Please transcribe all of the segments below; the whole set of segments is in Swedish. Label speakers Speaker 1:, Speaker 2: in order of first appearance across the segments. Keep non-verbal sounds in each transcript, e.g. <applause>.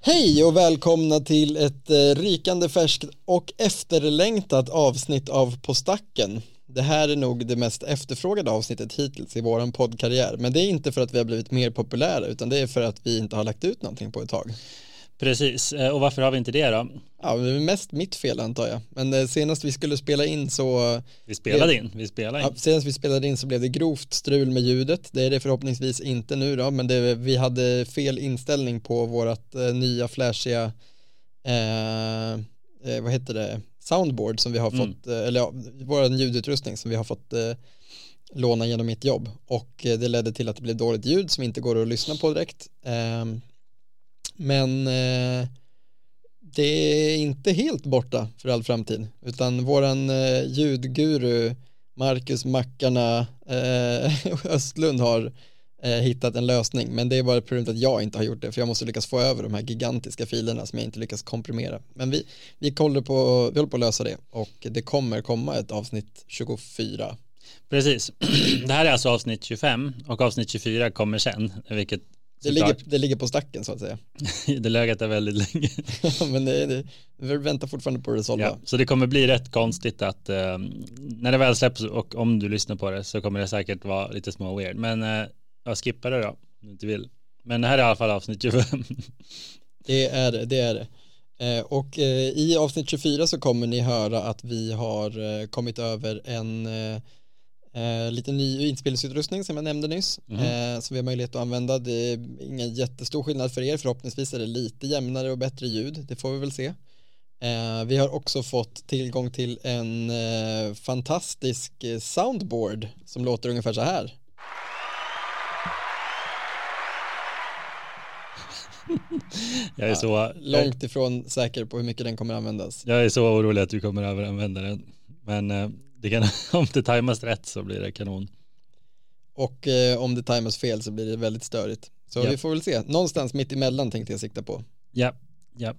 Speaker 1: Hej och välkomna till ett eh, rykande färskt och efterlängtat avsnitt av På stacken. Det här är nog det mest efterfrågade avsnittet hittills i vår poddkarriär, men det är inte för att vi har blivit mer populära utan det är för att vi inte har lagt ut någonting på ett tag.
Speaker 2: Precis, eh, och varför har vi inte det då?
Speaker 1: Ja, det är mest mitt fel antar jag, men eh, senast vi skulle spela in så
Speaker 2: Vi spelade in, vi spelade
Speaker 1: Ja,
Speaker 2: in.
Speaker 1: senast vi spelade in så blev det grovt strul med ljudet. Det är det förhoppningsvis inte nu då, men det, vi hade fel inställning på vårt eh, nya flashiga, eh, eh, vad heter det, soundboard som vi har
Speaker 2: Mm.
Speaker 1: fått, eh, eller ja, vår ljudutrustning som vi har fått eh, låna genom mitt jobb. Och eh, det ledde till att det blev dåligt ljud som inte går att lyssna på direkt. Ehm, men eh, det är inte helt borta för all framtid, utan våran eh, ljudguru Marcus Mackarna eh, <laughs> Östlund har eh, hittat en lösning, men det är bara problemet att jag inte har gjort det, för jag måste lyckas få över de här gigantiska filerna som jag inte lyckas komprimera. Men vi, vi, kollar på, vi håller på att lösa det och det kommer komma ett avsnitt 24.
Speaker 2: Precis. <clears throat> Det här är alltså avsnitt 25 och avsnitt 24 kommer sen, vilket
Speaker 1: Det
Speaker 2: såklart-
Speaker 1: ligger, det ligger på stacken så att säga. <laughs>
Speaker 2: <laughs> det lögat där väldigt länge.
Speaker 1: men det, det, vi väntar fortfarande på Resolva.
Speaker 2: Ja, så det kommer bli rätt konstigt att eh, när det väl släpps och om du lyssnar på det så kommer det säkert vara lite små weird. Men eh, jag skippar det då, om du inte vill. Men det här är i alla fall avsnitt 25.
Speaker 1: Det är det, det är det. Eh, Och eh, i avsnitt 24 så kommer ni höra att vi har eh, kommit över en eh, eh, lite ny inspelningsutrustning som jag nämnde nyss eh, som vi har möjlighet att använda. Det är ingen jättestor skillnad för er, förhoppningsvis är det lite jämnare och bättre ljud, det får vi väl se. Eh, Vi har också fått tillgång till en eh, fantastisk eh, soundboard som låter ungefär så här.
Speaker 2: <laughs> Jag är så, jag,
Speaker 1: Långt ifrån säker på hur mycket den kommer användas.
Speaker 2: jag är så orolig att du kommer överanvända den. Men eh, det kan, <laughs> om det tajmas rätt så blir det kanon.
Speaker 1: Och eh, om det timas fel så blir det väldigt störigt. Så
Speaker 2: Ja.
Speaker 1: vi får väl se. Någonstans mitt emellan tänkte jag sikta på.
Speaker 2: Ja, ja,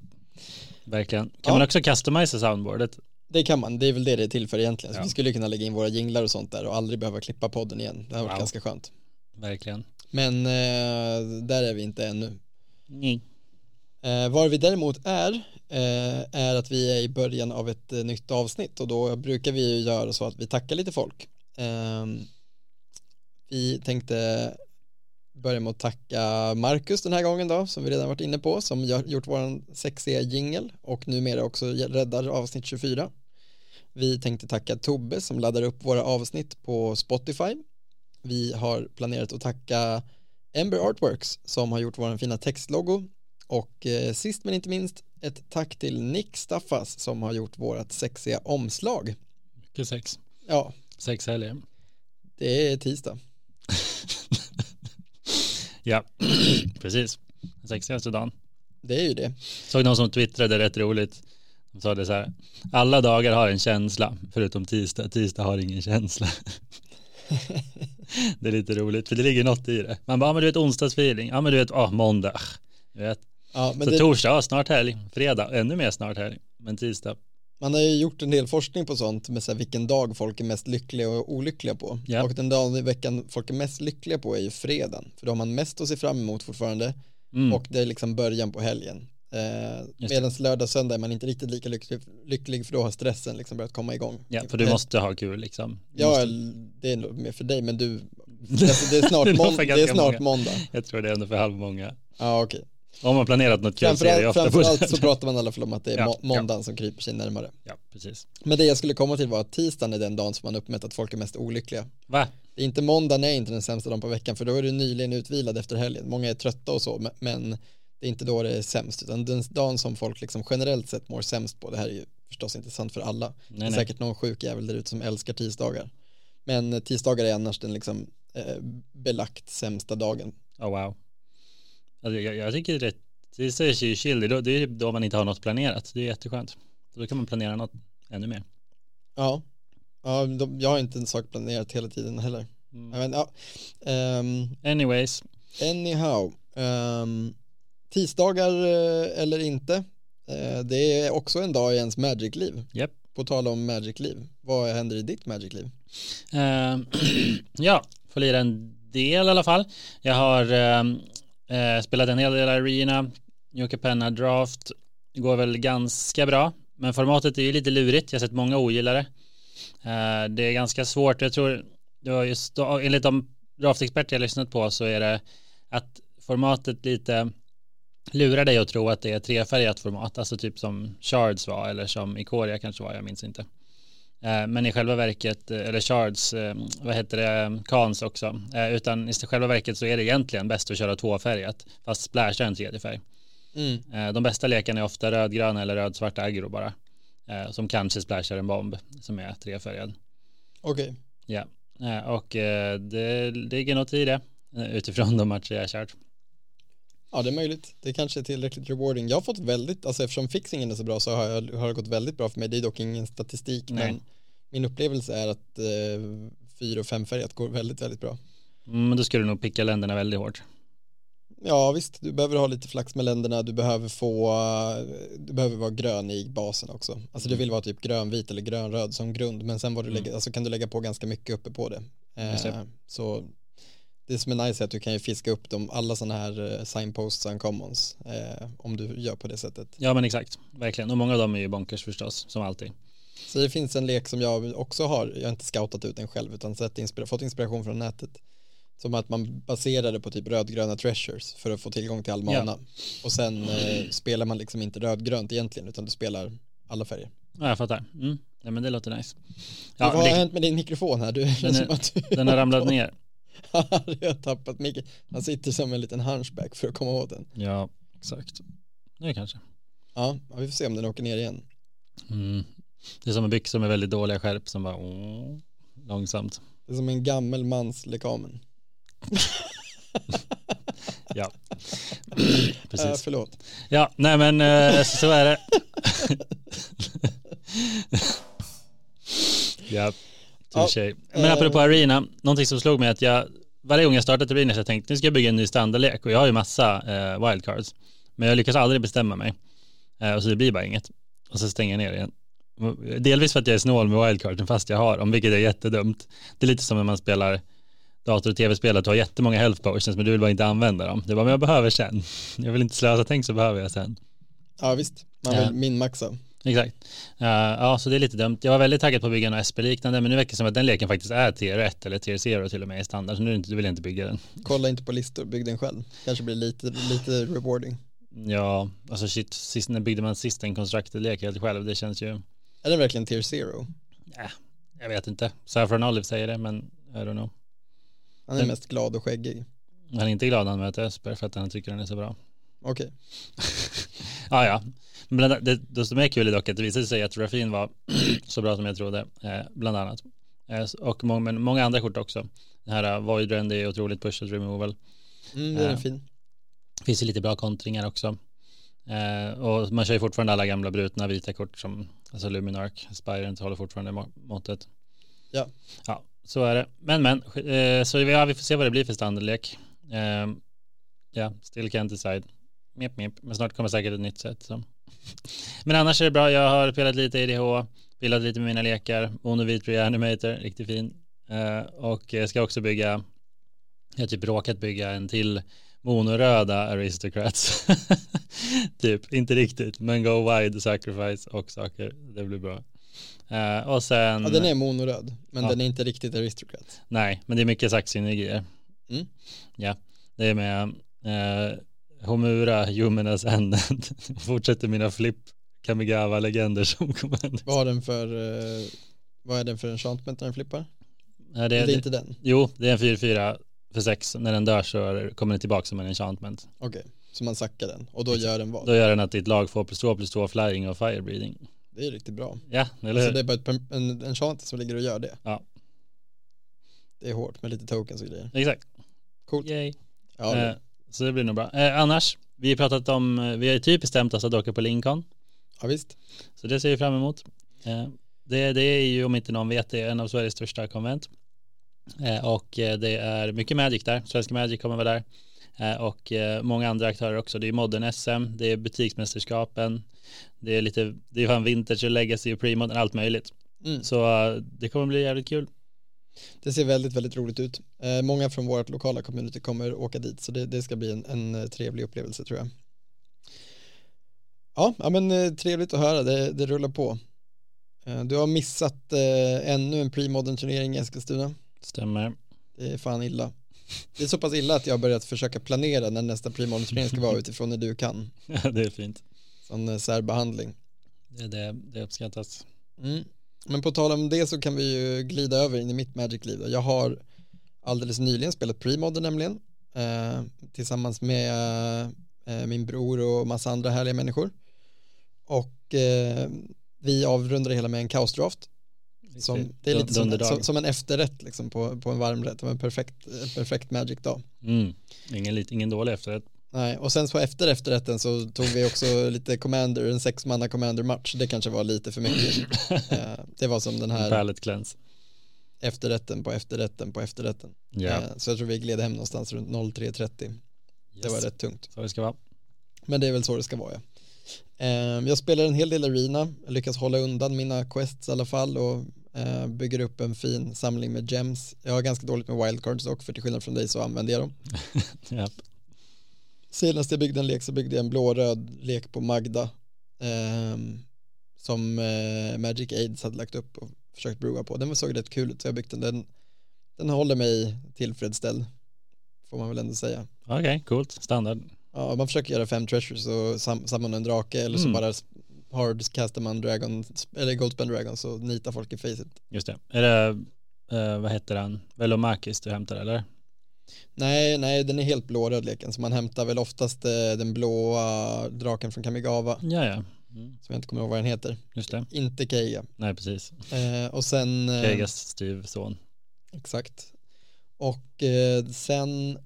Speaker 2: verkligen. Kan
Speaker 1: Ja.
Speaker 2: man också customisa soundboardet?
Speaker 1: Det kan man, det är väl det det är till för egentligen. Så
Speaker 2: Ja.
Speaker 1: vi skulle ju kunna lägga in våra jinglar och sånt där och aldrig behöva klippa podden igen. Det har varit
Speaker 2: Wow.
Speaker 1: ganska skönt.
Speaker 2: Verkligen.
Speaker 1: Men eh, där är vi inte ännu.
Speaker 2: Nej.
Speaker 1: Eh, var vi däremot är, eh, är att vi är i början av ett eh, nytt avsnitt och då brukar vi ju göra så att vi tackar lite folk. Ehm, vi tänkte börja med att tacka Marcus den här gången då, som vi redan varit inne på, som gör, gjort våran sexiga jingel och numera också räddar avsnitt 24. Vi tänkte tacka Tobbe som laddar upp våra avsnitt på Spotify. Vi har planerat att tacka Ember Artworks som har gjort vår fina textlogo och eh, sist men inte minst ett tack till Nick Staffas som har gjort vårat sexiga omslag.
Speaker 2: Mycket sex.
Speaker 1: Ja,
Speaker 2: Sex helger. <laughs>
Speaker 1: det är tisdag.
Speaker 2: Ja, <clears throat> precis. Den sexigaste dagen.
Speaker 1: Det är ju det.
Speaker 2: Såg någon som twittrade rätt roligt. De sa det så här. Alla dagar har en känsla, förutom tisdag. Tisdag har ingen känsla. <laughs> det är lite roligt, för det ligger något i det. Man bara, ja men du vet onsdagsfeeling, ja men du vet, ah måndag. Ah, Du vet.
Speaker 1: Ja, men
Speaker 2: Så
Speaker 1: det,
Speaker 2: torsdag, ja, snart helg. Fredag, ännu mer snart helg. Men tisdag,
Speaker 1: man har ju gjort en del forskning på sånt med så här, vilken dag folk är mest lyckliga och olyckliga på.
Speaker 2: Ja.
Speaker 1: Och den dagen i veckan folk är mest lyckliga på är ju fredagen. För då har man mest att se fram emot fortfarande
Speaker 2: Mm.
Speaker 1: och det är liksom början på helgen. Eh,
Speaker 2: det.
Speaker 1: Medan lördag och söndag är man inte riktigt lika lycklig, lycklig för då har stressen liksom börjat komma igång.
Speaker 2: ja, för du
Speaker 1: Eh,
Speaker 2: måste ha kul liksom. Du
Speaker 1: Ja,
Speaker 2: måste-
Speaker 1: det är nog mer för dig, men
Speaker 2: <laughs>
Speaker 1: du, alltså, det är snart,
Speaker 2: Det är nog
Speaker 1: mån-
Speaker 2: för
Speaker 1: det är
Speaker 2: ganska
Speaker 1: snart
Speaker 2: många.
Speaker 1: måndag.
Speaker 2: Jag tror det är ändå för halv många.
Speaker 1: Ja, okej.
Speaker 2: Om man planerat något kul ser jag
Speaker 1: Framförallt,
Speaker 2: ofta på det.
Speaker 1: framförallt så pratar man i alla fall om att det är
Speaker 2: Ja,
Speaker 1: må-
Speaker 2: ja.
Speaker 1: måndagen som kryper sig närmare.
Speaker 2: <laughs> Ja, precis.
Speaker 1: Men det jag skulle komma till var att tisdagen är den dagen som man uppmätt att folk är mest olyckliga.
Speaker 2: Va?
Speaker 1: Det är inte måndagen är inte den sämsta dagen på veckan, för då är du nyligen utvilad efter helgen. Många är trötta och så, men- men det är inte då det är sämst, utan den dagen som folk liksom generellt sett mår sämst på, det här är ju förstås inte sant för alla. det är
Speaker 2: Nej, nej.
Speaker 1: säkert någon sjuk jävel där ute som älskar tisdagar. Men eh, tisdagar är annars den liksom eh, belagt sämsta dagen.
Speaker 2: Oh, wow. Alltså, jag, jag tycker det är tisdag är ju chill, det är då- det är typ då man inte har något planerat. Det är jätteskönt. Då kan man planera något ännu mer.
Speaker 1: Ja, ja de, jag har inte en sak planerat hela tiden heller. Ja, Men, ja. Ehm,
Speaker 2: Mm. Anyways,
Speaker 1: anyhow, ehm, tisdagar eh, eller inte, eh, det är också en dag i ens Magic-liv.
Speaker 2: Japp.
Speaker 1: På tal om Magic-liv, vad händer i ditt Magic-liv?
Speaker 2: Ehm, <clears throat> ja, får lira eh, en del i alla fall. Jag har ehm, eh, spelat en hel del arena, Jocke Penna Draft går väl ganska bra. Men formatet är ju lite lurigt. Jag har sett många ogillare. Eh, det är ganska svårt. Jag tror, det var just, enligt de draftexperter jag lyssnat på så är det att formatet lite lurar dig att tro att det är trefärgat format. Alltså typ som Shards var eller som Ikoria kanske var, jag minns inte. Eh, Men i själva verket, eh, eller Shards, eh, vad heter det, Kans också. Eh, Utan i själva verket så är det egentligen bäst att köra tvåfärgat, fast splasha en tredje färg.
Speaker 1: Mm.
Speaker 2: Eh, De bästa leken är ofta rödgröna eller rödsvarta aggro bara. eh, Som kanske splashar en bomb som är trefärgad.
Speaker 1: Okej,
Speaker 2: Eh, Och eh, det ligger något i det eh, utifrån de matcher jag har kört.
Speaker 1: ja det är möjligt. Det kanske är tillräckligt rewarding. Jag har fått väldigt, alltså eftersom fixingen är så bra så har, jag, har det gått väldigt bra för mig. Det är dock ingen statistik
Speaker 2: Nej.
Speaker 1: men min upplevelse är att eh, fyra och femfärgat går väldigt, väldigt bra.
Speaker 2: Mm, Men då ska du nog picka länderna väldigt hårt.
Speaker 1: Ja visst, du behöver ha lite flax med länderna, du behöver få, eh, du behöver vara grön i basen också. Alltså du vill vara typ grönvit eller grönröd som grund, men sen vad du
Speaker 2: Mm.
Speaker 1: lägger, alltså kan du lägga på ganska mycket uppe på det.
Speaker 2: Just det.
Speaker 1: Eh, så det som är nice är att du kan ju fiska upp dem, alla sådana här eh, signposts and commons, eh, om du gör på det sättet.
Speaker 2: Ja men exakt, verkligen. Och många av dem är ju bonkers förstås, som alltid.
Speaker 1: Så det finns en lek som jag också har, jag har inte scoutat ut den själv utan sett inspira- fått inspiration från nätet. Som att man baserar det på typ rödgröna treasures för att få tillgång till all
Speaker 2: Ja.
Speaker 1: mana. Och sen eh, spelar man liksom inte rödgrönt egentligen utan du spelar alla färger.
Speaker 2: Ja, jag fattar. Mm. Nej men det låter nice.
Speaker 1: Ja, vad har
Speaker 2: det-
Speaker 1: hänt med din mikrofon här? Du, det känns
Speaker 2: är-
Speaker 1: som att du <laughs>
Speaker 2: Den har ramlat ner.
Speaker 1: du har tappat mycket. Han sitter som en liten hunchback för att komma åt den.
Speaker 2: Ja, exakt. Nu kanske.
Speaker 1: Ja, ja, vi får se om den åker ner igen.
Speaker 2: Mm. Det är som en byxa med väldigt dåliga skärp som bara åh, långsamt.
Speaker 1: Det är som en gammel mans lekamen.
Speaker 2: <laughs> Ja,
Speaker 1: Äh,
Speaker 2: precis.
Speaker 1: förlåt.
Speaker 2: Ja, nej men eh, så, så är det. <laughs> ja, touché. Men
Speaker 1: eh.
Speaker 2: apropå arena, någonting som slog mig att jag varje gång jag startat arena så jag tänkte nu ska jag bygga en ny standardlek och jag har ju massa eh, wildcards. Men jag lyckas aldrig bestämma mig. Eh, och så det blir bara inget. Och så stänger jag ner igen. Delvis för att jag är snål med wildcarden fast jag har dem, vilket är jättedumt. Det är lite som när man spelar dator och tv-spel att du har jättemånga health potions men du vill bara inte använda dem. Det var men jag behöver sen. <laughs> Jag vill inte slösa, tänk så behöver jag sen.
Speaker 1: Ja visst, man vill
Speaker 2: Ja.
Speaker 1: minmaxa.
Speaker 2: Exakt. Eh, ja, så det är lite dumt. Jag var väldigt taggad på att bygga något SP-liknande, men nu verkar det som att den leken faktiskt är tier 1 eller tier 0 till och med i standard, så nu är det inte- vill jag inte bygga den.
Speaker 1: Kolla inte på listor, bygg den själv. Kanske blir lite, lite rewarding.
Speaker 2: Ja, alltså shit, sist, när byggde man sist en constructed-lek helt själv? Det känns ju,
Speaker 1: Är den verkligen tier zero?
Speaker 2: jag vet inte. Saffron Olive säger det, men I don't know.
Speaker 1: Han är
Speaker 2: Den-
Speaker 1: mest glad och skäggig.
Speaker 2: Han är inte glad när han möter Ösper för att han tycker den är så bra.
Speaker 1: Okej.
Speaker 2: Ja, ja. Men bland- det, det som är kul är dock att det visade sig att Raffin var <clears throat> så bra som jag trodde, eh, bland annat. Eh, s- och många, men många andra kort också. Den här uh, Voidrend är otroligt pushed removal.
Speaker 1: Mm, den är
Speaker 2: Ja.
Speaker 1: fin.
Speaker 2: finns ju lite bra kontringar också. Eh, och man kör ju fortfarande alla gamla brutna vita kort som alltså Luminark, Spirant håller fortfarande må- måttet.
Speaker 1: Ja.
Speaker 2: Ja, så är det. Men men, eh, så ja, vi får se vad det blir för standardlek. Eh, ja, still can't decide. Mip, mip. Men snart kommer säkert ett nytt sätt. Så. <laughs> Men annars är det bra. Jag har spelat lite IDH, pillat lite med mina lekar. Onovit Reanimator, riktigt fin. Eh, och jag ska också bygga, jag har typ råkat bygga en till monoröda aristocrats. <laughs> typ, inte riktigt, men go wide, sacrifice och saker. Det blir bra. Eh, och sen,
Speaker 1: Ja, den är monoröd, men
Speaker 2: Ja.
Speaker 1: den är inte riktigt aristocrat.
Speaker 2: nej, men det är mycket saxsynergier.
Speaker 1: Mm.
Speaker 2: Ja, det är med eh, Homura, Jumenas Ended. <laughs> Fortsätter mina flipp Kamigawa-legender som kommer.
Speaker 1: Vad har den för, eh, vad är den för enchantment när den flippar?
Speaker 2: Nej,
Speaker 1: Det är, inte den.
Speaker 2: Jo, det är en 4-4 för 6. När den dör så kommer den tillbaka som en enchantment.
Speaker 1: Okej, så man sackar den och då gör den vad?
Speaker 2: Då gör den att ditt lag får plus 2 plus 2 flying och firebreeding.
Speaker 1: Det är riktigt bra.
Speaker 2: Ja, eller
Speaker 1: Så
Speaker 2: hur?
Speaker 1: det är bara ett, pem- en enchant som ligger och gör det.
Speaker 2: Ja.
Speaker 1: Det är hårt med lite tokens och grejer.
Speaker 2: Exakt.
Speaker 1: Coolt.
Speaker 2: Yay.
Speaker 1: Ja,
Speaker 2: Eh, så det blir nog bra. Eh, annars, vi har pratat om, eh, vi har ju typ bestämt oss att åka på Lincoln.
Speaker 1: ja visst.
Speaker 2: Så det ser vi fram emot. Eh, det, det är ju, om inte någon vet, det är en av Sveriges största konvent. Eh, och eh, det är mycket Magic där. Svenska Magic kommer vara där. Eh, och eh, många andra aktörer också. Det är modern SM, det är butiksmästerskapen, det är lite, det är fan vintage och legacy och premodern, allt möjligt.
Speaker 1: Mm.
Speaker 2: Så eh, det kommer bli jävligt kul.
Speaker 1: Det ser väldigt, väldigt roligt ut. Eh, många från vårt lokala community kommer åka dit, så det, det ska bli en, en eh, trevlig upplevelse tror jag. Ja, ja men eh, trevligt att höra, det, det rullar på. Eh, Du har missat eh, ännu en premodern turnering i Eskilstuna.
Speaker 2: Stämmer.
Speaker 1: Det är fan illa. Det är så pass illa att jag har börjat försöka planera när nästa premodern turnering ska vara utifrån när du kan.
Speaker 2: <laughs> det är fint.
Speaker 1: Sån eh, särbehandling.
Speaker 2: Det, det, det uppskattas.
Speaker 1: Mm. Men på tal om det så kan vi ju glida över in i mitt Magic-liv. då. Jag har alldeles nyligen spelat Premodder nämligen, eh, tillsammans med eh, min bror och massa andra härliga människor. Och eh, vi avrundar det hela med en kaosdraft. Som, det är lite som,
Speaker 2: Dunderdag.
Speaker 1: som, som en efterrätt liksom på, på en varmrätt, det var en perfekt, en perfekt Magic-dag.
Speaker 2: Mm. Ingen, lit- ingen dålig efterrätt.
Speaker 1: Nej, och sen så efter efterrätten så tog vi också lite Commander, en sexmanna Commander-match, det kanske var lite för mycket. Eh, det var som den
Speaker 2: <laughs>
Speaker 1: här
Speaker 2: Pallet cleanse.
Speaker 1: efterrätten på efterrätten på efterrätten.
Speaker 2: Ja.
Speaker 1: Eh, Så jag tror vi gled hem någonstans runt 03.30. Det var
Speaker 2: Yes.
Speaker 1: rätt tungt.
Speaker 2: Så det ska vara.
Speaker 1: Men det är väl så det ska vara ja. Eh, Jag spelar en hel del arena, jag lyckas hålla undan mina quests i alla fall och eh, bygger upp en fin samling med gems. Jag har ganska dåligt med wildcards dock, för till skillnad från dig så använder jag dem.
Speaker 2: Japp.
Speaker 1: Senast jag byggde en lek så byggde jag en blå-röd lek på Magda ehm, som eh, Magic Aids hade lagt upp och försökt brewa på. Den såg rätt kul ut så jag byggde den. den. Den håller mig tillfredsställd får man väl ändå säga.
Speaker 2: Okej, coolt. Standard.
Speaker 1: Ja, om man försöker göra fem treasures och sam- samla en drake eller så
Speaker 2: Mm.
Speaker 1: bara hardcastar man dragon, eller Goldspend Dragon så nitar folk i facet.
Speaker 2: Just det. Är det, eh, vad heter han, Velomakis du hämtar eller?
Speaker 1: Nej, nej, den är helt blå-röd leken så man hämtar väl oftast eh, den blåa draken från Kamigawa
Speaker 2: Ja, ja. Mm.
Speaker 1: som jag inte kommer ihåg vad den heter.
Speaker 2: Just det.
Speaker 1: Inte Keiga.
Speaker 2: Nej, precis.
Speaker 1: Eh, och sen... eh,
Speaker 2: Vegas styvson.
Speaker 1: Exakt. Och eh, sen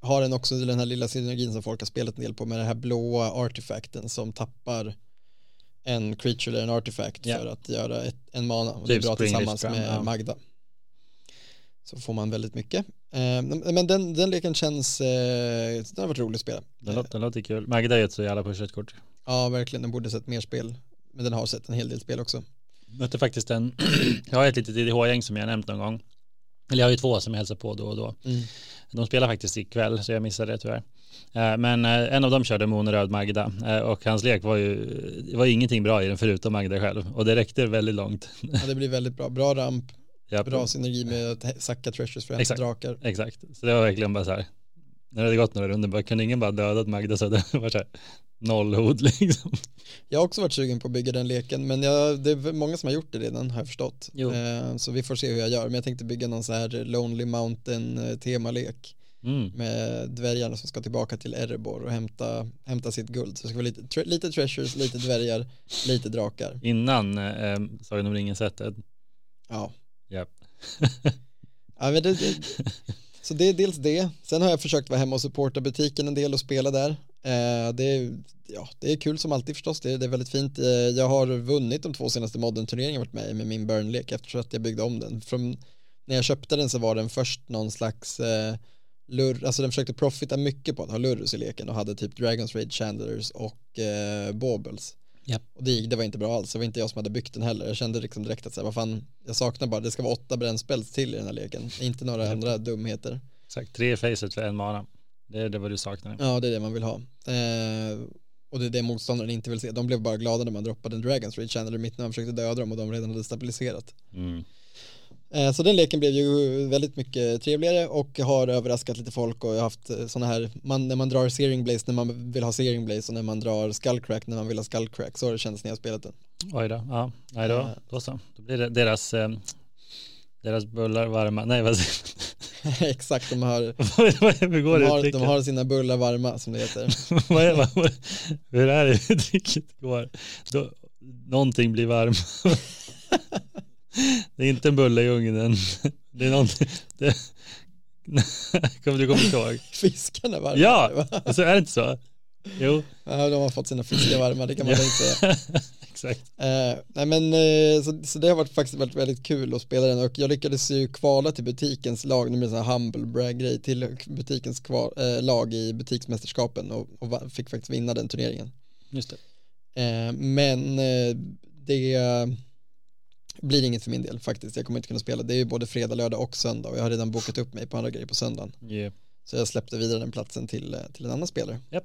Speaker 1: har den också den här lilla synergin som folk har spelat en del på med den här blåa artefakten som tappar en creature eller en artefakt
Speaker 2: Ja.
Speaker 1: för att göra ett, en mana. Och det är
Speaker 2: Typ
Speaker 1: bra
Speaker 2: Spring
Speaker 1: tillsammans
Speaker 2: Leaf Scrum,
Speaker 1: med
Speaker 2: ja.
Speaker 1: Magda. Så får man väldigt mycket. Eh, men den, den leken känns, eh, den har varit rolig att spela. Eh,
Speaker 2: Den låter, den låter kul. Magda är ju ett så jävla pushat kort.
Speaker 1: Ja, verkligen, den borde sett mer spel. Men den har sett en hel del spel också.
Speaker 2: Mötte faktiskt en, <clears throat> jag har ett litet IDH-gäng som jag nämnt någon gång. Eller jag har ju två som jag hälsar på då och då. De spelar faktiskt ikväll så jag missade det tyvärr. Eh, Men eh, en av dem körde Moneröd Magda eh, och hans lek var ju, det var ingenting bra i den förutom Magda själv och det räckte väldigt långt. <laughs>
Speaker 1: Ja, det blir väldigt bra. Bra ramp,
Speaker 2: Ja,
Speaker 1: bra synergi med att hä- sacka treasures för att hämta
Speaker 2: Exakt.
Speaker 1: drakar.
Speaker 2: Exakt, så det var verkligen bara så här. När det hade gått några runder bara, kunde ingen bara dödat Magda så hade det varit så här noll hot <laughs> liksom.
Speaker 1: Jag har också varit sugen på att bygga den leken men jag, det är många som har gjort det redan har jag förstått.
Speaker 2: Jo.
Speaker 1: Eh, så vi får se hur jag gör men jag tänkte bygga någon så här Lonely Mountain eh, temalek
Speaker 2: Mm.
Speaker 1: med dvärgarna som ska tillbaka till Erebor och hämta, hämta sitt guld. Så det ska vara lite, tre, lite treasures, lite dvärgar, lite drakar.
Speaker 2: Innan eh, Sagan om ringen-sättet.
Speaker 1: Ja.
Speaker 2: Japp.
Speaker 1: ja men det, det, så det är dels det. Sen har jag försökt vara hemma och supporta butiken en del och spela där. Eh, det, är, ja, det är kul som alltid förstås, det, är- det är väldigt fint. Eh, jag har vunnit de två senaste modern-turneringarna jag varit med i med min Burn-lek eftersom att jag byggde om den. Från, när jag köpte den så var den först någon slags eh, lurr, alltså den försökte profita mycket på att ha lurrus i leken och hade typ Dragons Raid, Chandlers och eh, Baubles.
Speaker 2: Japp.
Speaker 1: Och det, gick- det var inte bra alls, det var inte jag som hade byggt den heller. Jag kände liksom direkt att så här, vad fan, jag saknar bara, det ska vara åtta brännspels till i den här leken, inte några
Speaker 2: Japp.
Speaker 1: andra dumheter.
Speaker 2: Exakt, tre i facet för en mana. Det är det vad du saknar.
Speaker 1: Ja, det är det man vill ha. Eh, och det är det motståndaren inte vill se. De blev bara glada när man droppade en Dragons Reach Channel i mitten när man försökte döda dem och de redan hade stabiliserat.
Speaker 2: Mm.
Speaker 1: Eh, så den leken blev ju väldigt mycket trevligare och har överraskat lite folk och jag har haft sådana här, man, när man drar Searing Blaze när man vill ha Searing Blaze och när man drar Skullcrack när man vill ha Skullcrack. Så har det känts när jag har spelat den. <laughs>
Speaker 2: Oj då, ja. Nej då,
Speaker 1: Eh.
Speaker 2: då så. Då blir det deras, eh, deras bullar varma. Nej vad säger <laughs>
Speaker 1: Exakt, de har,
Speaker 2: jag? Hur går
Speaker 1: de,
Speaker 2: det
Speaker 1: har, de
Speaker 2: uttrycket?
Speaker 1: har sina bullar varma som det heter.
Speaker 2: <laughs> Vad är- vad- vad- Hur är det uttrycket går? Då, någonting blir varm. <laughs> det är inte en bulle i ugnen. Det är någonting. Det, <laughs> kommer du komma ihåg?
Speaker 1: <laughs> Fiskarna varma.
Speaker 2: Ja!
Speaker 1: va?
Speaker 2: Alltså är det inte så? Jo, <laughs>
Speaker 1: Ja, de har fått sina fiskar varma, det kan man
Speaker 2: Ja.
Speaker 1: lugnt säga.
Speaker 2: exakt.
Speaker 1: Eh, nej men, eh, så, så det har varit faktiskt varit väldigt kul att spela den och jag lyckades ju kvala till butikens lag, nu blir det en humble brag grej, till butikens kval, eh, lag i butiksmästerskapen och, och va- fick faktiskt vinna den turneringen.
Speaker 2: Just det.
Speaker 1: Eh, men eh, det blir inget för min del faktiskt, jag kommer inte kunna spela, det är ju både fredag, lördag och söndag och jag har redan bokat upp mig på andra grejer på söndagen.
Speaker 2: Yeah.
Speaker 1: Så jag släppte vidare den platsen till, eh, till en annan spelare.
Speaker 2: Japp.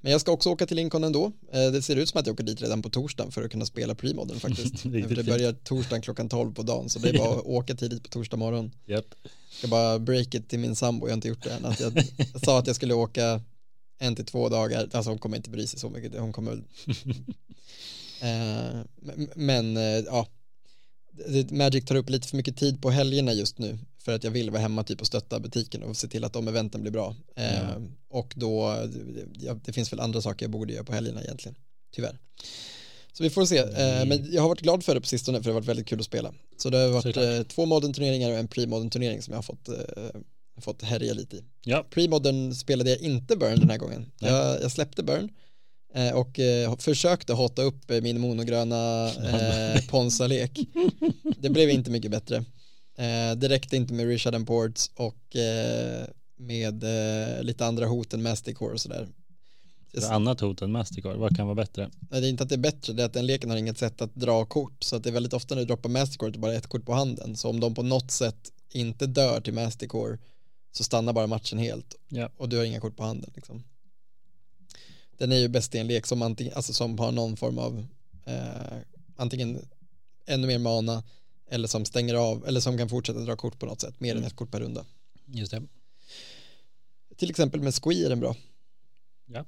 Speaker 1: Men jag ska också åka till Lincoln ändå. Eh, Det ser ut som att jag åker dit redan på torsdagen för att kunna spela premodern
Speaker 2: <laughs>
Speaker 1: faktiskt.
Speaker 2: Riktigt
Speaker 1: för det
Speaker 2: fint.
Speaker 1: börjar torsdagen klockan 12 på dagen så det
Speaker 2: <laughs>
Speaker 1: är bara att åka tidigt på torsdag morgon.
Speaker 2: Japp.
Speaker 1: Jag ska bara break it till min sambo, jag har inte gjort det än. Att jag, jag <laughs> sa att jag skulle åka en till två dagar, alltså hon kommer inte bry sig så mycket, hon
Speaker 2: <laughs>
Speaker 1: kommer väl- eh, men- Men eh, ja, Det- Magic tar upp lite för mycket tid på helgerna just nu för att jag vill vara hemma typ och stötta butiken och se till att de eventen blir bra. Eh,
Speaker 2: Ja.
Speaker 1: Och då, ja, det finns väl andra saker jag borde göra på helgerna egentligen, tyvärr. Så vi får se, eh, men jag har varit glad för det på sistone för det har varit väldigt kul att spela. Så det har varit
Speaker 2: Såklart.
Speaker 1: eh, två modern turneringar och en pre-modern turnering som jag har fått, eh, fått härja lite i.
Speaker 2: Ja.
Speaker 1: Pre-modern spelade jag inte Burn den här gången.
Speaker 2: Nej.
Speaker 1: Jag, jag släppte Burn eh, och eh, försökte hotta upp eh, min monogröna eh, Ponsa-lek. Det blev inte mycket bättre. Eh, det räckte inte med Richard and Ports och eh, med eh, lite andra hot än Masticore och sådär.
Speaker 2: Ett annat hot än Mastercard, vad kan vara bättre?
Speaker 1: Nej, det är inte att det är bättre, det är att den leken har inget sätt att dra kort. Så att det är väldigt ofta när du droppar Mastercore, det är bara ett kort på handen. Så om de på något sätt inte dör till Mastercore så stannar bara matchen helt.
Speaker 2: Ja.
Speaker 1: Och du har inga kort på handen liksom. Den är ju bäst i en lek som, antingen, alltså som har någon form av eh, antingen ännu mer mana eller som stänger av eller som kan fortsätta dra kort på något sätt, mer än
Speaker 2: Mm.
Speaker 1: ett kort per runda.
Speaker 2: Just det.
Speaker 1: Till exempel med Squee är den bra. Ja.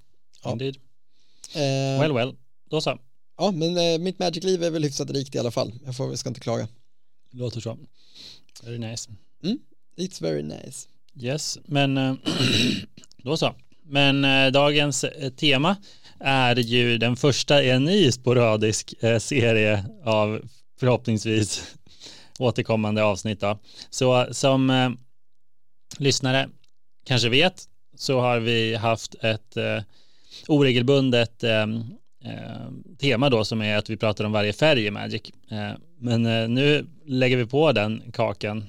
Speaker 2: Indeed.
Speaker 1: Eh,
Speaker 2: Well well, då så.
Speaker 1: Ja, men eh, mitt Magic-liv är väl hyfsat rikt i alla fall. Jag får, jag ska inte klaga.
Speaker 2: Låter så. Very nice.
Speaker 1: It's very nice.
Speaker 2: Yes, men eh, <clears throat> då så. Men eh, dagens eh, tema är ju den första i en ny sporadisk eh, serie av förhoppningsvis återkommande avsnitt. Då. Så som eh, lyssnare kanske vet så har vi haft ett eh, oregelbundet eh, eh, tema då som är att vi pratar om varje färg i Magic. Eh, men eh, nu lägger vi på den kakan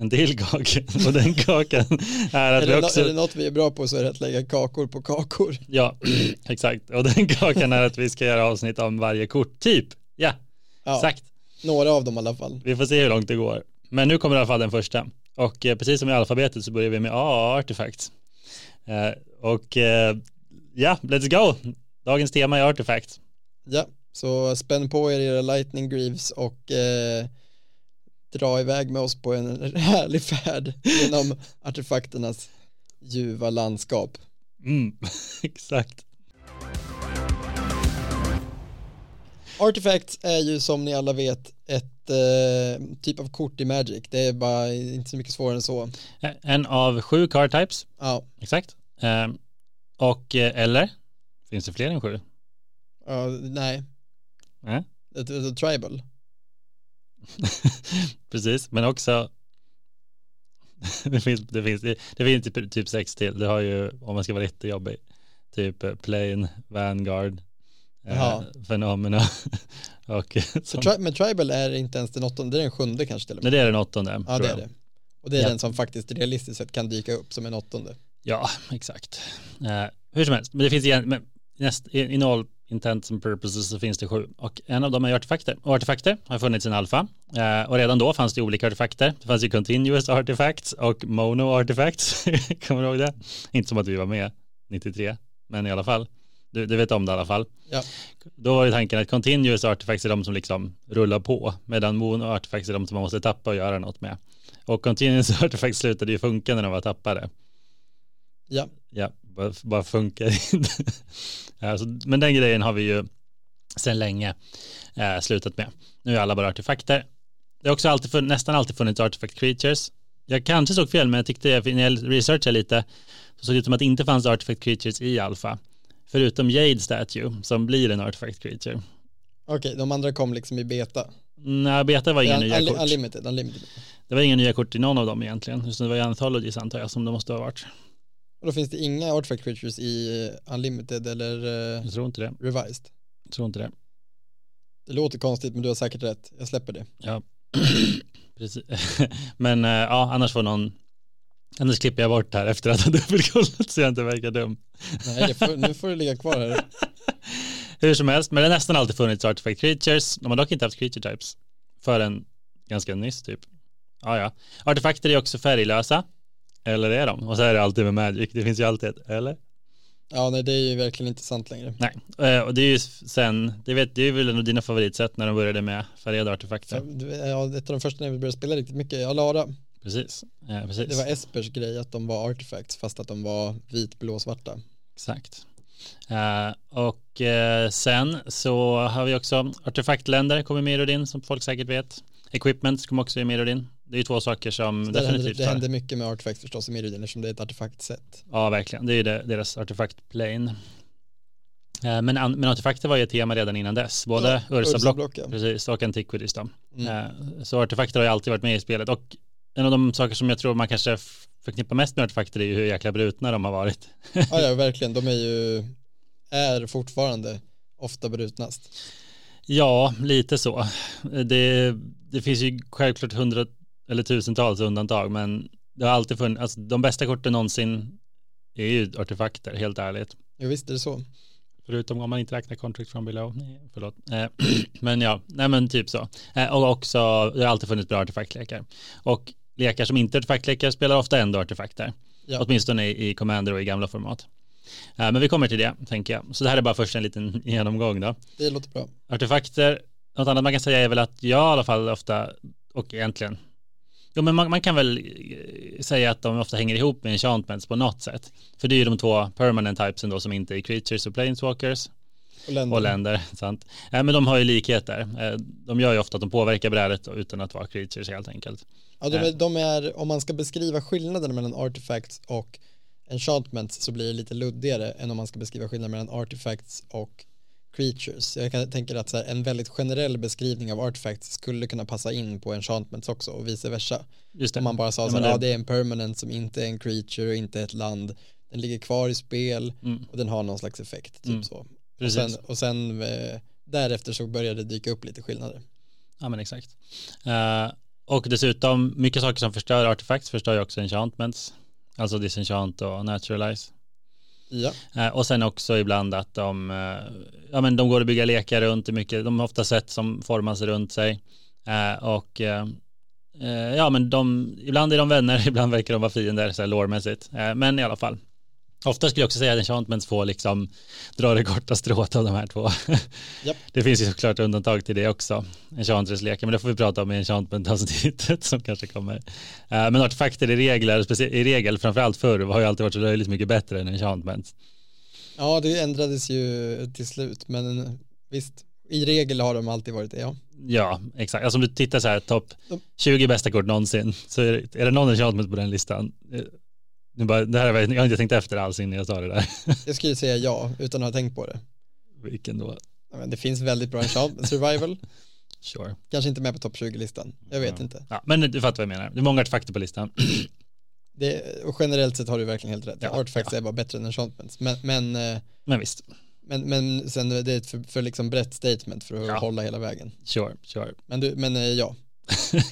Speaker 2: en till kaka <laughs> och den kakan är att
Speaker 1: Är det,
Speaker 2: vi
Speaker 1: nå-
Speaker 2: också
Speaker 1: är det något vi är bra på så är det att lägga kakor på kakor. <laughs>
Speaker 2: Ja, <clears throat> exakt. Och den <laughs> kakan är att vi ska göra avsnitt om varje korttyp. Ja,
Speaker 1: Ja,
Speaker 2: exakt.
Speaker 1: Några av dem i alla fall.
Speaker 2: Vi får se hur långt det går. Men nu kommer i alla fall den första. Och eh, precis som i alfabetet så börjar vi med A-artefakt. Eh, och eh, ja, let's go. Dagens tema är artefakt.
Speaker 1: Ja, så spänn på er era lightning greaves och eh, dra iväg med oss på en <laughs> härlig färd
Speaker 2: <laughs>
Speaker 1: genom artefakternas ljuva landskap.
Speaker 2: Mm, <laughs> exakt.
Speaker 1: Artifacts är ju som ni alla vet ett eh, typ av kort i Magic. Det är bara inte så mycket svårare än så.
Speaker 2: Eh, En av sju card types.
Speaker 1: Ja,
Speaker 2: Exakt. Eh, och eh, eller? Finns det fler än sju?
Speaker 1: ja, nej.
Speaker 2: Nej.
Speaker 1: Det är tribal.
Speaker 2: <laughs> Precis, men också det finns, det finns, det finns typ, typ sex till. Du har ju, om man ska vara lite jobbig, typ eh, Plane, Vanguard, eh,
Speaker 1: Jaha.
Speaker 2: Fenomena <laughs> och
Speaker 1: Så
Speaker 2: sånt.
Speaker 1: tri- men tribal är inte ens den åttonde, det är den sjunde kanske till och med.
Speaker 2: Nej, det är den åttonde.
Speaker 1: Ja,
Speaker 2: tror
Speaker 1: det är
Speaker 2: jag.
Speaker 1: det. Och det är
Speaker 2: Ja.
Speaker 1: den som faktiskt realistiskt sett kan dyka upp som en åttonde.
Speaker 2: Ja, exakt. Eh, hur som helst, men det finns igen, men näst, i- in all intents and purposes så finns det sju och en av dem är artefakter. Och artefakter har funnits i en alfa eh, och redan då fanns det olika artefakter. Det fanns ju continuous artifacts och mono artifacts. <laughs> Kommer du ihåg det? Inte som att vi var med 93, men i alla fall. Du, du vet om det i alla fall.
Speaker 1: Ja.
Speaker 2: Då var ju tanken att continuous artifacts är de som liksom rullar på medan mono artifacts är de som man måste tappa och göra något med. Och continuous <laughs> artifacts slutade ju funka när de var tappade.
Speaker 1: Ja,
Speaker 2: Ja, bara, bara funkar <laughs> inte. alltså, men den grejen har vi ju sedan länge eh, slutat med. Nu är alla bara artefakter. Det har också alltid fun- nästan alltid funnits artefact creatures. Jag kanske såg fel, men jag tyckte, för när jag researchade lite, så såg det ut som att det inte fanns artefact creatures i alfa. Förutom Jade Statue, som blir en artefact creature.
Speaker 1: okej, de andra kom liksom i beta.
Speaker 2: Nej, beta var inga
Speaker 1: Un-
Speaker 2: nya
Speaker 1: unli-
Speaker 2: kort.
Speaker 1: unlimited, unlimited.
Speaker 2: Det var inga nya kort i någon av dem egentligen. Just det var ju Anthologies antar jag, som det måste ha varit.
Speaker 1: Och då finns det inga artifact creatures i eh, unlimited eller eh,
Speaker 2: Jag tror inte det.
Speaker 1: revised.
Speaker 2: Jag tror inte det.
Speaker 1: Det låter konstigt men du har säkert rätt, jag släpper det.
Speaker 2: Precis. <laughs> Men eh, ja, annars får någon, annars klipper jag bort här efter att ha <laughs> dubbelkollat så jag inte verkar dum.
Speaker 1: Nej, det får, nu får du ligga kvar här.
Speaker 2: Hur som helst, men det har nästan alltid funnits artifact creatures. De har dock inte haft creature types förrän ganska nyss typ. Ja, ja. Artefakter är också färglösa. Eller är de? Och så är det alltid med Magic. Det finns ju alltid ett, eller?
Speaker 1: Ja, nej, det är ju verkligen inte sant längre.
Speaker 2: Nej, eh, och det är ju sen, det, vet, det är väl en av dina favoritsätt när de började med färgade artefakter.
Speaker 1: Så, du- eh, ja, ett av de första när vi började spela riktigt mycket, ja, Lara,
Speaker 2: Precis. Eh, precis.
Speaker 1: det var Espers grej att de var artifacts fast att de var vit, blå, svarta.
Speaker 2: Exakt. Eh, och eh, sen så har vi också artefaktländer kommer med i Rodin som folk säkert vet. Equipment kommer också med i Rodin. Det är ju två saker som
Speaker 1: Så där hände,
Speaker 2: definitivt
Speaker 1: det
Speaker 2: har-
Speaker 1: hände mycket med artifacts förstås i Mirrodin eftersom det är ett artefaktset.
Speaker 2: Ja, verkligen. Det är ju det- deras artefaktplane. Eh, Men, an- men artefakter var ju ett tema redan innan dess. Både Ursa-block
Speaker 1: Ursablock, ja.
Speaker 2: precis, och Antiquities då.
Speaker 1: Mm.
Speaker 2: Eh, Så artefakter har ju alltid varit med i spelet. Och en av de saker som jag tror man kanske f- förknippar mest med artefakter är ju hur jäkla brutna de har varit.
Speaker 1: Ja, ja, verkligen. De är ju, är fortfarande ofta brutnast.
Speaker 2: Ja, lite så. Det, det finns ju självklart hundra eller tusentals undantag, men det har alltid funnits, alltså de bästa korten någonsin är ju artefakter, helt ärligt.
Speaker 1: Jo, visst är det så.
Speaker 2: Förutom om man inte räknar contract from below. Nej, förlåt. Eh, <clears throat> men ja, nej men typ så. Eh, och också, det har alltid funnits bra artefaktlekar. Och lekar som inte är artefaktlekar spelar ofta ändå artefakter.
Speaker 1: Ja.
Speaker 2: Åtminstone i, i Commander och i gamla format. Eh, men vi kommer till det, tänker jag. Så det här är bara först en liten <laughs> genomgång då.
Speaker 1: Det låter bra.
Speaker 2: Artefakter, något annat man kan säga är väl att jag i alla fall ofta, och egentligen, jo men man, man kan väl eh, säga att de ofta hänger ihop med enchantments på något sätt. För det är ju de två permanent typesen då som inte är creatures och planeswalkers
Speaker 1: Mm. Och länder.
Speaker 2: och länder, <laughs> sant. Eh, Men de har ju likheter. Eh, De gör ju ofta att de påverkar brädet utan att vara creatures helt enkelt.
Speaker 1: Ja, de är, de är, om man ska beskriva skillnaden mellan artifacts och enchantments så blir det lite luddigare än om man ska beskriva skillnaden mellan artifacts och creatures. Jag kan tänka att så här, en väldigt generell beskrivning av artifacts skulle kunna passa in på enchantments också och vice versa.
Speaker 2: Just det.
Speaker 1: Om man bara sa
Speaker 2: Ja,
Speaker 1: så här,
Speaker 2: men det-
Speaker 1: ja, det är en permanent som inte är en creature och inte är ett land. Den ligger kvar i spel
Speaker 2: Mm.
Speaker 1: och den har någon slags effekt, typ
Speaker 2: Mm.
Speaker 1: så. Och
Speaker 2: Precis.
Speaker 1: sen, och sen eh, därefter så började det dyka upp lite skillnader.
Speaker 2: Ja men exakt. Eh, och dessutom, mycket saker som förstör artefakt förstör ju också enchantments. Alltså disenchant och naturalize.
Speaker 1: Ja,
Speaker 2: Eh, och sen också ibland att de, eh, ja, men de går att bygga lekar runt, det är mycket, de har ofta sätt som formas runt sig. Eh, och eh, eh, ja, men de, ibland är de vänner, <laughs> ibland verkar de vara fiender, så här lårmässigt. Eh, men i alla fall. Ofta skulle jag också säga att enchantments får liksom dra det korta strået av de här två. <laughs>
Speaker 1: Japp.
Speaker 2: Det finns ju såklart undantag till det också, enchantments-lekar, men det får vi prata om i enchantment-avsnittet <laughs> som kanske kommer. Eh, Men artefakter i, regler, specie- i regel, framförallt förr, har ju alltid varit så löjligt mycket bättre än enchantments.
Speaker 1: ja det ändrades ju till slut, men visst, i regel har de alltid varit det, ja.
Speaker 2: Ja, exakt. Alltså om du tittar så här, topp
Speaker 1: De-
Speaker 2: 20 bästa kort någonsin, så är det, är det någon enchantment på den listan? Eh, Nu bara, det här, är- jag har inte tänkt efter alls innan jag sa det där. <laughs>
Speaker 1: Jag skulle säga ja, utan att ha tänkt på det.
Speaker 2: Vilken då?
Speaker 1: Ja, Men det finns väldigt bra enchantments, <laughs> survival,
Speaker 2: Sure.
Speaker 1: kanske inte med på topp 20-listan, jag vet
Speaker 2: Ja.
Speaker 1: inte.
Speaker 2: Ja, men du fattar vad jag menar. Det är många artefakter på listan. <clears throat>
Speaker 1: Det, och generellt sett har du verkligen helt rätt,
Speaker 2: Ja,
Speaker 1: artifacts är bara bättre än enchantments, men, men, eh,
Speaker 2: Men visst,
Speaker 1: men, men sen är det är ett för, för liksom brett statement för att
Speaker 2: Ja.
Speaker 1: hålla hela vägen.
Speaker 2: sure, sure. <laughs>
Speaker 1: Men, du, men eh, ja,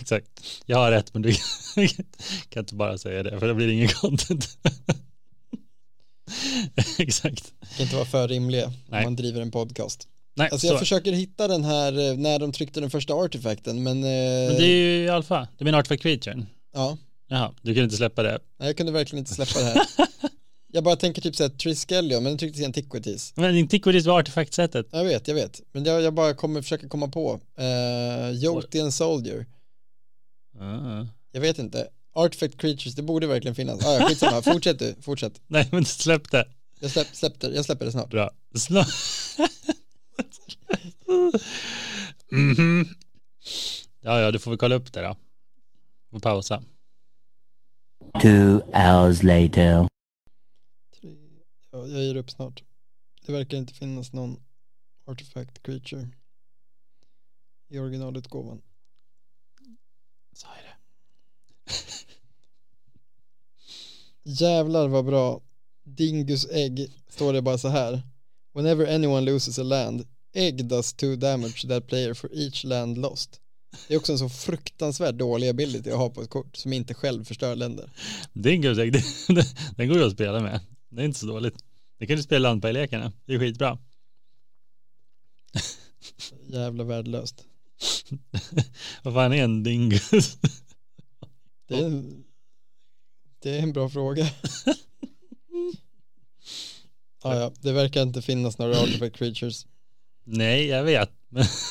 Speaker 2: exakt. Jag har rätt, men du <laughs> kan inte bara säga det, för det blir ingen content. <laughs> exakt.
Speaker 1: det kan inte vara för rimliga om
Speaker 2: Nej.
Speaker 1: man driver en podcast.
Speaker 2: Nej,
Speaker 1: Alltså
Speaker 2: så.
Speaker 1: jag försöker hitta den här eh, när de tryckte den första artefakten men, eh,
Speaker 2: Men det är ju alfa. Du menar artefact creature?
Speaker 1: ja,
Speaker 2: Jaha, du kunde inte släppa det.
Speaker 1: nej, jag kunde verkligen inte släppa det
Speaker 2: <laughs>
Speaker 1: här. jag bara tänker typ såhär Triskelion, men den trycktes i Antiquities.
Speaker 2: Men Antiquities var artefaktsättet.
Speaker 1: Jag vet, jag vet, men jag, jag bara kommer försöka komma på. Uh, Jotian Soldier,
Speaker 2: Ah.
Speaker 1: jag vet inte. Artifact Creatures, det borde verkligen finnas. Ah, ja, skitsamma, fortsätt du, fortsätt.
Speaker 2: Nej, men släpp det.
Speaker 1: Jag, släpp, släppte, jag släpper det snart.
Speaker 2: Bra. Snart. Mhm. Ja, ja, du får väl kolla upp det då. Och pausa.
Speaker 3: Two hours later.
Speaker 1: Ja, jag ger upp snart. Det verkar inte finnas någon Artifact Creature i originalutgåvan.
Speaker 2: Så är det.
Speaker 1: <laughs> Jävlar vad bra. Dingus ägg står det bara så här. Whenever anyone loses a land, egg does two damage to that player for each land lost. Det är också en så fruktansvärt dålig ability att ha på ett kort som inte själv förstör länder.
Speaker 2: Dingus, ägg, det- den går ju att spela med. Det är inte så dåligt. Det kan du spela landberglekarna. Det är skitbra. <laughs>
Speaker 1: Jävla värdelöst.
Speaker 2: Vad fan är en dingus?
Speaker 1: Det är
Speaker 2: <laughs>
Speaker 1: en, det är en bra fråga. Ja, ja. Det verkar inte finnas några artifact creatures.
Speaker 2: Nej, jag vet. <laughs>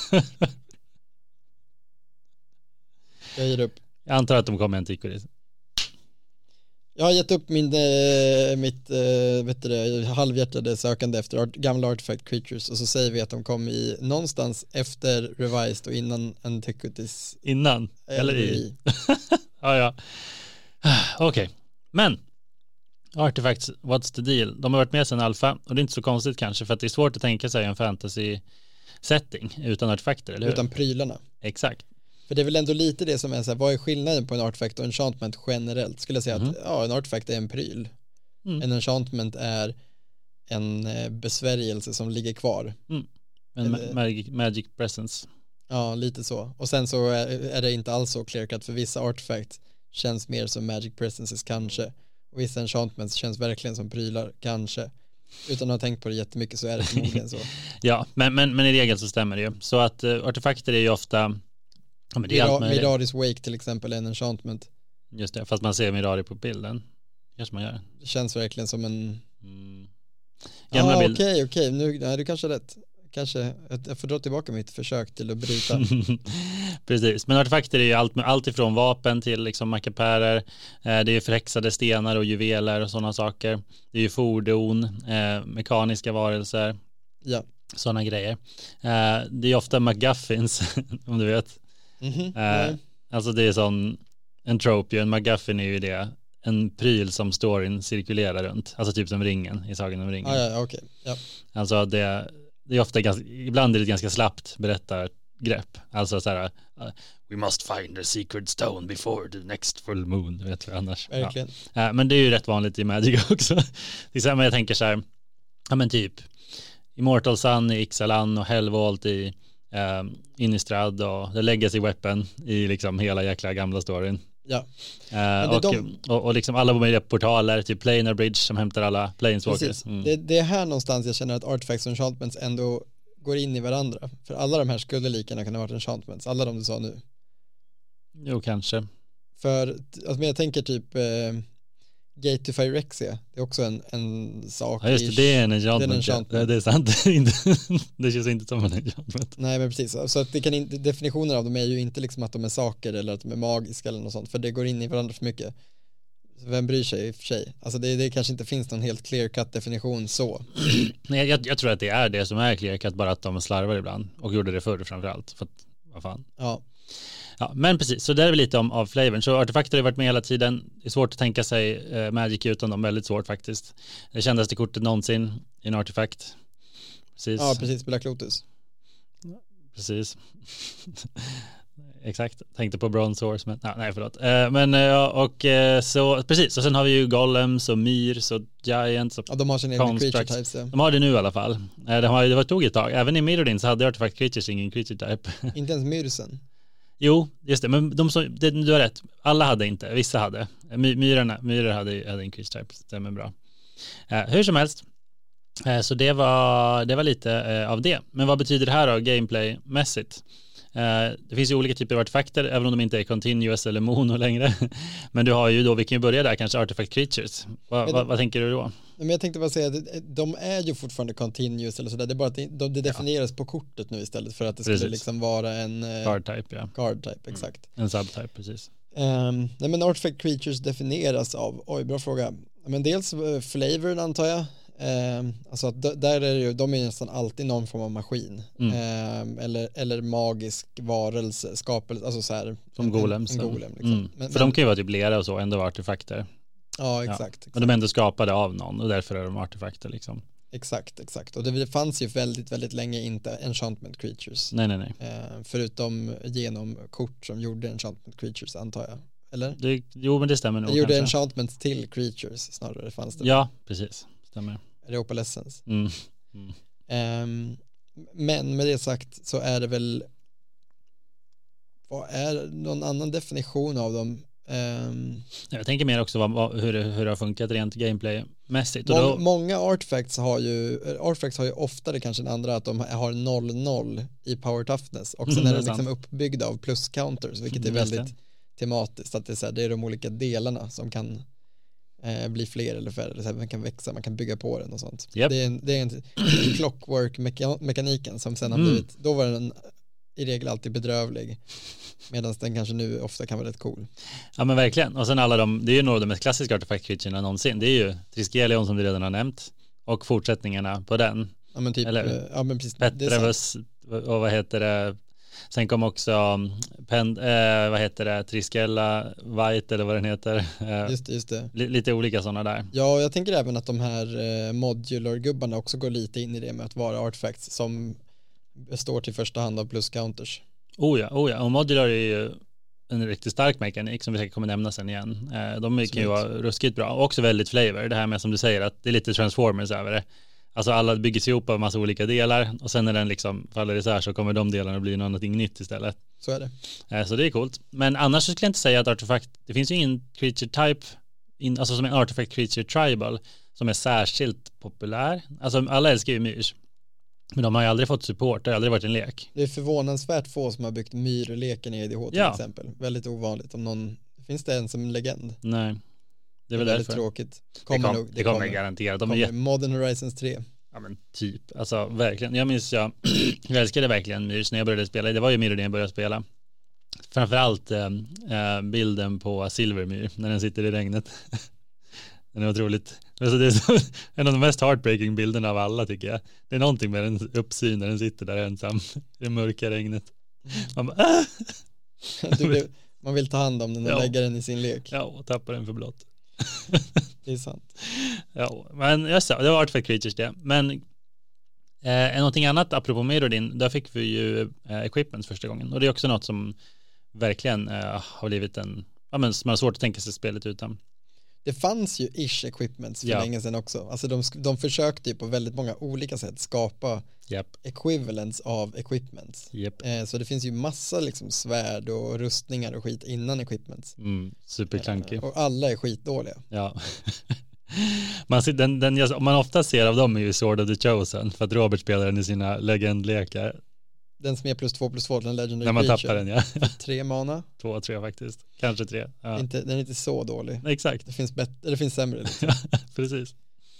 Speaker 1: Jag ger upp.
Speaker 2: jag antar att de kommer en Ticoris.
Speaker 1: Jag har gett upp min, eh, mitt eh, vet du det, halvhjärtade sökande efter art, gamla artifact creatures och så säger vi att de kom i någonstans efter revised och innan antiquities.
Speaker 2: Innan? Eller i? Ja, <sighs> ja. Okej, men Artifacts, what's the deal? De har varit med sedan Alfa och det är inte så konstigt kanske för att det är svårt att tänka sig en fantasy setting utan artefakter, eller hur?
Speaker 1: Utan prylarna.
Speaker 2: Exakt.
Speaker 1: För det är väl ändå lite det som är så här, vad är skillnaden på en artefakt och enchantment generellt? Skulle jag säga att ja, en artefakt är en pryl.
Speaker 2: Mm.
Speaker 1: En enchantment är en eh, besvärjelse som ligger kvar.
Speaker 2: Men ma-
Speaker 1: Eller-
Speaker 2: magic, magic presence.
Speaker 1: Ja, lite så. Och sen så är, är det inte alls så clearcut för vissa artefakt känns mer som magic presences kanske. Och vissa enchantments känns verkligen som prylar, kanske. Utan att ha tänkt på det jättemycket så är det förmodligen så.
Speaker 2: Ja, men, men, men i regel så stämmer det ju. Så att eh, artefakter är ju ofta, ja men <laughs> det är allt
Speaker 1: Mira-
Speaker 2: möjligt.
Speaker 1: Miraris Wake till exempel är en enchantment.
Speaker 2: Just det, fast man ser Mirari på bilden. Kanske man gör.
Speaker 1: Det känns verkligen som en...
Speaker 2: Mm. Gamla
Speaker 1: Ja,
Speaker 2: bild.
Speaker 1: Ah, okej, okej, nu, nej, du kanske har rätt. Kanske, jag jag får dra tillbaka mitt försök till att
Speaker 2: <laughs>
Speaker 1: bryta.
Speaker 2: Precis, men artefakter är ju allt, allt ifrån vapen till liksom mackapärer, eh, det är ju förhäxade stenar och juveler och sådana saker. Det är ju fordon, eh, mekaniska varelser,
Speaker 1: Ja.
Speaker 2: sådana grejer. Eh, det är ju ofta McGuffins, <laughs> om du vet.
Speaker 1: Mhm,
Speaker 2: Eh,
Speaker 1: nej.
Speaker 2: alltså det är sån, en trope ju, en McGuffin är ju det, en pryl som storyn cirkulerar runt, alltså typ som ringen i Sagan om ringen.
Speaker 1: Ah, ja, ja, okej. Ja.
Speaker 2: Alltså det, det är ofta ganska, ibland är det ett ganska slappt berättargrepp. Alltså så här, uh, we must find the secret stone before the next full moon, du vet du annars. Ja.
Speaker 1: Verkligen.
Speaker 2: Eh, Men det är ju rätt vanligt i Magic <laughs> också. Det är samma jag tänker så här, ja men typ Immortal Sun i Ixalan och Hellvolt i eh, Innistrad och The Legacy Weapon i liksom hela jäkla gamla storyn.
Speaker 1: Ja,
Speaker 2: Eh,
Speaker 1: är
Speaker 2: och,
Speaker 1: de-
Speaker 2: och, och liksom alla möjliga portaler, typ Planar Bridge som hämtar alla Planeswalkers. Mm.
Speaker 1: precis. Det, det är här någonstans jag känner att artifacts och enchantments ändå går in i varandra. För alla de här skulle lika gärna kunna ha varit enchantments, alla de du sa nu.
Speaker 2: Jo, kanske.
Speaker 1: För alltså, men jag tänker typ eh, Gate to Phyrexia, det är också en, en sak.
Speaker 2: Ja just det, det är en enchantment.
Speaker 1: Det är en enchantment.
Speaker 2: ja. Ja, Det är sant. <laughs> Inte- det känns inte som en enchantment.
Speaker 1: Nej men precis, så att det kan inte, definitionen av dem är ju inte liksom att de är saker eller att de är magiska eller något sånt, för det går in i varandra för mycket. Så Vem bryr sig i och för sig? Alltså det, det kanske inte finns någon helt clear cut definition så.
Speaker 2: Nej, jag, jag tror att det är det som är clearcut, bara att de slarvar ibland och gjorde det förr framförallt. För att, vad fan.
Speaker 1: Ja,
Speaker 2: Ja, men precis, så där är vi lite om av flavorn. Så artefakter har ju varit med hela tiden. Det är svårt att tänka sig eh, Magic utan dem, väldigt svårt faktiskt. Det kändaste kortet någonsin i en artefakt. Precis,
Speaker 1: ja precis, Black Lotus.
Speaker 2: precis. <laughs> Exakt, tänkte på Bronze Horse, men nej, nej förlåt. Eh, men ja, och eh, så, precis, och sen har vi ju Golems och Myrs och Giants och
Speaker 1: Ja, de har sina egna
Speaker 2: Constructs.
Speaker 1: creature types, ja.
Speaker 2: De har det nu i alla fall. Eh, De har, ju- det var tog ett tag. Även i Mirrodin så hade Artifact Creatures ingen creature type.
Speaker 1: Inte ens myrsen.
Speaker 2: jo, just det, men de som, det, du har rätt. Alla hade inte, vissa hade. Eh, My, myrorna, myror hade, hade en creature type, stämmer bra. Eh, hur som helst, eh, så det var, det var lite eh, av det. Men vad betyder det här då, gameplaymässigt? Eh, det finns ju olika typer av artefakter, även om de inte är continuous eller mono längre. <laughs> men du har ju då, vi kan ju börja där kanske, artifact creatures. Va,
Speaker 1: Men-
Speaker 2: va, vad tänker du då?
Speaker 1: Men jag tänkte bara säga att de är ju fortfarande continuous eller sådär, det är bara att det- de, det definieras på kortet nu istället för att det skulle
Speaker 2: Precis.
Speaker 1: liksom vara en eh,
Speaker 2: Card type, ja.
Speaker 1: card type, exakt.
Speaker 2: En subtype, precis.
Speaker 1: Ehm, nej men artifact creatures definieras av, oj bra fråga, men dels eh, flavorn antar jag, Ehm, alltså att d- där är det ju, de är ju nästan alltid någon form av maskin,
Speaker 2: Mm.
Speaker 1: Ehm, eller, eller magisk varelse, skapelse, alltså så här.
Speaker 2: Som
Speaker 1: en- en-
Speaker 2: golems.
Speaker 1: En golem liksom.
Speaker 2: Mm.
Speaker 1: Men,
Speaker 2: För
Speaker 1: men,
Speaker 2: de kan ju vara typ lera och så, ändå vara artefakter.
Speaker 1: ja exakt.
Speaker 2: Men de är ändå skapade av någon och därför är de artefakter liksom.
Speaker 1: Exakt, exakt. Och det fanns ju väldigt, väldigt länge inte enchantment creatures.
Speaker 2: Nej, nej, nej.
Speaker 1: Eh, förutom genom kort som gjorde enchantment creatures antar jag. Eller?
Speaker 2: Det, jo, men det stämmer nog.
Speaker 1: Det gjorde
Speaker 2: kanske.
Speaker 1: enchantments till creatures snarare fanns det.
Speaker 2: Ja, precis. Stämmer.
Speaker 1: Europa Lessons.
Speaker 2: Mm.
Speaker 1: Ehm, men med det sagt så är det väl vad är någon annan definition av dem? Ehm,
Speaker 2: Jag tänker mer också vad, vad, hur, det- hur det har funkat rent gameplaymässigt. Och
Speaker 1: må-
Speaker 2: då,
Speaker 1: många artifacts har ju, eh, artifacts har ju oftare kanske än andra att de har 0-0 i power toughness och sen
Speaker 2: Mm,
Speaker 1: är
Speaker 2: det
Speaker 1: de
Speaker 2: är sant.
Speaker 1: liksom uppbyggda av plus counters vilket är
Speaker 2: Mm, just det.
Speaker 1: väldigt tematiskt att det är, så här, det är de olika delarna som kan eh, blir fler eller färre, så här, man kan växa, man kan bygga på den och sånt.
Speaker 2: Japp.
Speaker 1: Det är en, det är en <clears throat> clockwork-mekaniken som sen har
Speaker 2: Mm.
Speaker 1: blivit, då var den i regel alltid bedrövlig, medan den kanske nu ofta kan vara rätt cool.
Speaker 2: Ja men verkligen. Och sen alla de, det är ju några av de mest klassiska artefaktcreaturerna någonsin. Det är ju Triskelion som du redan har nämnt och fortsättningarna på den.
Speaker 1: Ja men typ,
Speaker 2: Eller-
Speaker 1: eh, ja men precis, det är sant.
Speaker 2: Petrevus och vad heter det? Sen kom också mm, Pen, eh, vad heter det, Triskella White eller vad den heter. Eh,
Speaker 1: Just det, just det.
Speaker 2: li, lite olika sådana där.
Speaker 1: Ja, och jag tänker även att de här eh, modular-gubbarna också går lite in i det med att vara artifacts som består till första hand av plus-counters.
Speaker 2: Oh ja, oh ja. Och Modular är ju en riktigt stark mekanik som vi säkert kommer nämna sen igen. Eh, de kan ju
Speaker 1: Absolut.
Speaker 2: vara ruskigt bra och också väldigt flavor. Det här med som du säger att det är lite transformers över det. Alltså alla bygger sig ihop av massa olika delar och sen när den liksom faller isär så kommer de delarna bli någonting nytt istället.
Speaker 1: Så är det.
Speaker 2: Eh, så det är coolt. Men annars så skulle jag inte säga att artefakt, det finns ju ingen creature type, in, alltså som en artefact creature tribal som är särskilt populär. Alltså alla älskar ju myrs. Men de har ju aldrig fått support, det har aldrig varit en lek.
Speaker 1: Det är förvånansvärt få som har byggt myrleken i EDH till
Speaker 2: Ja.
Speaker 1: exempel. Väldigt ovanligt om någon, finns det en som legend?
Speaker 2: Nej, det är väl
Speaker 1: väldigt
Speaker 2: därför.
Speaker 1: tråkigt.
Speaker 2: Det, kom,
Speaker 1: nog,
Speaker 2: det kommer garanterat. De är
Speaker 1: kommer.
Speaker 2: jätte,
Speaker 1: Modern Horizons
Speaker 2: <laughs>
Speaker 1: 3.
Speaker 2: ja, men typ, alltså verkligen. Jag minns jag, <clears throat> jag älskade verkligen Myrs när jag började spela. Det var ju Myr när jag började spela. Framförallt eh, eh, bilden på Silvermyr när den sitter i regnet. <laughs> Den är otroligt, alltså det är så, <laughs> en av de mest heartbreaking bilderna av alla tycker jag. Det är någonting med den uppsyn när den sitter där ensam i det mörka regnet. Man bara, "Ah!"
Speaker 1: Du, blev- man vill ta hand om den och
Speaker 2: Ja.
Speaker 1: lägga den i sin lek.
Speaker 2: ja, och tappar den för blått.
Speaker 1: Det är sant.
Speaker 2: Ja, men jag sa, det var Artifact Creatures det. Men eh, någonting annat apropå Mirrodin, där fick vi ju eh, equipments första gången. Och det är också något som verkligen eh, har blivit en, ja men som man har svårt att tänka sig spelet utan.
Speaker 1: Det fanns ju ish equipments för
Speaker 2: Ja.
Speaker 1: länge sedan också. Alltså de, sk- de försökte ju på väldigt många olika sätt skapa
Speaker 2: Japp,
Speaker 1: equivalents av equipments.
Speaker 2: japp.
Speaker 1: Eh, Så det finns ju massa liksom svärd och rustningar och skit innan equipments.
Speaker 2: Mm, superklankig.
Speaker 1: Och alla är skitdåliga.
Speaker 2: Ja. <laughs> Man, ser, den, den, jag- man ofta ser av dem är ju Sword of the Chosen för att Robert spelar den i sina legendlekar.
Speaker 1: Den som är plus två plus två, den legendary
Speaker 2: När man
Speaker 1: creature.
Speaker 2: tappar den ja. <laughs>
Speaker 1: Tre mana,
Speaker 2: Två, tre faktiskt. Kanske tre. Ja.
Speaker 1: inte, den är inte så dålig.
Speaker 2: Exakt, <laughs>
Speaker 1: Det finns, bättre, det finns sämre. liksom.
Speaker 2: precis.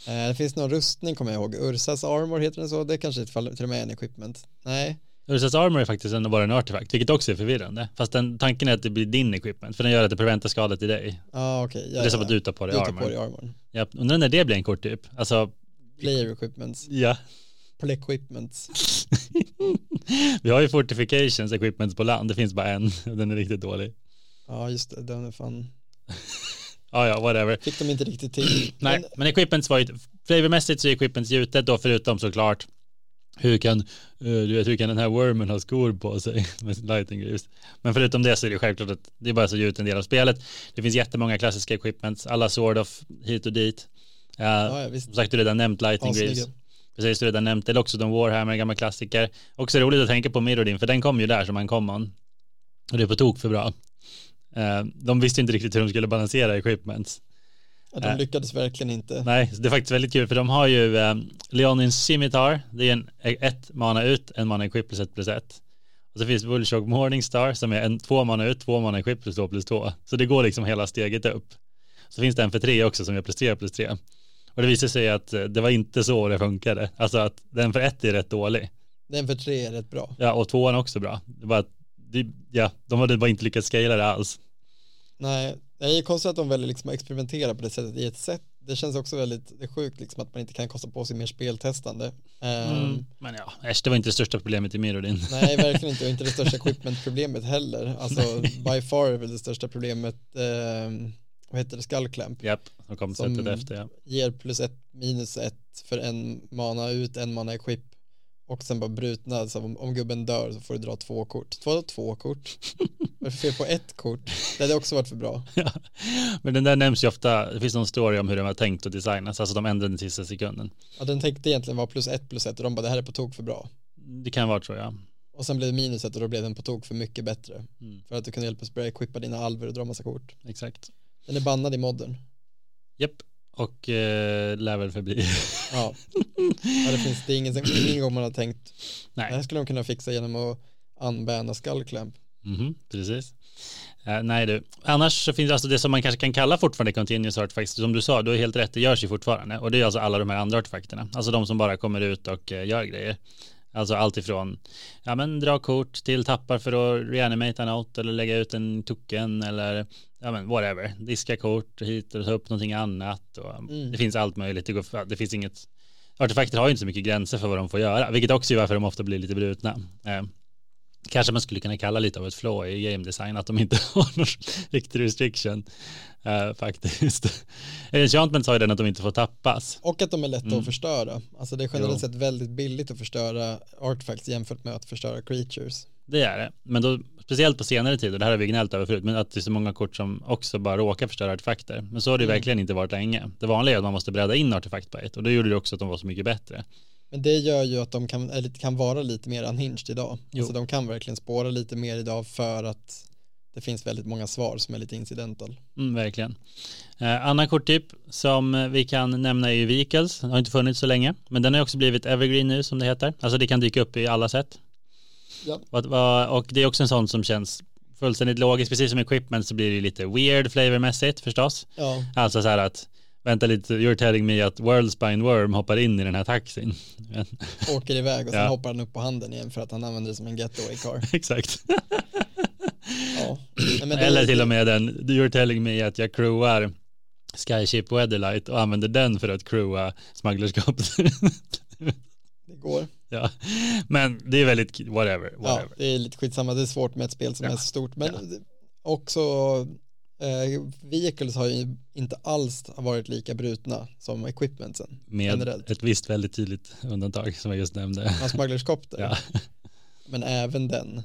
Speaker 1: Eh, det finns någon rustning kommer jag ihåg, Ursas armor heter den så, det kanske i ett fall till och med är en equipment. Nej,
Speaker 2: Ursas Armor är faktiskt ändå bara en artefakt, vilket också är förvirrande. Fast den, tanken är att det blir din equipment, för den gör att det preventar skada till dig.
Speaker 1: ja ah, okej. ja,
Speaker 2: det är
Speaker 1: ja,
Speaker 2: som att
Speaker 1: ja.
Speaker 2: du tar på
Speaker 1: du
Speaker 2: dig
Speaker 1: tar på
Speaker 2: armor.
Speaker 1: dig armorn.
Speaker 2: Ja, undrar när det blir en kort typ. Alltså,
Speaker 1: Player equipments,
Speaker 2: ja. <laughs>
Speaker 1: play equipments.
Speaker 2: Vi har ju fortifications equipment på land, det finns bara en. <laughs> och Den är riktigt dålig.
Speaker 1: Ja just det, den är fan,
Speaker 2: Ja, ja, whatever.
Speaker 1: fick de inte riktigt till.
Speaker 2: <clears throat> Nej,
Speaker 1: Men,
Speaker 2: men equipments var ju, flavormässigt så är equipments gjutet då, förutom såklart hur kan, eh, du vet, hur kan den här wormen ha skor på sig <laughs> med sin lightning greaves? Men förutom det så är det självklart att det är bara så gjuten del av spelet. Det finns jättemånga klassiska equipments, alla sword of hit och dit. Eh,
Speaker 1: ja, ja, visst.
Speaker 2: Som sagt, du har redan nämnt lightning
Speaker 1: Assnygga.
Speaker 2: greaves. Precis, du har redan nämnt Eloxodon Warhammer, gamla klassiker. Också roligt att tänka på Mirrodin, för den kom ju där som en common. Och det är på tok för bra. Eh, De visste inte riktigt hur de skulle balansera equipments.
Speaker 1: Ja, de
Speaker 2: Nej.
Speaker 1: lyckades verkligen inte.
Speaker 2: Nej, så det är faktiskt väldigt kul för de har ju eh, Leonins Scimitar, det är en ett mana ut, en mana equip plus ett plus ett. Och så finns Bullshock Morningstar som är en två mana ut, två mana equip plus två plus två. Så det går liksom hela steget upp. Så finns det en för tre också som är plus tre plus tre. Och det visar sig att eh, det var inte så det funkade. Alltså att den för ett är rätt dålig.
Speaker 1: Den för tre är rätt bra.
Speaker 2: Ja, och tvåan är också bra. Det var att, det, ja, de hade bara inte lyckats scala det alls.
Speaker 1: Nej, det är ju konstigt att de väljer liksom att experimentera på det sättet i ett sätt. Det känns också väldigt det är sjukt liksom att man inte kan kosta på sig mer speltestande. Ehm,
Speaker 2: Men ja, äsch, det var inte det största problemet i Mirrodin.
Speaker 1: Nej, verkligen inte. Och
Speaker 2: <laughs>
Speaker 1: inte det största equipment-problemet heller. Alltså, by far är väl det största problemet, ehm, vad heter det, skullclamp.
Speaker 2: Japp, de kom
Speaker 1: Som-
Speaker 2: sättet efter. Ja.
Speaker 1: Ger plus ett, minus ett för en mana ut, en mana equip. Och sen bara brutna, så om, om gubben dör så får du dra två kort. Två, två
Speaker 2: <laughs>
Speaker 1: kort? Vad är det för fel på ett kort? Det hade också varit för bra.
Speaker 2: Ja. Men den där nämns ju ofta, det finns någon story om hur den var tänkt att designas, alltså de ändrade den sista sekunden.
Speaker 1: Ja, den tänkte egentligen vara plus ett, plus ett och de bara det här är på tok för bra.
Speaker 2: Det kan vara tror jag.
Speaker 1: Och sen blev det minus ett och då blev den på tok för mycket bättre.
Speaker 2: Mm.
Speaker 1: För att du kunde hjälpa oss börja equippa dina alver och dra massa kort.
Speaker 2: Exakt.
Speaker 1: Den är bannad i modden.
Speaker 2: Japp. Och eh, lär väl förbli. <laughs>
Speaker 1: Ja, ja det finns det är ingen, ingen gång man har tänkt
Speaker 2: Nej.
Speaker 1: Det här skulle de kunna fixa genom att anbända skullclamp.
Speaker 2: Mhm, precis. Eh, nej du, annars så finns det alltså det som man kanske kan kalla fortfarande continuous artifacts, som du sa, du är helt rätt, det görs ju fortfarande. Och det är alltså alla de här andra artefakterna, alltså de som bara kommer ut och eh, gör grejer. Alltså allt ifrån, ja men dra kort till tappar för att reanimata en out eller lägga ut en token eller ja men whatever, diska kort hit och ta upp någonting annat och
Speaker 1: Mm.
Speaker 2: det finns allt möjligt, det, går, för- det finns inget, artefakter har ju inte så mycket gränser för vad de får göra, vilket också är varför de ofta blir lite brutna. Eh, kanske man skulle kunna kalla lite av ett flaw i game design att de inte <laughs> har någon riktig restriction eh, faktiskt. Enchantment sa ju den att de inte får tappas.
Speaker 1: Och att de är lätta
Speaker 2: Mm.
Speaker 1: att förstöra. Alltså det är generellt
Speaker 2: Jo.
Speaker 1: sett väldigt billigt att förstöra artifacts jämfört med att förstöra creatures.
Speaker 2: Det är det. Men då, speciellt på senare tid, och det här har vi gnällt över förut, men att det är så många kort som också bara råkar förstöra artefakter. Men så har det ju
Speaker 1: Mm.
Speaker 2: verkligen inte varit länge. Det vanliga är att man måste bredda in artefakt på ett och det gjorde det också att de var så mycket bättre.
Speaker 1: Men det gör ju att de kan, eller, kan vara lite mer unhinged idag.
Speaker 2: Jo.
Speaker 1: Alltså de kan verkligen spåra lite mer idag för att det finns väldigt många svar som är lite incidental.
Speaker 2: Mm, verkligen. Eh, annan korttyp som eh, vi kan nämna är ju Vehicles. Den har inte funnits så länge, men den har ju också blivit Evergreen nu som det heter. Alltså det kan dyka upp i alla sätt.
Speaker 1: Ja.
Speaker 2: Och, och det är också en sån som känns fullständigt logisk. Precis som equipment så blir det ju lite weird flavormässigt förstås.
Speaker 1: Ja,
Speaker 2: Alltså så här att vänta lite, you're telling me att Worldspine Worm hoppar in i den här taxin. <laughs>
Speaker 1: åker iväg och sen
Speaker 2: Ja.
Speaker 1: hoppar han upp på handen igen för att han använder det som en getaway car.
Speaker 2: Exakt.
Speaker 1: Ja. Nej, men det-
Speaker 2: Eller till och med den, you're telling me att jag crewar Skyship Weatherlight och använder den för att crewa smugglerskapet.
Speaker 1: Det går.
Speaker 2: <laughs> Ja, men det är väldigt whatever.
Speaker 1: Ja,
Speaker 2: whatever.
Speaker 1: det är lite skitsamma, det är svårt med ett spel som
Speaker 2: Ja.
Speaker 1: är så stort. Men också, eh, vehicles har ju inte alls varit lika brutna som equipmentsen.
Speaker 2: Med
Speaker 1: generellt.
Speaker 2: ett visst väldigt tydligt undantag som jag just nämnde.
Speaker 1: Hans smugglerskopter,
Speaker 2: <laughs> Ja,
Speaker 1: men även den.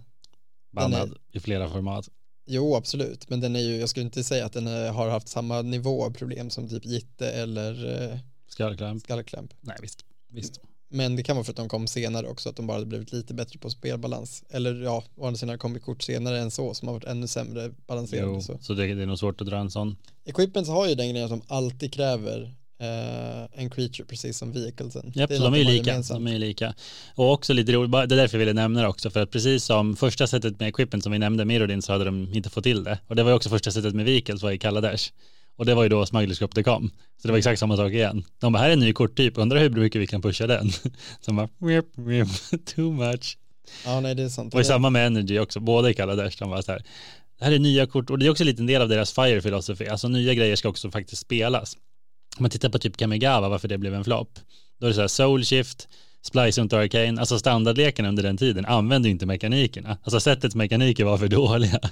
Speaker 2: bannad i flera format.
Speaker 1: Jo, absolut, men den är ju, jag skulle inte säga att den eh, har haft samma nivå av problem som typ Jitte eller eh,
Speaker 2: Skullclamp.
Speaker 1: Skallklamp.
Speaker 2: Nej, visst. visst.
Speaker 1: Men det kan vara för att de kom senare också, att de bara hade blivit lite bättre på spelbalans. Eller ja, å andra sidan kom det kort senare än så som har varit ännu sämre balanserade.
Speaker 2: Jo,
Speaker 1: Så.
Speaker 2: så det, det är nog svårt att dra en sån.
Speaker 1: Equipments har ju den grejen att de alltid kräver eh, en creature precis som vehiclesen.
Speaker 2: Japp,
Speaker 1: Det
Speaker 2: så de
Speaker 1: något
Speaker 2: är ju
Speaker 1: har
Speaker 2: lika.
Speaker 1: gemensamt.
Speaker 2: De är ju lika. Och också lite roligt, bara- det är därför jag ville nämna det också, för att precis som första sättet med equipment som vi nämnde, Mirrodin, så hade de inte fått till det. Och det var ju också första sättet med Vikels var i Kaladesh. Och det var ju då smugglerskapet kom. Så det var exakt samma sak igen. De bara, här är en ny korttyp, undrar hur mycket vi kan pusha den. <laughs> Som bara, whip, whip, <laughs> too much.
Speaker 1: Ja, nej det är sant.
Speaker 2: Och i samma med Energy också, båda i Kaladesh, de var så här, det här är nya kort och det är också en liten del av deras fire philosophy, alltså nya grejer ska också faktiskt spelas. Om man tittar på typ Kamigawa, varför det blev en flopp, då är det så här soul shift, splice och arcane, alltså standardleken under den tiden använde ju inte mekanikerna, alltså sättets mekaniker var för dåliga. <laughs>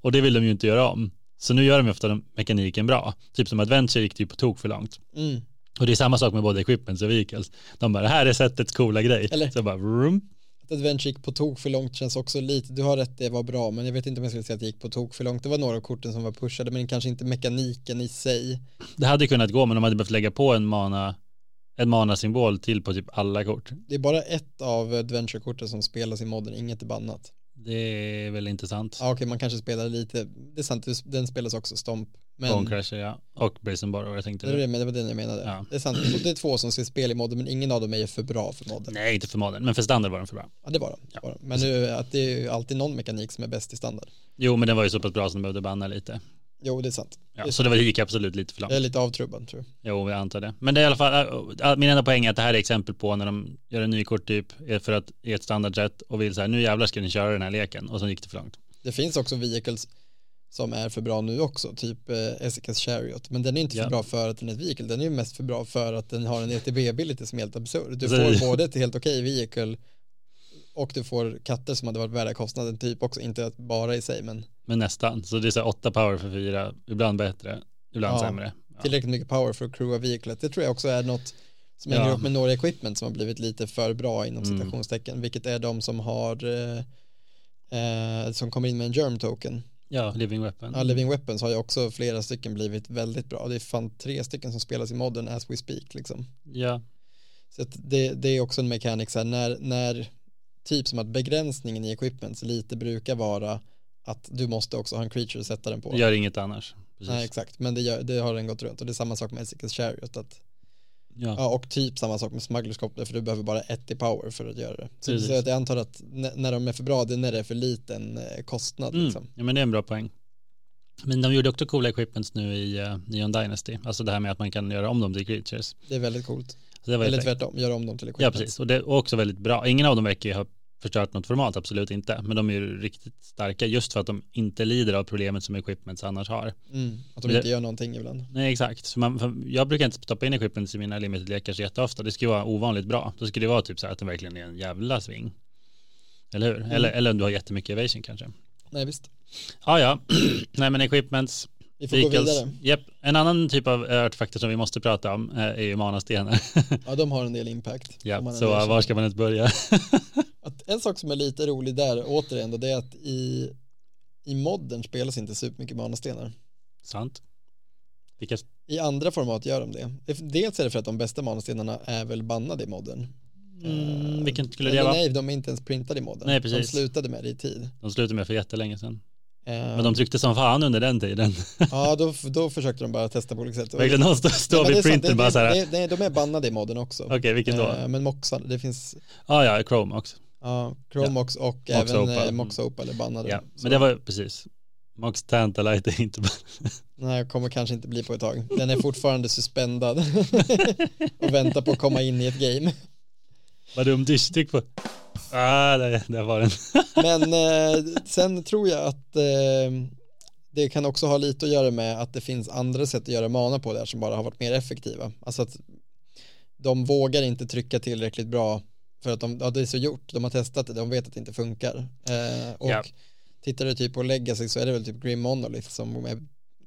Speaker 2: Och det vill de ju inte göra om. Så nu gör de ju ofta de- mekaniken bra, typ som Adventure gick det ju på tok för långt.
Speaker 1: Mm.
Speaker 2: Och det är samma sak med både equipments och vehicles. De bara, det här är sättets coola grej.
Speaker 1: Eller-
Speaker 2: Så bara, vroom.
Speaker 1: Att Adventure gick på tok för långt känns också lite, du har rätt det var bra, men jag vet inte om jag skulle säga att det gick på tok för långt. Det var några av korten som var pushade, men kanske inte mekaniken i sig.
Speaker 2: Det hade ju kunnat gå men de hade behövt lägga på en mana en mana-symbol till på typ alla kort.
Speaker 1: Det är bara ett av Adventure-korten som spelas i modden, inget är bannat.
Speaker 2: Det är väl intressant.
Speaker 1: Ja, okej, man kanske spelar lite, det är sant, den spelas också stomp. Men,
Speaker 2: Bonecrasher ja. Och Brazen Borrower jag tänkte.
Speaker 1: det, var det, men det var den jag menade.
Speaker 2: Ja.
Speaker 1: Det är sant, det är två som ska spela i modden, men ingen av dem är ju för bra för modden.
Speaker 2: Nej inte för modern men för standard var den för bra.
Speaker 1: Ja, det var de. Det var de. Men nu, att det är ju alltid någon mekanik som är bäst i standard.
Speaker 2: Jo men den var ju så pass bra som de behövde banna lite.
Speaker 1: Jo, det är sant.
Speaker 2: Ja, så det var- det gick absolut lite för långt.
Speaker 1: Jag är lite avtrubbad, tror jag.
Speaker 2: Jo, jag antar det. Men det är i alla fall, äh, min enda poäng är att det här är exempel på när de gör en ny korttyp är för att i ett standardsätt och vill så här, nu jävlar ska ni köra den här leken och sen gick det för långt.
Speaker 1: Det finns också vehicles som är för bra nu också, typ eh, Essicas Chariot. Men den är inte för
Speaker 2: Ja.
Speaker 1: bra för att den är ett vehicle, den är ju mest för bra för att den har en E ETB-ability som är helt absurd. Du
Speaker 2: Så-
Speaker 1: får både ett helt okej vehicle och du får katter som hade varit värda kostnaden typ också, inte att bara i sig men
Speaker 2: Men nästan. Så det är så här, åtta power för fyra, ibland bättre, ibland
Speaker 1: Ja.
Speaker 2: sämre. Ja.
Speaker 1: tillräckligt mycket power för att crewa vehiclet. Det tror jag också är något som hänger
Speaker 2: Ja.
Speaker 1: ihop med några equipment som har blivit lite för bra inom
Speaker 2: Mm.
Speaker 1: citationstecken, vilket är de som har eh, eh, som kommer in med en germ token.
Speaker 2: ja, living weapon.
Speaker 1: Ja, Living Weapons har ju också flera stycken blivit väldigt bra. Det är fan tre stycken som spelas i modden as we speak liksom.
Speaker 2: Ja,
Speaker 1: Så att det, det är också en mekanik så här när, när typ som att begränsningen i equipments lite brukar vara att du måste också ha en creature att sätta den på.
Speaker 2: gör inget annars. Precis.
Speaker 1: Nej, exakt, men det, gör, det har den gått runt och det är samma sak med Essicas Chariot att
Speaker 2: Ja.
Speaker 1: Ja, och typ samma sak med smugglerskopplar för du behöver bara ett i power för att göra det. Så,
Speaker 2: Precis.
Speaker 1: så att jag antar att n- när de är för bra, det är när det är för liten eh, kostnad
Speaker 2: Mm.
Speaker 1: liksom.
Speaker 2: ja, men det är en bra poäng. Men de gjorde också coola equipments nu i uh, Neon Dynasty. Alltså det här med att man kan göra om dem till creatures.
Speaker 1: Det är väldigt coolt.
Speaker 2: Så det var ju
Speaker 1: Eller
Speaker 2: fräckt.
Speaker 1: tvärtom, göra om dem till
Speaker 2: Ja,
Speaker 1: equipment.
Speaker 2: precis. Och det och också väldigt bra. Ingen av dem verkar ju ha förstört något format, absolut inte. Men de är ju riktigt starka just för att de inte lider av problemet som equipments annars har.
Speaker 1: Mm. Att de
Speaker 2: Men det-
Speaker 1: inte gör någonting ibland.
Speaker 2: Nej, exakt. Så man, för jag brukar inte stoppa in equipments i mina limited-lekar så jätteofta. Det ska ju vara ovanligt bra. Då ska det vara typ så här att det verkligen är en jävla sving. Eller
Speaker 1: Mm.
Speaker 2: hur? Eller, eller om du har jättemycket evasion kanske.
Speaker 1: Nej, visst.
Speaker 2: Ja, ja. <clears throat> Nej, men equipments,
Speaker 1: Vi får gå
Speaker 2: vehicles.
Speaker 1: vidare.
Speaker 2: Japp. En annan typ av artefakter som vi måste prata om eh, är ju <laughs> manastenar.
Speaker 1: Ja, de har en del impact. om
Speaker 2: ja,
Speaker 1: man
Speaker 2: så
Speaker 1: ändå erkänner.
Speaker 2: var ska man ens börja?
Speaker 1: Att en sak som är lite rolig där återigen då, det är att i, i modden spelas inte supermycket manastenar.
Speaker 2: Sant. Vilka eh,
Speaker 1: I andra format gör de det. Det- Dels är det för att de bästa manastenarna är väl bannade i modden. Eh,
Speaker 2: Mm, vilken skulle det
Speaker 1: Eller
Speaker 2: vara?
Speaker 1: nej, de är inte ens printade i modden. De
Speaker 2: Nej, precis.
Speaker 1: slutade med det i tid.
Speaker 2: De slutade med för jättelänge sedan.
Speaker 1: Eh,
Speaker 2: Men de tryckte som fan under den tiden. <laughs>
Speaker 1: ja, då, då försökte de bara testa på olika sätt.
Speaker 2: Verkligen någon står
Speaker 1: Nej,
Speaker 2: står
Speaker 1: men det är
Speaker 2: vid
Speaker 1: sant,
Speaker 2: printen
Speaker 1: det-
Speaker 2: bara så här.
Speaker 1: det- Nej, de är bannade i modden också.
Speaker 2: Okej, vilken då? Ah,
Speaker 1: Eh, men Moxan, det finns
Speaker 2: Ja, ja, Chrome också.
Speaker 1: ja, Chromox och även
Speaker 2: Opal.
Speaker 1: Opal. Mox Opal är bannade.
Speaker 2: Mm. Ja,
Speaker 1: Så-
Speaker 2: men det var precis. Mox Tantalite är inte bara... <laughs>
Speaker 1: Nej, kommer kanske inte bli på ett tag. Den är fortfarande suspendad <laughs> och väntar på att komma in i ett game.
Speaker 2: Vad dum dyschtryck på... Ah, där, där var den.
Speaker 1: Men eh, sen tror jag att eh, det kan också ha lite att göra med att det finns andra sätt att göra mana på där som bara har varit mer effektiva. Alltså att de vågar inte trycka tillräckligt bra för att de, ja, det är så gjort, de har testat det, de vet att det inte funkar. Eh, och
Speaker 2: Ja.
Speaker 1: tittar du typ på Legacy så är det väl typ Grim Monolith som är,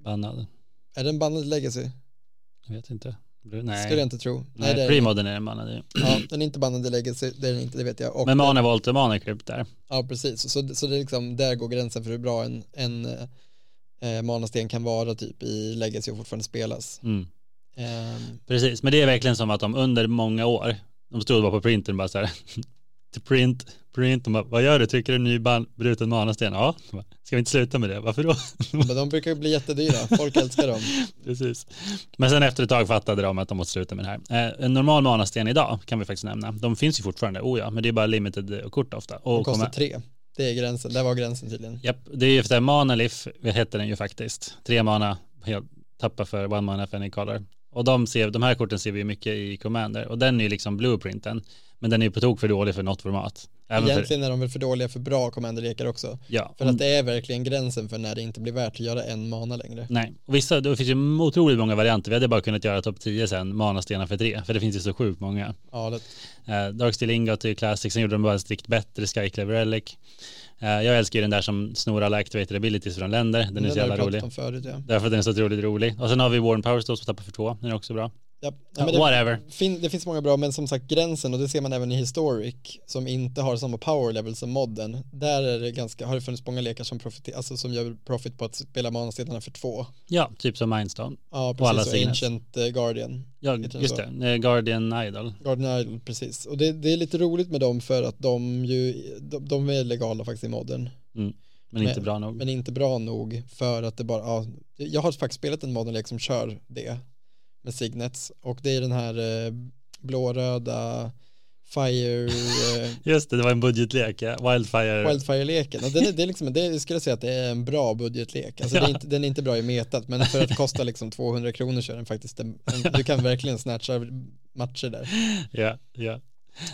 Speaker 2: Bannad.
Speaker 1: är den bannad i Legacy?
Speaker 2: Jag vet inte.
Speaker 1: Skulle jag
Speaker 2: Nej,
Speaker 1: inte tro. det
Speaker 2: Nej,
Speaker 1: är den.
Speaker 2: Primoden är den bannade ju.
Speaker 1: Ja, den är inte bannad i Legacy, det är den inte, det vet jag. Och
Speaker 2: Men Mana Volt och Mana Crypt där.
Speaker 1: Ja, precis. Så, så det är liksom, där går gränsen för hur bra en, en eh, manasten kan vara typ i Legacy och fortfarande spelas.
Speaker 2: Mm.
Speaker 1: Ehm,
Speaker 2: Precis, men det är verkligen som att de under många år, de stod bara på printen bara så här, <laughs> to print, print, de bara, vad gör du, trycker du en ny ban- bruten manasten? Ja, De bara, ska vi inte sluta med det, varför då?
Speaker 1: men de brukar ju bli jättedyra, folk älskar
Speaker 2: <laughs>
Speaker 1: dem.
Speaker 2: Precis. Men sen efter ett tag fattade de att de måste sluta med det här. Eh, en normal manasten idag kan vi faktiskt nämna, de finns ju fortfarande, oh ja, men det är bara limited kort ofta.
Speaker 1: De
Speaker 2: Och
Speaker 1: kostar
Speaker 2: komma-
Speaker 1: tre. Det är gränsen, där var gränsen tydligen.
Speaker 2: Japp, det är ju efter Manalif, hette den ju faktiskt. Tre mana, helt tappa för one mana för any color. Och de, ser, de här korten ser vi ju mycket i Commander. Och den är ju liksom blueprinten. Men den är ju på tok för dålig för något format. Även för, Mm.
Speaker 1: Egentligen är de väl för dåliga för bra commanderlekar också.
Speaker 2: ja,
Speaker 1: För att det är verkligen gränsen för när det inte blir värt att göra en mana längre.
Speaker 2: Nej, och vissa, det finns ju otroligt många varianter. Vi hade bara kunnat göra topp 10 sen, manastenar för tre. För det finns ju så sjukt många.
Speaker 1: Ja, det,
Speaker 2: Eh, Darksteel Ingot är ju classic, sen gjorde de bara en strikt bättre, Skyclever Relic. Eh, jag älskar ju den där som snor alla activated abilities från länder. Den är
Speaker 1: den
Speaker 2: så
Speaker 1: har vi
Speaker 2: jävla
Speaker 1: pratat
Speaker 2: rolig.
Speaker 1: om förut. Ja.
Speaker 2: Därför att den är så otroligt rolig. Och sen har vi Warren Powers då som tappar för två. Den är också bra.
Speaker 1: Ja,
Speaker 2: Ja,
Speaker 1: ja, men det,
Speaker 2: Whatever.
Speaker 1: fin, det finns många bra, men som sagt gränsen, och det ser man även i Historic, som inte har samma power level som modden, där är det ganska, har det funnits många lekar som, profit, alltså, som gör profit på att spela manastenarna för två.
Speaker 2: Ja, typ som Mindstone.
Speaker 1: Ja,
Speaker 2: Och alla
Speaker 1: precis, och
Speaker 2: signet.
Speaker 1: Ancient eh, Guardian.
Speaker 2: Ja,
Speaker 1: Heter den
Speaker 2: just
Speaker 1: så?
Speaker 2: det. Eh, Guardian Idol.
Speaker 1: Guardian Idol, precis. Och det, det är lite roligt med dem för att de ju, de, de är legala faktiskt i modden,
Speaker 2: Men
Speaker 1: Nej,
Speaker 2: inte bra nog.
Speaker 1: men inte bra nog för att det bara, ja, jag har faktiskt spelat en moddenlek som kör det med Signets, och det är den här eh, blåröda Fire... Eh,
Speaker 2: Just det, det var en budgetlek. Ja. Wildfire.
Speaker 1: Wildfire-leken, och den är, det är liksom, det är, jag skulle säga att det är en bra budgetlek. Alltså, det är inte, den är inte bra i metat, men för att kosta liksom 200 kronor så är den faktiskt en, en, du kan verkligen snatcha matcher där.
Speaker 2: Ja, ja.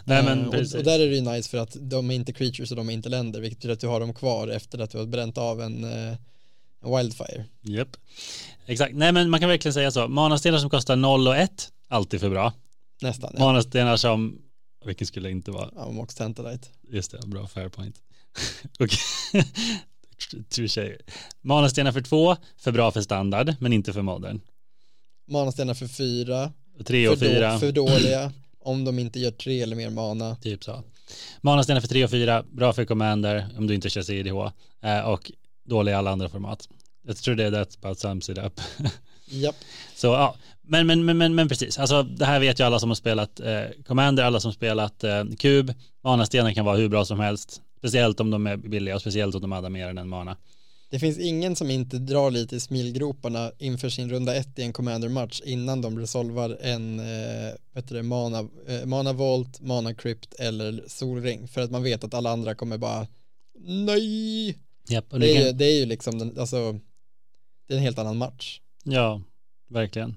Speaker 2: Nej men
Speaker 1: Eh,
Speaker 2: precis.
Speaker 1: och, och där är det ju nice för att de är inte creatures och de är inte länder, vilket betyder att du har dem kvar efter att du har bränt av en, eh, en Wildfire.
Speaker 2: Japp. Exakt. Nej men man kan verkligen säga så. Manastenar som kostar 0 och 1, alltid för bra.
Speaker 1: Nästan, ja.
Speaker 2: Manastenar som, vilken skulle inte vara,
Speaker 1: ja Mox Tantalite.
Speaker 2: just det, bra fair point. <laughs> Okej. Touché. Manastenar för två, för bra för standard, men inte för modern.
Speaker 1: Manastenar för fyra,
Speaker 2: Och Tre
Speaker 1: för,
Speaker 2: och fyra.
Speaker 1: Då, för dåliga, om de inte gör tre eller mer mana.
Speaker 2: Typ så. Manastenar för 3 och 4, bra för Commander om du inte kör CDH eh, och dålig i alla andra format. Jag tror det är that about sums it up. <laughs>
Speaker 1: Japp,
Speaker 2: så ja, men, men, men, men, men precis. Alltså det här vet ju alla som har spelat eh, Commander, alla som spelat eh, Kub. Manastenar kan vara hur bra som helst, speciellt om de är billiga och speciellt om de adderar mer än en mana.
Speaker 1: Det finns ingen som inte drar lite i smilgroparna inför sin runda ett i en commander-match innan de resolvar en eh, vet du, det, mana, eh, mana volt, mana crypt eller solring för att man vet att alla andra kommer bara nej.
Speaker 2: Japp, och
Speaker 1: Det
Speaker 2: det
Speaker 1: är,
Speaker 2: kan,
Speaker 1: ju, det är ju liksom den, alltså, det är en helt annan match.
Speaker 2: Ja, verkligen.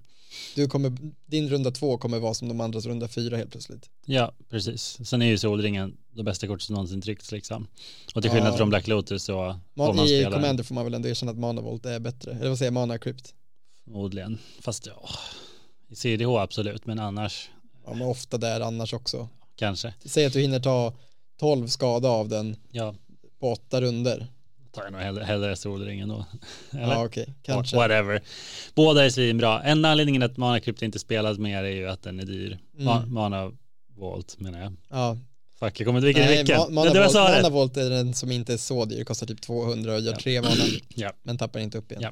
Speaker 1: Du kommer, din runda två kommer vara som de andras runda fyra helt plötsligt.
Speaker 2: Ja, precis. Sen är ju solringen det bästa kortet som någonsin tryckts liksom. Och till skillnad
Speaker 1: Ja.
Speaker 2: från Black Lotus så får
Speaker 1: Man,
Speaker 2: man
Speaker 1: I
Speaker 2: spela
Speaker 1: Commander får man väl ändå erkänna att Mana Volt är bättre. Eller vad säger jag, Mana Crypt?
Speaker 2: förmodligen. Fast ja, i CDH absolut, men annars
Speaker 1: Ja, men ofta där annars också.
Speaker 2: kanske.
Speaker 1: Säg att du hinner ta 12 skada av den
Speaker 2: Ja,
Speaker 1: på åtta runder.
Speaker 2: tar jag nog hellre, hellre solringen då. Eller?
Speaker 1: Ja, okej, kanske.
Speaker 2: Whatever. Båda är svinbra. En anledningen att Mana Crypt inte spelas mer är ju att den är dyr. Ma-
Speaker 1: Mm.
Speaker 2: Mana Vault menar jag.
Speaker 1: Ja.
Speaker 2: Fuck, jag kommer inte vilken
Speaker 1: Nej,
Speaker 2: vilken.
Speaker 1: Ma-
Speaker 2: Men
Speaker 1: Mana,
Speaker 2: det var
Speaker 1: Volt,
Speaker 2: svaret.
Speaker 1: Mana Volt är den som inte är så dyr, kostar typ 200 och gör
Speaker 2: Ja.
Speaker 1: tre mana,
Speaker 2: <clears throat> Ja.
Speaker 1: men tappar inte upp igen.
Speaker 2: Ja.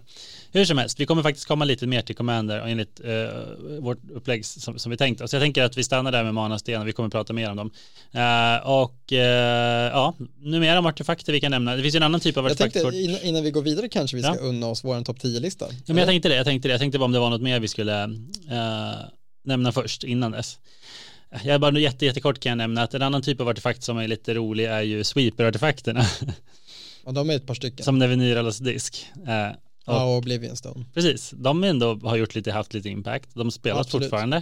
Speaker 2: Hur som helst, vi kommer faktiskt komma lite mer till Commander och enligt eh, vårt upplägg som, som vi tänkt oss. Jag tänker att vi stannar där med manasten och vi kommer prata mer om dem. Eh, och eh, ja, nu mer om artefakter vi kan nämna. Det finns ju en annan typ av
Speaker 1: Jag
Speaker 2: artefakt.
Speaker 1: tänkte,
Speaker 2: Jag,
Speaker 1: innan, innan vi går vidare kanske vi ska
Speaker 2: Ja.
Speaker 1: unna oss vår topp 10-lista.
Speaker 2: ja, men jag tänkte det, jag tänkte det. Jag tänkte bara om det var något mer vi skulle eh, nämna först innan dess. Jag bara nu jätte, jättekort kan jag nämna att en annan typ av artefakt som är lite rolig är ju sweeper-artefakterna <laughs>
Speaker 1: Och de är ett par stycken.
Speaker 2: som när vi nyralas disk. Eh,
Speaker 1: Ja, och Oblivion Stone.
Speaker 2: Precis, de ändå har gjort lite, haft lite impact. De spelas
Speaker 1: Absolut.
Speaker 2: fortfarande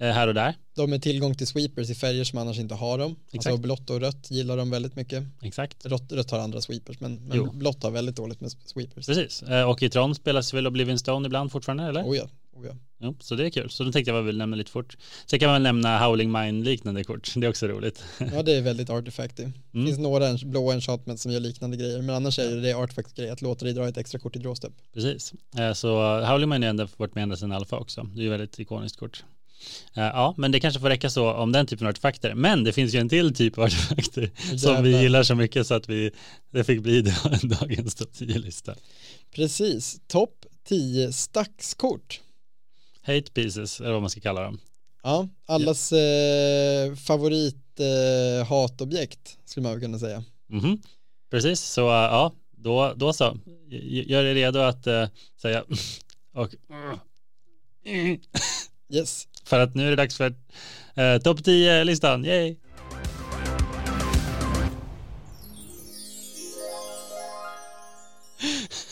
Speaker 2: eh, här och där.
Speaker 1: De är tillgång till sweepers i färger som annars inte har dem. Alltså
Speaker 2: Exakt.
Speaker 1: blått och rött gillar de väldigt mycket.
Speaker 2: Exakt.
Speaker 1: Rött, rött har andra sweepers, men,
Speaker 2: Jo.
Speaker 1: men blått har väldigt dåligt med sweepers.
Speaker 2: Precis, Eh, och i Tron spelas väl Oblivion Stone ibland fortfarande eller?
Speaker 1: Oh ja, oh ja.
Speaker 2: Jo, så det är kul. Så då tänkte jag väl nämna lite fort. Sen kan man väl nämna Howling Mind liknande kort, det är också roligt. <laughs>
Speaker 1: ja, det är väldigt artefaktig. Det finns några en- blå enchantment som gör liknande grejer, men annars är det det artefakt grej att låta dig dra ett extra kort i drawstep.
Speaker 2: Precis, Eh, så Howling Mind har ju ändå varit med ända sedan Alfa också. Det är ju ett väldigt ikoniskt kort. Eh, Ja, men det kanske får räcka så om den typen av artefakter. Men det finns ju en till typ av artefakter som vi
Speaker 1: Jävlar.
Speaker 2: gillar så mycket så att vi, det fick bli <laughs> dagens topp 10-lista.
Speaker 1: Precis, topp 10 stackskort.
Speaker 2: Hate pieces, eller vad man ska kalla dem.
Speaker 1: Ja, allas eh, favorit eh, hatobjekt skulle man väl kunna säga.
Speaker 2: Mhm. Precis, så äh, ja, då, då så. G- Gör dig redo att äh, säga <laughs> och
Speaker 1: Yes,
Speaker 2: för att nu är det dags för uh, topp 10-listan, yay! <laughs>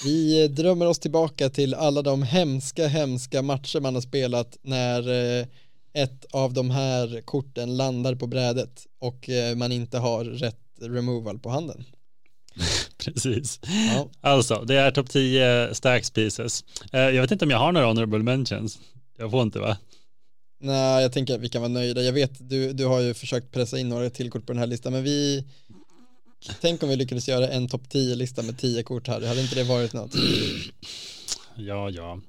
Speaker 1: Vi drömmer oss tillbaka till alla de hemska, hemska matcher man har spelat när eh, ett av de här korten landar på brädet och eh, man inte har rätt removal på handen.
Speaker 2: Precis.
Speaker 1: Ja.
Speaker 2: Alltså, det är topp 10 stacks pieces. Eh, jag vet inte om jag har några honorable mentions. Jag får inte va?
Speaker 1: Nej, jag tänker att vi kan vara nöjda. Jag vet, du, du har ju försökt pressa in några till kort på den här listan, men vi... Tänk om vi lyckades göra en topp 10-lista med 10 kort här, hade inte det varit något?
Speaker 2: Ja, ja.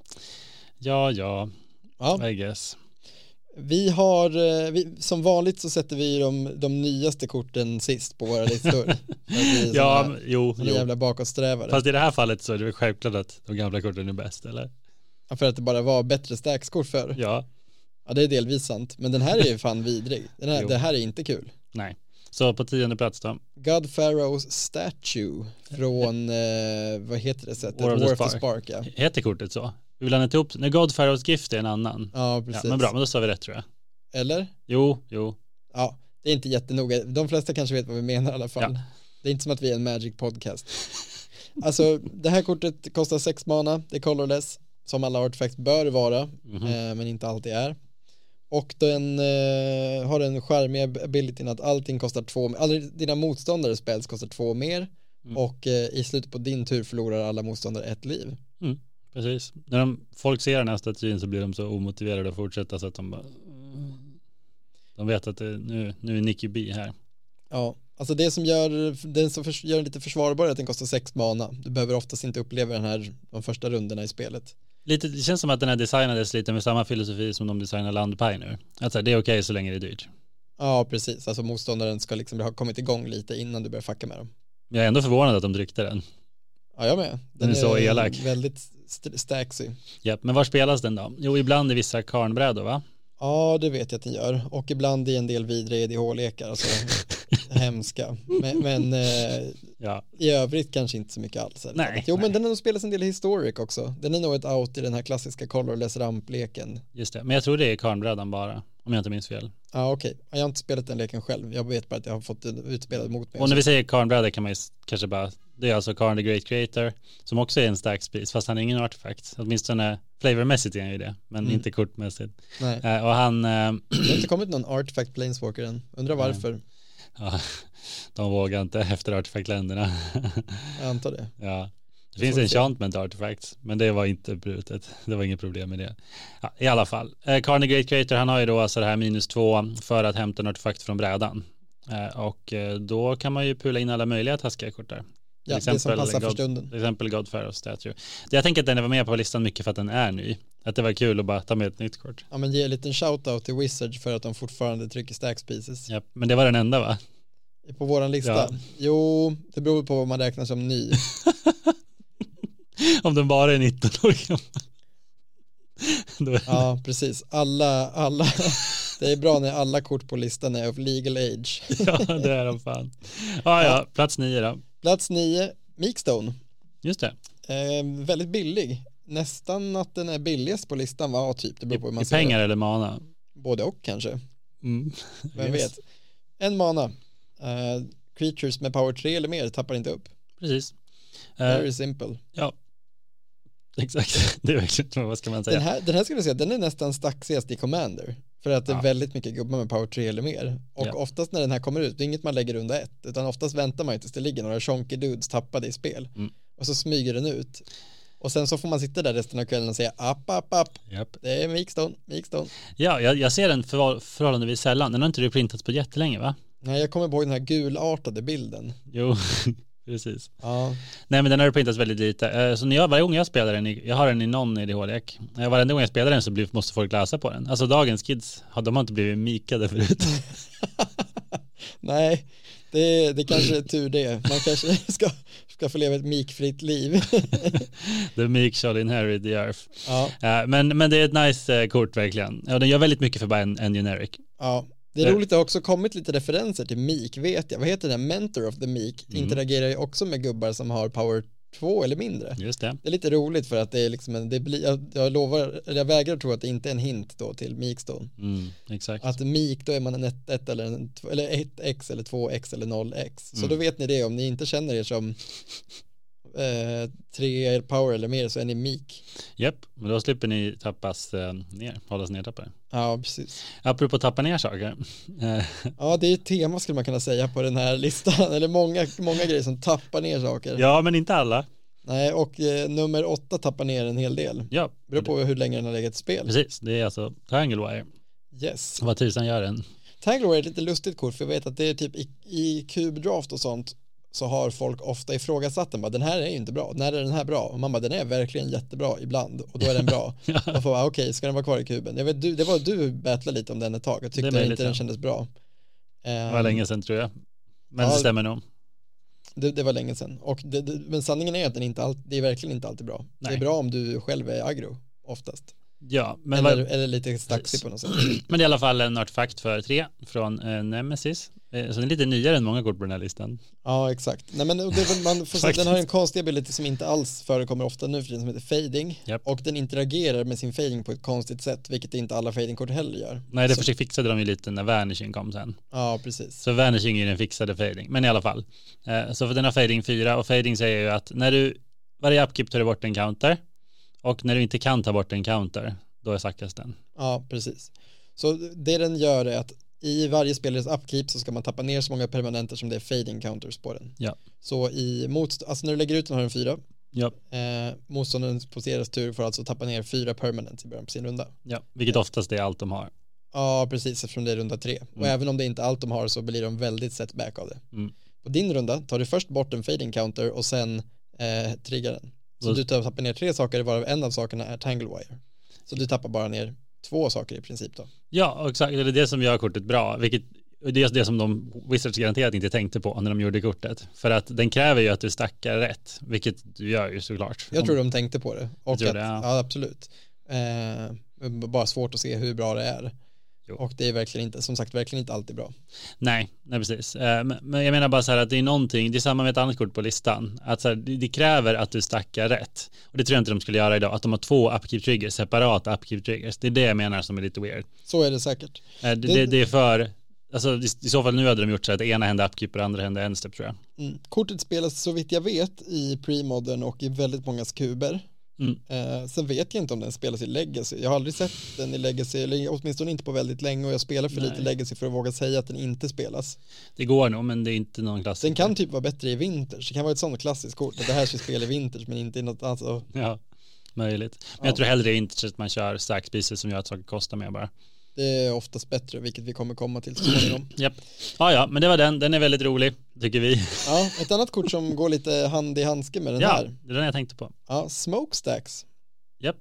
Speaker 2: Ja, ja,
Speaker 1: Ja.
Speaker 2: I guess.
Speaker 1: Vi har, eh, vi, som vanligt så sätter vi ju de, de nyaste korten sist på våra
Speaker 2: <laughs>
Speaker 1: listor. För att vi är
Speaker 2: Ja,
Speaker 1: såna-
Speaker 2: men- jo,
Speaker 1: Såna
Speaker 2: jo.
Speaker 1: jävla bakåtsträvare.
Speaker 2: Fast i det här fallet så är det väl självklart att de gamla korten är bäst,
Speaker 1: <laughs>
Speaker 2: eller?
Speaker 1: Ja, För att det bara var bättre stackskort förr. Ja.
Speaker 2: Ja.
Speaker 1: det är delvis sant. Men den här är ju fan vidrig. Den här,
Speaker 2: Jo.
Speaker 1: det här är inte kul.
Speaker 2: Nej. Så på tionde plats då.
Speaker 1: God Pharaohs Statue från, eh, vad heter det sättet?
Speaker 2: War of the Spark.
Speaker 1: ja.
Speaker 2: Heter kortet så? Vi blandar ihop, när God Pharaohs Gift är en annan.
Speaker 1: Ja,
Speaker 2: Ja,
Speaker 1: precis.
Speaker 2: men bra, men då sa vi rätt tror jag.
Speaker 1: Eller?
Speaker 2: Jo, jo,
Speaker 1: Ja, det är inte jättenoga. De flesta kanske vet vad vi menar i alla fall.
Speaker 2: Ja.
Speaker 1: Det är inte som att vi är en magic podcast. Alltså, det här kortet kostar sex mana, det är colorless, som alla artefacts bör vara,
Speaker 2: Mhm.
Speaker 1: eh, men inte alltid är. Och den eh, har den charmiga abilityn att allting kostar två, alla dina motståndare spels kostar två mer
Speaker 2: Mm.
Speaker 1: och eh, i slutet på din tur förlorar alla motståndare ett liv.
Speaker 2: precis. När de, folk ser den här statyn så blir de så omotiverade att fortsätta så att de bara... De vet att det, nu, nu är Nicky B här.
Speaker 1: Ja, alltså det som gör den, som förs- gör den lite försvarbar är att den kostar sex mana. Du behöver oftast inte uppleva den här de första rundorna i spelet.
Speaker 2: Lite, det känns som att den här designades lite med samma filosofi som de designar Landpaj nu. Att så här, det är okej så länge det är dyrt.
Speaker 1: Ja, precis. Alltså motståndaren ska liksom ha kommit igång lite innan du börjar fucka med dem.
Speaker 2: Men jag är ändå förvånad att de tryckte den.
Speaker 1: Ja, jag med. Den,
Speaker 2: är så elak.
Speaker 1: Väldigt st- staxy.
Speaker 2: Japp, men var spelas den då? Jo, ibland i vissa karnbrädor va? <laughs>
Speaker 1: Ja, det vet jag att den gör. Och ibland i en del vidriga EDH-lekar. E Alltså, hemska. Men, men eh,
Speaker 2: Ja,
Speaker 1: i övrigt kanske inte så mycket alls. eller?
Speaker 2: Nej,
Speaker 1: Jo,
Speaker 2: nej.
Speaker 1: men den har nog spelats en del historic också. Den är nog ett out i den här klassiska colorless rampleken.
Speaker 2: just det. Men jag tror det är Karnbrädan bara, om jag inte minns fel.
Speaker 1: Ja, okej. Jag har inte spelat den leken själv. Jag vet bara att jag har fått den utspelad mot mig.
Speaker 2: Och när vi säger Karnbräda kan man ju s- kanske bara, det är alltså Karn the Great Creator, som också är en stark spis, fast han är ingen artefakt. Åtminstone flavormässigt är han ju det, men
Speaker 1: Mm.
Speaker 2: inte kortmässigt.
Speaker 1: Nej,
Speaker 2: Eh, och han, eh, <clears throat>
Speaker 1: det har inte kommit någon artifact planeswalker än. Undrar
Speaker 2: Nej.
Speaker 1: varför.
Speaker 2: ja, de vågar inte efter artefaktländerna. <laughs>
Speaker 1: Jag antar det.
Speaker 2: ja. Det
Speaker 1: Vi
Speaker 2: finns
Speaker 1: får se.
Speaker 2: enchantment artifacts, men det var inte brutet. Det var inget problem med det. Ja, I alla fall, eh, Karn the Great Creator, han har ju då alltså det här minus två för att hämta en artefakt från brädan. Eh, och eh, då kan man ju pula in alla möjliga taskiga kort där.
Speaker 1: Ja,
Speaker 2: Till
Speaker 1: det som
Speaker 2: exempel
Speaker 1: passar för
Speaker 2: God-
Speaker 1: stunden.
Speaker 2: Till exempel Godfaros Statue. Det jag tänker att den var med på listan mycket för att den är ny. Att det var kul att bara ta med ett nytt kort.
Speaker 1: Ja, men ge en liten shout-out till Wizards för att de fortfarande trycker stacks pieces.
Speaker 2: Ja, men det var den enda va? <laughs>
Speaker 1: På våran lista.
Speaker 2: Ja.
Speaker 1: Jo, det beror på vad man räknar som ny.
Speaker 2: Om den bara är 19 år gammal. <laughs> Då är-
Speaker 1: Ja, precis. Alla, alla. Det är bra när alla kort på listan är of legal age.
Speaker 2: <laughs> ja, det är de fan. Ja, ja, plats nio då.
Speaker 1: Plats nio, Meekstone.
Speaker 2: Just det.
Speaker 1: Eh, väldigt billig. Nästan att den är billigast på listan, va? Ja, typ. Det
Speaker 2: I,
Speaker 1: beror på hur man
Speaker 2: i
Speaker 1: ser
Speaker 2: pengar eller mana.
Speaker 1: det. Både och kanske.
Speaker 2: Mm.
Speaker 1: Vem
Speaker 2: Yes.
Speaker 1: vet. En mana. Eh, creatures med power 3 eller mer tappar inte upp.
Speaker 2: Precis. Eh,
Speaker 1: Very simple.
Speaker 2: ja, <laughs> exakt. Det är verkligen, vad ska man
Speaker 1: Den <laughs>
Speaker 2: säga?
Speaker 1: här, den här skulle jag säga, den är nästan staxigast i Commander. För att det är
Speaker 2: Ja.
Speaker 1: väldigt mycket gubbar med power 3 eller mer. Och
Speaker 2: Ja.
Speaker 1: oftast när den här kommer ut, det är inget man lägger runda ett, utan oftast väntar man ju tills det ligger några chonky dudes tappade i spel.
Speaker 2: Mm.
Speaker 1: Och så smyger den ut. Och sen så får man sitta där resten av kvällen och säga app, app, app,
Speaker 2: Japp.
Speaker 1: det är Meekstone, Meekstone.
Speaker 2: Ja, jag, jag ser den förval- förhållandevis sällan. Den har inte du printat på jättelänge va?
Speaker 1: Nej, jag kommer ihåg den här gulartade bilden.
Speaker 2: Jo, <laughs> precis.
Speaker 1: Ja,
Speaker 2: Nej men den har du printat väldigt lite. Eh, Så när jag, varje gång jag spelar den, i- jag har den i någon EDH-lek, Eh, varenda gång jag spelar den så blir, måste folk läsa på den. Alltså dagens kids, har- de har inte blivit mikade förut. <laughs>
Speaker 1: nej, det, det kanske är tur det. Man kanske <laughs> ska, ska få leva ett mikfritt liv.
Speaker 2: The meek shall inherit the earth.
Speaker 1: Ja,
Speaker 2: Eh, Men, men det är ett nice eh, kort verkligen. Ja, den gör väldigt mycket för bara en, en generic.
Speaker 1: Ja, det
Speaker 2: Det-
Speaker 1: är roligt, det har också kommit lite referenser till Meek, vet jag. Vad heter den? Mentor of the Meek
Speaker 2: Mm.
Speaker 1: interagerar ju också med gubbar som har power 2 eller mindre.
Speaker 2: Just det.
Speaker 1: Det är lite roligt för att det är liksom en, det blir, jag, jag lovar, eller jag vägrar tro att det inte är en hint då till Meekstone.
Speaker 2: Mm, exakt.
Speaker 1: Att Meek, då är man en 1, 1 eller en tw- eller 1x eller 2x eller 0x. Så
Speaker 2: Mm.
Speaker 1: då vet ni det, om ni inte känner er som eh, 3 power eller mer så är ni Meek.
Speaker 2: Japp, men då slipper ni tappas eh, ner, hållas nertappade.
Speaker 1: Ja, precis.
Speaker 2: Apropå tappa ner saker.
Speaker 1: <laughs>
Speaker 2: Eh,
Speaker 1: Ja, det är ett tema skulle man kunna säga på den här listan, <laughs> eller många, många grejer som tappar ner saker.
Speaker 2: ja, men inte alla.
Speaker 1: Nej, och eh, nummer åtta tappar ner en hel del.
Speaker 2: Ja,
Speaker 1: Beror på hur länge den har legat i spel.
Speaker 2: precis. Det är alltså Tanglewire.
Speaker 1: Yes.
Speaker 2: Vad tusan
Speaker 1: <laughs>
Speaker 2: gör den?
Speaker 1: Tangleware är ett lite lustigt kort för jag vet att det är typ i, i kubdraft och sånt så har folk ofta ifrågasatt den. Bara, den här är ju inte bra. När är den här bra? Och man bara, den är verkligen jättebra ibland och då är den
Speaker 2: <laughs>
Speaker 1: bra. Man får bara, okej, ska den vara kvar i kuben? Jag vet, du, det var du battlade lite om den ett tag. Jag tyckte
Speaker 2: Det är möjligt,
Speaker 1: inte
Speaker 2: ja.
Speaker 1: den kändes bra.
Speaker 2: Det
Speaker 1: Ehm,
Speaker 2: var länge sedan tror jag. Men
Speaker 1: Ja.
Speaker 2: det stämmer nog.
Speaker 1: Det, det var länge sedan. Och det, det, men sanningen är att den inte all, det är verkligen inte alltid bra. Det
Speaker 2: Nej.
Speaker 1: är bra om du själv är aggro oftast.
Speaker 2: Ja, men,
Speaker 1: Eller,
Speaker 2: vad-
Speaker 1: eller lite
Speaker 2: Precis.
Speaker 1: staxig på något sätt.
Speaker 2: <clears throat> men det är i alla fall en artefakt för tre från eh, Nemesis. Eh, så den är lite nyare än många kort på den här listan.
Speaker 1: Ja, exakt. Nej, men det, är väl- man får säga, att den har en konstig ability som inte alls förekommer ofta nu för tiden som heter fading.
Speaker 2: Japp.
Speaker 1: Och den interagerar med sin fading på ett konstigt sätt, vilket inte alla fadingkort heller gör.
Speaker 2: Nej, det
Speaker 1: Så-
Speaker 2: försökte fixade de ju lite när Vanishing kom sen.
Speaker 1: Ja, precis.
Speaker 2: Så Vanishing är ju den fixade fading, men i alla fall. Eh, så för den har fading 4 och fading säger ju att när du, varje upkeep tar du bort en counter och när du inte kan ta bort en counter, då är sackas den.
Speaker 1: Ja, precis. Så det den gör är att i varje spelares upkeep så ska man tappa ner så många permanenter som det är fading counters på den.
Speaker 2: Ja.
Speaker 1: Så i motst- alltså när du lägger ut den har den fyra.
Speaker 2: Ja,
Speaker 1: Eh, motståndaren på deras tur får alltså tappa ner fyra permanents i början på sin runda.
Speaker 2: ja. vilket oftast är allt de har.
Speaker 1: Ja, precis, eftersom det är runda tre. Och även om det inte är allt de har så blir de väldigt setback av det.
Speaker 2: Mm.
Speaker 1: På din runda tar du först bort en fading counter och sen eh, triggar den. Så
Speaker 2: Och-
Speaker 1: du tar- tappar ner tre saker varav en av sakerna är tanglewire. Så du tappar bara ner två saker i princip då.
Speaker 2: Ja, och exakt. Det är det som gör kortet bra, vilket och det är det som de Wizards garanterat inte tänkte på när de gjorde kortet. För att den kräver ju att du stackar rätt, vilket du gör ju såklart.
Speaker 1: Jag tror de tänkte på det. Och
Speaker 2: tror
Speaker 1: att,
Speaker 2: det, ja.
Speaker 1: ja. absolut. Eh, b- bara svårt att se hur bra det är.
Speaker 2: Jo.
Speaker 1: Och det är verkligen inte, som sagt, verkligen inte alltid bra.
Speaker 2: Nej, nej precis. Eh, men- Men jag menar bara så här att det är någonting, det är samma med ett annat kort på listan, att så här, det det kräver att du stackar rätt. Och det tror jag inte de skulle göra idag, att de har två upkeep triggers, separata upkeep triggers. Det är det jag menar som är lite weird.
Speaker 1: Så är det säkert.
Speaker 2: Eh, Det, det, det är för, alltså i i så fall nu hade de gjort så här att det ena hände upkeep och det andra hände endstep tror jag.
Speaker 1: Mm. Kortet spelas så vitt jag vet i premodern och i väldigt många kuber.
Speaker 2: Mm.
Speaker 1: Eh, sen vet jag inte om den spelas i legacy. Jag har aldrig sett den i legacy, eller åtminstone inte på väldigt länge och jag spelar för lite
Speaker 2: Nej.
Speaker 1: legacy för att våga säga att den inte spelas.
Speaker 2: Det går nog, men det är inte någon klassiker.
Speaker 1: Den kan typ vara bättre i vinters. Det kan vara ett sånt klassiskt kort. att Det här ska spela i vinters men inte i något annat. Alltså, Och
Speaker 2: Ja, möjligt. Men
Speaker 1: Ja.
Speaker 2: jag tror hellre inte att man kör stark species som gör att saker kostar mer bara.
Speaker 1: Det är oftast bättre, vilket vi kommer komma till så småningom.
Speaker 2: Japp. Ja, ja, men det var den. Den är väldigt rolig, tycker vi.
Speaker 1: Ja, ett annat kort som går lite hand i handske med den
Speaker 2: Ja,
Speaker 1: här.
Speaker 2: det är den jag tänkte på.
Speaker 1: Ja, Smokestacks.
Speaker 2: Japp.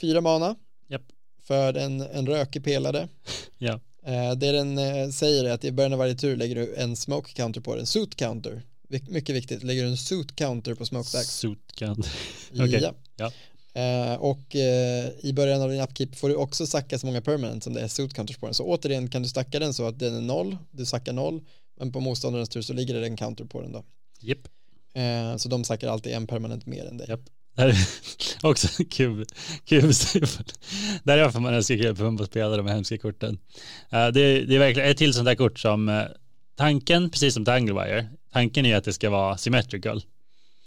Speaker 1: Fyra mana.
Speaker 2: Japp.
Speaker 1: För en, en rökig pelare.
Speaker 2: Ja.
Speaker 1: Eh, det den eh, säger är att i början av varje tur lägger du en smoke counter på den, suit counter. Vik- Mycket viktigt, lägger du en suit counter på smokestacks.
Speaker 2: Sutkant. Okej. Ja.
Speaker 1: Eh, och eh, i början av din upkeep får du också sacka så många permanent som det är suit counters på den. Så återigen kan du stacka den så att den är noll, du sackar noll, men på motståndarens tur så ligger det en counter på den då.
Speaker 2: Japp.
Speaker 1: Eh, så de sackar alltid en permanent mer än dig.
Speaker 2: Japp. Det här är <laughs> också kul. kul. Där är varför man älskar kul på att spela de här hemska korten. Eh, Det är, det är verkligen ett till sånt där kort som eh, tanken, precis som Tanglewire, tanken är att det ska vara symmetrical.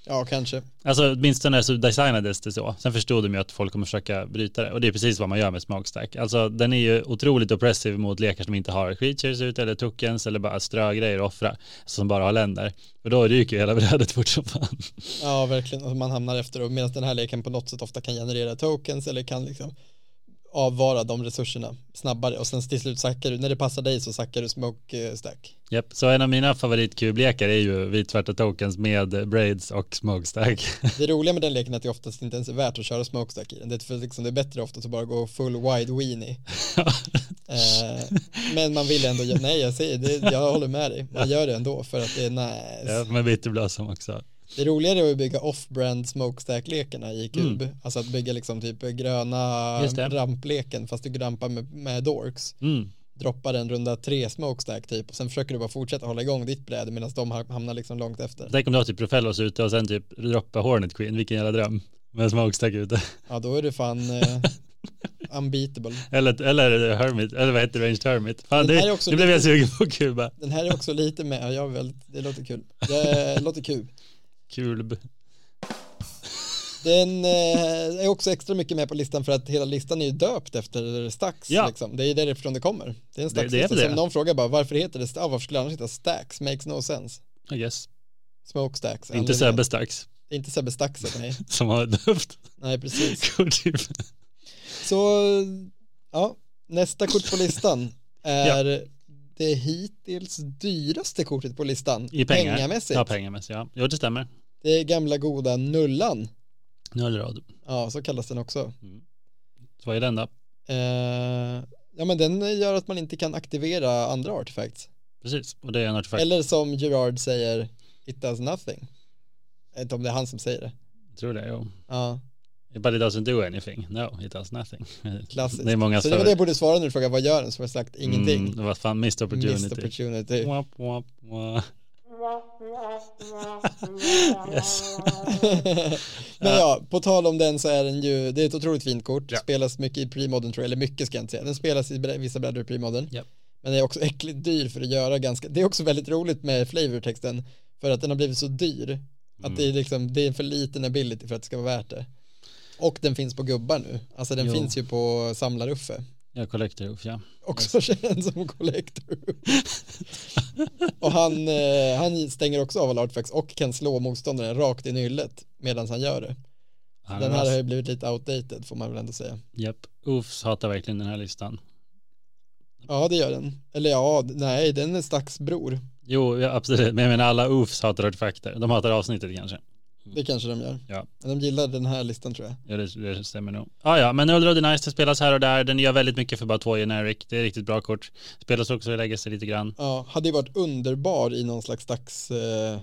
Speaker 1: Ja, kanske.
Speaker 2: Alltså åtminstone så designades det så. Sen förstod de ju att folk kommer försöka bryta det. Och det är precis vad man gör med Smokestack. Alltså den är ju otroligt oppressiv mot lekar som inte har creatures ute eller tokens eller bara strögrejer och offra. Som bara har länder. För då ryker ju hela <laughs> brädet fort som fan.
Speaker 1: Ja, verkligen. Och man hamnar efter och medan den här leken på något sätt ofta kan generera tokens eller kan liksom avvara de resurserna snabbare och sen till slut sackar du, när det passar dig så sackar du smoke eh, stack.
Speaker 2: Japp, så en av mina favoritkubblekar är ju vitsvarta tokens med braids och smokestack.
Speaker 1: Det roliga med den leken är att det oftast inte ens är värt att köra smoke stack i den. Det är, för liksom, det är bättre ofta att bara gå full wide weenie. Eh, men man vill ändå, gö- nej jag säger det, jag håller med dig, man gör det ändå för att det är nice.
Speaker 2: ja, med bitterblossom också.
Speaker 1: Det roligare är att bygga off-brand smokestack-lekarna i kub. Alltså att bygga liksom typ gröna
Speaker 2: Mm. Just det.
Speaker 1: rampleken fast du grampar med, med dorks.
Speaker 2: Mm.
Speaker 1: Droppar en runda tre smokestack typ och sen försöker du bara fortsätta hålla igång ditt bräde medan de ha- hamnar liksom långt efter.
Speaker 2: Tänk om du har typ Profellos ute och sen typ droppa Hornet Queen, vilken jävla dröm. Med smokestack ute.
Speaker 1: Ja då är du fan
Speaker 2: <laughs>
Speaker 1: eh, unbeatable.
Speaker 2: Eller, eller Hermit, eller vad heter det, Ranged Hermit. Fan,
Speaker 1: Den här är
Speaker 2: det,
Speaker 1: också
Speaker 2: nu blev jag
Speaker 1: lite-
Speaker 2: sugen på kuba.
Speaker 1: Den här är också lite med, ja, jag är väldigt, det låter kul. Det låter kul.
Speaker 2: Kulb.
Speaker 1: Den eh, är också extra mycket med på listan för att hela listan är ju döpt efter Stax.
Speaker 2: Ja.
Speaker 1: Liksom. Det är därifrån det kommer. Det är en
Speaker 2: Det- det är
Speaker 1: Stax-lista.
Speaker 2: väl
Speaker 1: Så
Speaker 2: det.
Speaker 1: om någon frågar bara varför heter det Stax? Ja, varför skulle det annars heta Stax? Makes no sense.
Speaker 2: I guess.
Speaker 1: Smoke Stax.
Speaker 2: Inte Sebbe Stax
Speaker 1: Inte Sebbe Staxet, nej.
Speaker 2: som har <laughs> ett döpt
Speaker 1: Nej, precis.
Speaker 2: kort. typ.
Speaker 1: Så, ja, nästa kort på
Speaker 2: <laughs>
Speaker 1: listan är det hittills dyraste kortet på listan.
Speaker 2: I pengar.
Speaker 1: Pengamässigt.
Speaker 2: Ja, pengamässigt. Ja. Jo, det stämmer.
Speaker 1: Det är gamla goda nullan.
Speaker 2: Nullrad.
Speaker 1: Ja, så kallas den också.
Speaker 2: Så vad är den då?
Speaker 1: Eh, ja, men den gör att man inte kan aktivera andra artefacts.
Speaker 2: Precis, och det är en artefakt.
Speaker 1: Eller som Gerard säger, it does nothing. Jag vet inte om det är han som säger det.
Speaker 2: Jag tror det, jo.
Speaker 1: Ja,
Speaker 2: But it doesn't do anything. No, it does nothing. <laughs>
Speaker 1: klassiskt.
Speaker 2: Det är många
Speaker 1: så det var det jag
Speaker 2: större-
Speaker 1: borde svara när du frågade vad gör den? Så har jag sagt ingenting.
Speaker 2: Mm, det var fan missed opportunity.
Speaker 1: Missed opportunity.
Speaker 2: Womp, womp,
Speaker 1: <laughs>
Speaker 2: womp. yes.
Speaker 1: <laughs> Men ja, på tal om den så är den ju, det är ett otroligt fint kort,
Speaker 2: Ja.
Speaker 1: spelas mycket i premodern tror jag, eller mycket ska jag inte säga, den spelas i bre- vissa brädor i premodern.
Speaker 2: Ja.
Speaker 1: Men den är också <laughs> äckligt dyr för att göra ganska, det är också väldigt roligt med flavortexten, för att den har blivit så dyr, att det är
Speaker 2: Mm.
Speaker 1: liksom, det är en för liten ability för att det ska vara värt det. Och den finns på gubbar nu, alltså den
Speaker 2: Jo.
Speaker 1: finns ju på samlaruffe.
Speaker 2: Jag collector hoof, ja.
Speaker 1: Också <laughs> känd som collector. och han, eh, han stänger också av alla artifacts och kan slå motståndaren rakt i nyllet medan han gör det. Den här
Speaker 2: Alltså.
Speaker 1: har ju blivit lite outdated får man väl ändå säga.
Speaker 2: Japp. Oofs hatar verkligen den här listan.
Speaker 1: Ja det gör den. Eller ja, d- nej den är Stacks bror.
Speaker 2: Jo, ja, absolut. Men jag menar alla oofs hatar artefakter. De hatar avsnittet kanske.
Speaker 1: Det kanske de gör.
Speaker 2: Mm. Ja.
Speaker 1: Men de gillar den här listan tror jag.
Speaker 2: Ja, det, det stämmer nog. Ah, ja, men Ulrod är nice. Det spelas här och där. Den gör väldigt mycket för bara två generic. Det är riktigt bra kort. Spelas också i legacy lite grann.
Speaker 1: Ja, hade ju varit underbar i någon slags Stacks, eh,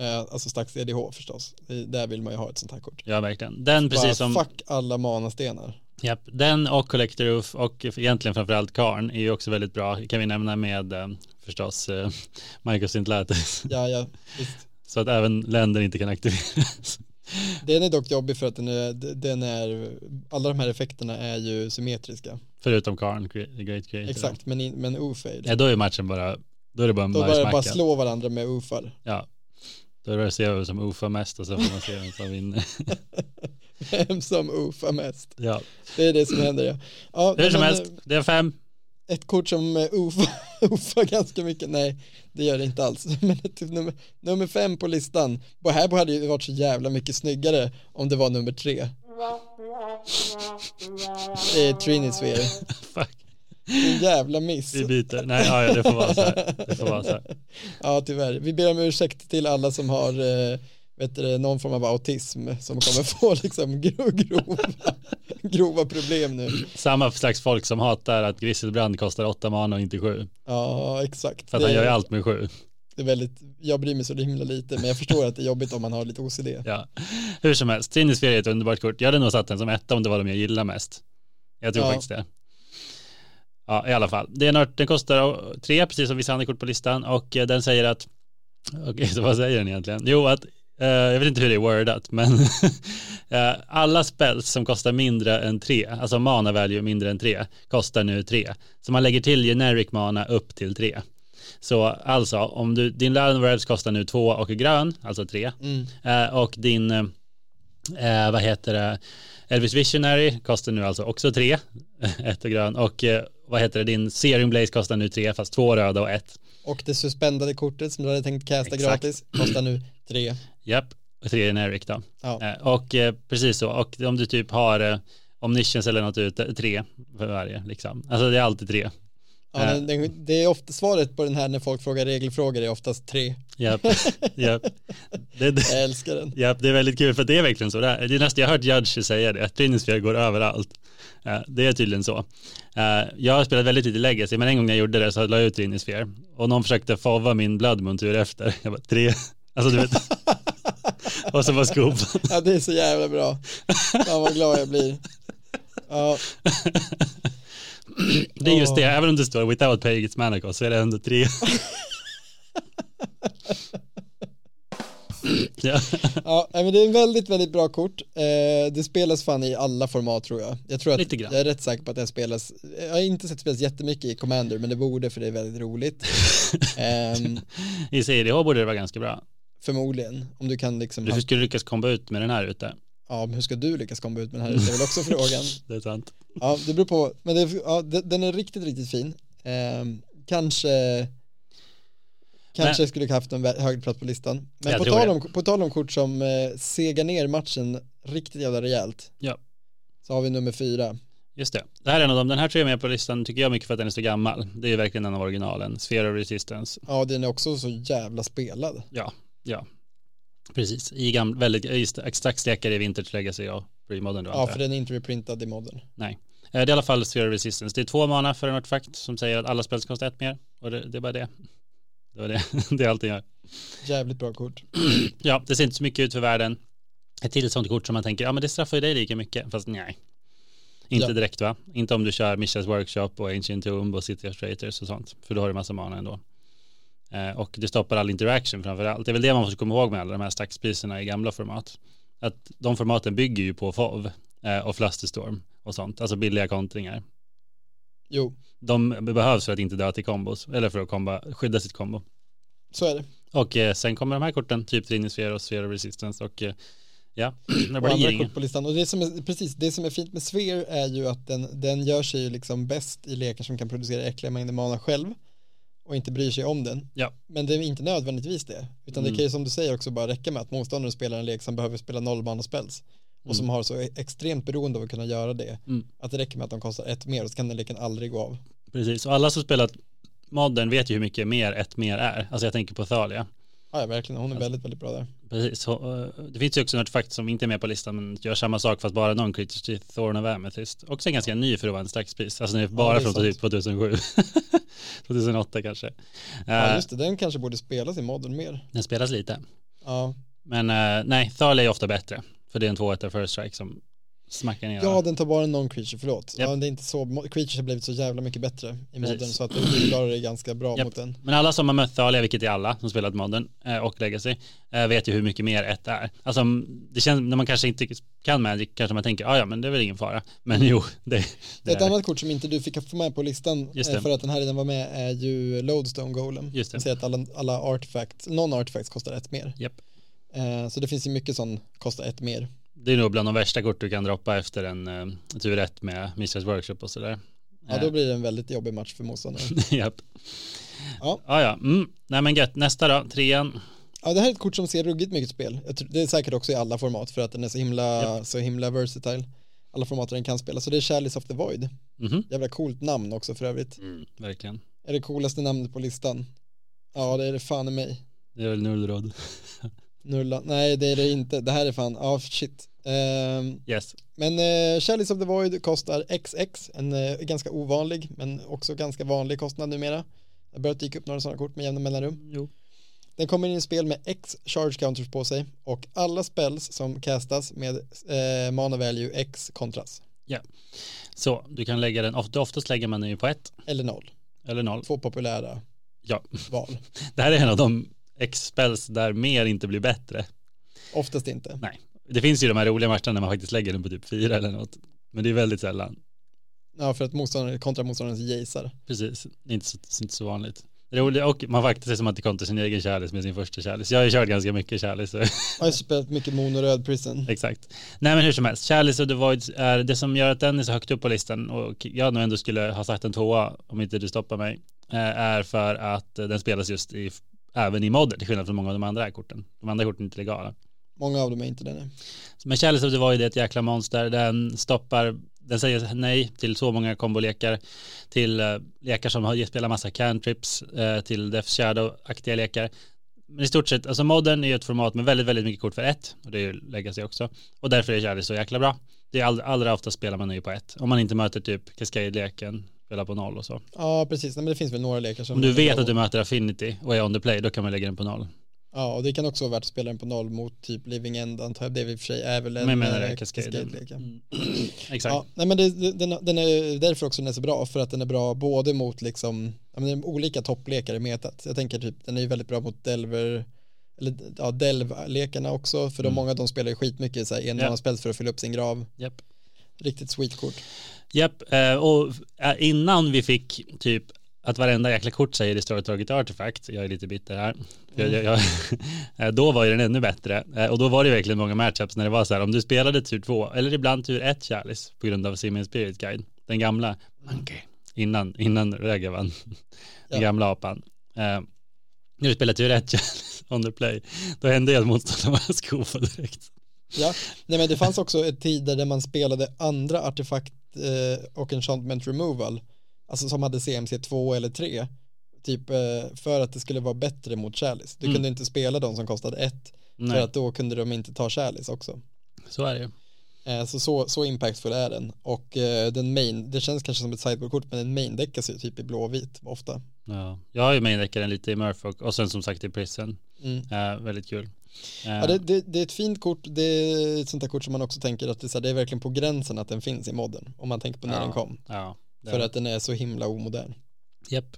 Speaker 1: eh, alltså Stacks EDH förstås. Det- Där vill man ju ha ett sånt här kort.
Speaker 2: Ja, verkligen. Den precis
Speaker 1: Bara,
Speaker 2: som...
Speaker 1: Fuck alla manastenar.
Speaker 2: Japp, den och Collector Roof och egentligen framförallt Karn är ju också väldigt bra. kan vi nämna med eh, förstås eh, <laughs> Marcus Intlatis.
Speaker 1: Ja, ja, visst.
Speaker 2: <laughs> Så att även länder inte kan aktiveras. <laughs>
Speaker 1: Den är dock jobbig för att den är, den är, alla de här effekterna är ju symmetriska.
Speaker 2: Förutom Karn, Cre- Great Creator.
Speaker 1: Exakt, men, in, men ofade.
Speaker 2: Ja, då är matchen bara, då är det bara en
Speaker 1: Då börjar det bara
Speaker 2: bajsmacka.
Speaker 1: slå varandra med ofar.
Speaker 2: Ja, då är det att se vem som ufar mest och så får man se vem
Speaker 1: <laughs>
Speaker 2: som vinner.
Speaker 1: <laughs> Vem som ofar mest.
Speaker 2: Ja,
Speaker 1: Det är det som händer ja. ja
Speaker 2: hur som
Speaker 1: men,
Speaker 2: helst, det är fem.
Speaker 1: eh, Ett kort som eh, <laughs> ofar, ofar ganska mycket, nej det gör det inte alls. <laughs> Men typ nummer, nummer fem på listan, Bohabo hade ju varit så jävla mycket snyggare om det var nummer tre. Det är Trinisphere,
Speaker 2: Fuck,
Speaker 1: en jävla miss.
Speaker 2: vi byter. Nej, ja, ja, det får vara så här. Det får vara
Speaker 1: <laughs>
Speaker 2: så här.
Speaker 1: Ja tyvärr, vi ber om ursäkt till alla som har eh, vet du, det, någon form av autism som kommer <laughs> få liksom gro- grova, grova problem nu.
Speaker 2: Samma slags folk som hatar att Grisselbrand kostar åtta man och inte sju.
Speaker 1: Ja exakt.
Speaker 2: För att
Speaker 1: Det-
Speaker 2: han gör ju allt med sju.
Speaker 1: det är väldigt, jag bryr mig så himla lite men jag förstår att det är jobbigt om man har lite OCD.
Speaker 2: Ja. Hur som helst, Tinnisfjärd är ett underbart kort. Jag hade nog satt den som etta om det var de jag gillar mest. Jag tror
Speaker 1: Ja.
Speaker 2: faktiskt det. Ja, i alla fall. Det är en ört, den kostar eh, tre, precis som vissa andra kort på listan. Och eh, den säger att, okej, så vad säger den egentligen? Jo, att, eh, jag vet inte hur det är wordat, men <laughs> eh, alla spells som kostar mindre än tre, alltså mana value mindre än tre, kostar nu tre. Så man lägger till generic mana upp till tre. Så alltså, om du, din Landrads kostar nu två och är grön, alltså tre,
Speaker 1: Mm.
Speaker 2: Eh, och din, eh, vad heter det, Elvis Visionary kostar nu alltså också tre, <laughs> ett och grön. Och eh, vad heter det, din Serum Blaze kostar nu tre, fast två röda och ett.
Speaker 1: Och det suspendade kortet som du hade tänkt casta
Speaker 2: Exakt.
Speaker 1: gratis kostar nu tre.
Speaker 2: Japp, och tre generic då.
Speaker 1: Ja.
Speaker 2: Eh, och eh, precis så, och om du typ har eh, Omniscience eller något ute, tre för varje liksom. Alltså det är alltid tre.
Speaker 1: Ja, den, den, det är ofta svaret på den här när folk frågar regelfrågor är oftast tre.
Speaker 2: Japp, <laughs> japp. Det, det.
Speaker 1: Jag älskar den.
Speaker 2: Ja, det är väldigt kul för det är verkligen så. Det, är, det är nästan, jag har hört Judge säga det, att Trinisfjär går överallt. Eh, Det är tydligen så. Eh, Jag har spelat väldigt lite Legacy, men en gång när jag gjorde det så la jag ut Trinisfjär och någon försökte fava min Bloodmoon tur efter. Jag bara, tre, alltså du vet. och så var skop.
Speaker 1: Ja, det är så jävla bra. Fan vad glad jag blir. Ja,
Speaker 2: Det är just det, även om det står without paying its mana cost så är det ändå tre. ja.
Speaker 1: ja nej, men det är en väldigt, väldigt bra kort. Eh, det spelas fan i alla format tror jag. Jag tror att,
Speaker 2: Lite grann.
Speaker 1: jag är rätt säker på att det spelas, jag har inte sett spelas jättemycket i Commander, men det borde för det är väldigt
Speaker 2: <laughs>
Speaker 1: roligt. Ehm,
Speaker 2: I CDH borde det vara ganska bra.
Speaker 1: förmodligen, om du kan liksom
Speaker 2: Du skulle lyckas komma ut med den här ute.
Speaker 1: Ja, men hur ska du lyckas komma ut med den här? Det är väl också frågan.
Speaker 2: Det är sant.
Speaker 1: Ja, det beror på. Men det, ja, de- den är riktigt, riktigt fin. Ehm, kanske kanske skulle ha haft en vä- högre plats på listan. Men
Speaker 2: Jag
Speaker 1: på
Speaker 2: tror
Speaker 1: tal,
Speaker 2: det.
Speaker 1: om, på tal om kort som eh, segar ner matchen riktigt jävla rejält.
Speaker 2: Ja.
Speaker 1: Så har vi nummer fyra.
Speaker 2: Just det. Det här är en av dem. Den här tror jag är med på listan tycker jag mycket för att den är så gammal. Det är ju verkligen en av originalen. Sphere of Resistance.
Speaker 1: Ja, den är också så jävla spelad.
Speaker 2: Ja, ja. Precis. I gamla, väldigt, ja, just det. exakt stekare i Vintage Legacy och Premodern då.
Speaker 1: Ja,
Speaker 2: Ja,
Speaker 1: för
Speaker 2: det...
Speaker 1: den är inte reprintad i modern.
Speaker 2: Nej. Eh, Det är i alla fall Sphere of Resistance. Det är två mana för en artefakt som säger att alla spel ska kosta ett mer. Och det, det är bara det. Det var det. <laughs> Det är allt den gör.
Speaker 1: Jävligt bra kort.
Speaker 2: Ja, det ser inte så mycket ut för världen. Ett till sånt kort som man tänker, ja men det straffar ju dig lika mycket. Fast nej. Inte
Speaker 1: Ja.
Speaker 2: direkt va? Inte om du kör Mishas Workshop och Ancient Tomb och City of Traitors och sånt. För då har du massa mana ändå. Eh, och det stoppar all interaction framför allt. Det är väl det man måste komma ihåg med alla de här stackspriserna i gamla format. Att de formaten bygger ju på FOV eh, och Flusterstorm och sånt. Alltså billiga kontringar.
Speaker 1: Jo,
Speaker 2: De behövs för att inte dö till kombos. Eller för att komba, skydda sitt kombo.
Speaker 1: så är det.
Speaker 2: Och eh, sen kommer de här korten, typ Trinisfera och Sphere of Resistance och eh, ja, <clears throat> det
Speaker 1: och
Speaker 2: blir
Speaker 1: andra
Speaker 2: inget.
Speaker 1: kort på listan. Och det som är, precis, det som är fint med Sphere är ju att den, den gör sig ju liksom bäst i lekar som kan producera äckliga mängder mana själv och inte bryr sig om den.
Speaker 2: Ja.
Speaker 1: Men det är inte nödvändigtvis det, utan det
Speaker 2: Mm.
Speaker 1: kan ju som du säger också bara räcka med att motståndaren spelar en lek som behöver spela noll mana spells och som har så e- extremt beroende av att kunna göra det.
Speaker 2: Mm.
Speaker 1: Att det räcker med att de kostar ett mer och så kan den leken aldrig gå av.
Speaker 2: Precis, och alla som spelat modden vet ju hur mycket mer ett mer är. Alltså jag tänker på Thalia.
Speaker 1: Ja, ja verkligen, hon är
Speaker 2: Alltså.
Speaker 1: väldigt, väldigt bra där.
Speaker 2: Precis, så, eh, det finns ju också en artefakt som inte är med på listan men gör samma sak fast bara någon kritisk till Thorn of Amethyst. Också en ganska ny för att vara en stackspris. Alltså den är bara
Speaker 1: det är
Speaker 2: från
Speaker 1: sant.
Speaker 2: typ <laughs> 2007. 2008 kanske. Eh,
Speaker 1: Ja, just det, den kanske borde spelas i modern mer.
Speaker 2: den spelas lite.
Speaker 1: Ja,
Speaker 2: Men eh, nej, Thalia är ofta bättre. För det är en 2 1 first strike som smackar ner
Speaker 1: Ja,
Speaker 2: varandra.
Speaker 1: den tar bara någon creature, förlåt.
Speaker 2: Japp.
Speaker 1: Ja, det är inte så, mo- creatures har blivit så jävla mycket bättre i modden
Speaker 2: Precis.
Speaker 1: så att det klarar det ganska bra
Speaker 2: Japp.
Speaker 1: mot den.
Speaker 2: Men alla som har mött Thalia, vilket är alla som spelat modden eh, och Legacy, eh, vet ju hur mycket mer ett är. Alltså m- det känns, när man kanske inte kan Magic kanske man tänker, ah, ja men det är väl ingen fara. Men jo, <laughs> det, det
Speaker 1: Ett
Speaker 2: är det.
Speaker 1: annat kort som inte du fick få med på listan
Speaker 2: Just
Speaker 1: eh,
Speaker 2: det.
Speaker 1: för att den här redan var med är ju Lodestone Golem.
Speaker 2: Just det.
Speaker 1: Som säger att alla, alla artifacts, någon artifacts kostar ett mer.
Speaker 2: Japp.
Speaker 1: Eh, Så det finns ju mycket som kostar ett mer.
Speaker 2: Det är nog bland de värsta kort du kan droppa efter en eh, tur ett med Mistress Workshop och sådär. <laughs>
Speaker 1: Ja, då blir det en väldigt jobbig match för motståndaren.
Speaker 2: Japp.
Speaker 1: Ja.
Speaker 2: Ja, ja. Mm. Nej men gött, nästa då, trean.
Speaker 1: Ja, det här är ett kort som ser ruggigt mycket spel. Jag tror- Det är säkert också i alla format för att den är så himla, så himla versatile. Alla format där den kan spela. Så det är Chalice of the Void.
Speaker 2: Mhm.
Speaker 1: Jävla coolt namn också för övrigt.
Speaker 2: Mm, verkligen.
Speaker 1: Är det coolaste namnet på listan? Ja, det är det fan i mig.
Speaker 2: Det är väl Nullrod.
Speaker 1: Nulla. Nej, det är det inte. Det här är fan, ja shit. Ehm,
Speaker 2: Yes.
Speaker 1: Men eh, Chalice of the Void kostar XX, en eh, ganska ovanlig men också ganska vanlig kostnad numera. Det har börjat dyka upp några sådana kort med jämna mellanrum.
Speaker 2: Jo.
Speaker 1: Den kommer in i spel med X charge counters på sig och alla spells som castas med eh, mana value X kontras.
Speaker 2: Så du kan lägga den, ofta, oftast lägger man den ju på ett
Speaker 1: Eller noll.
Speaker 2: eller noll.
Speaker 1: Två populära
Speaker 2: Ja.
Speaker 1: val.
Speaker 2: Det här är en av de expels där mer inte blir bättre.
Speaker 1: Oftast inte.
Speaker 2: Nej, det finns ju de här roliga matcherna när man faktiskt lägger den på typ fyra eller något. Men det är väldigt sällan.
Speaker 1: Ja, för att motståndaren kontra motståndarens jacear.
Speaker 2: Precis, det är inte så, inte så vanligt. Roligt och man faktiskt är som att det kom till sin egen kärlek med sin första kärlek. Jag har ju kört ganska mycket kärlek så <laughs>
Speaker 1: Jag har ju spelat mycket monoröd prison.
Speaker 2: exakt. Nej men hur som helst, Chalice of the Voids är det som gör att den är så högt upp på listan och jag nog ändå skulle ha sagt en tvåa om inte du stoppar mig eh, är för att eh, den spelas just i, även i modder till skillnad från många av de andra här korten. De andra korten är inte legala.
Speaker 1: Många av dem är inte det nu.
Speaker 2: Men Chalice of the Void är ett jäkla monster. Den stoppar, den säger nej till så många kombolekar, till eh, lekar som har- spelar massa cantrips, eh, till Death Shadow-aktiga lekar. Men i stort sett, alltså modden är ju ett format med väldigt, väldigt mycket kort för ett, och det är ju Legacy också. Och därför är Chalice så jäkla bra. Det är all, allra ofta spelar man ju på ett, om man inte möter typ Cascade-leken, spelar på noll och så.
Speaker 1: Ja, precis. Nej, men det finns väl några lekar som...
Speaker 2: Om du vet att du möter Affinity och är on the play, då kan man lägga den på noll.
Speaker 1: Ja, och det kan också vara värt att spela den på noll mot typ Living End, antar jag. Det är väl i och för sig är väl en
Speaker 2: Men jag menar
Speaker 1: eh,
Speaker 2: det, Cascade.
Speaker 1: Cascade-lek, ja.
Speaker 2: Mm. Exakt.
Speaker 1: Ja, nej men det, det- den, den är därför också den är så bra, för att den är bra både mot liksom, ja men det är olika topplekar i metat. Jag tänker typ, den är ju väldigt bra mot Delver, eller ja, Delv-lekarna också, för de
Speaker 2: Mm.
Speaker 1: många av dem spelar ju skitmycket så här en yeah. för att fylla upp sin grav.
Speaker 2: Japp.
Speaker 1: Riktigt sweet kort.
Speaker 2: Japp, eh, och eh, innan vi fick typ att varenda jäkla kort säger det står taget artefakt, jag är lite bitter här, jag, jag, <laughs> jag, eh, då var ju den ännu bättre. Eh, Och då var det verkligen många matchups när det var så här, om du spelade tur två, eller ibland tur ett Chalice på grund av Simeon Spirit Guide, den gamla, Monkey, innan, innan Röga vann, <laughs> den
Speaker 1: Ja.
Speaker 2: gamla apan. Eh, När du spelade tur ett Chalice <laughs> on the play, då hände ju att <laughs> motståndaren var skofad direkt.
Speaker 1: Ja, nej men det fanns också ett tid där man spelade andra artefakt eh, och enchantment removal, alltså som hade CMC 2 eller 3, typ eh, för att det skulle vara bättre mot Chalice. Du
Speaker 2: Mm.
Speaker 1: kunde inte spela de som kostade 1, för
Speaker 2: Nej,
Speaker 1: att då kunde de inte ta Chalice också.
Speaker 2: så är det ju.
Speaker 1: Eh, så, så, så impactful är den. Och eh, den main, det känns kanske som ett sideboardkort, men den main däckas ju typ i blå och vit ofta.
Speaker 2: Ja. Jag har ju maindeckaren lite i Murfolk och sen som sagt i Prison.
Speaker 1: Mm.
Speaker 2: Eh, väldigt kul. Eh,
Speaker 1: Ja, det, det, det är ett fint kort, det är ett sånt där kort som man också tänker att det är, så här, det är verkligen på gränsen att den finns i modden, om man tänker på när
Speaker 2: Ja.
Speaker 1: den kom.
Speaker 2: ja, det
Speaker 1: För
Speaker 2: är-
Speaker 1: att den är så himla omodern.
Speaker 2: Japp.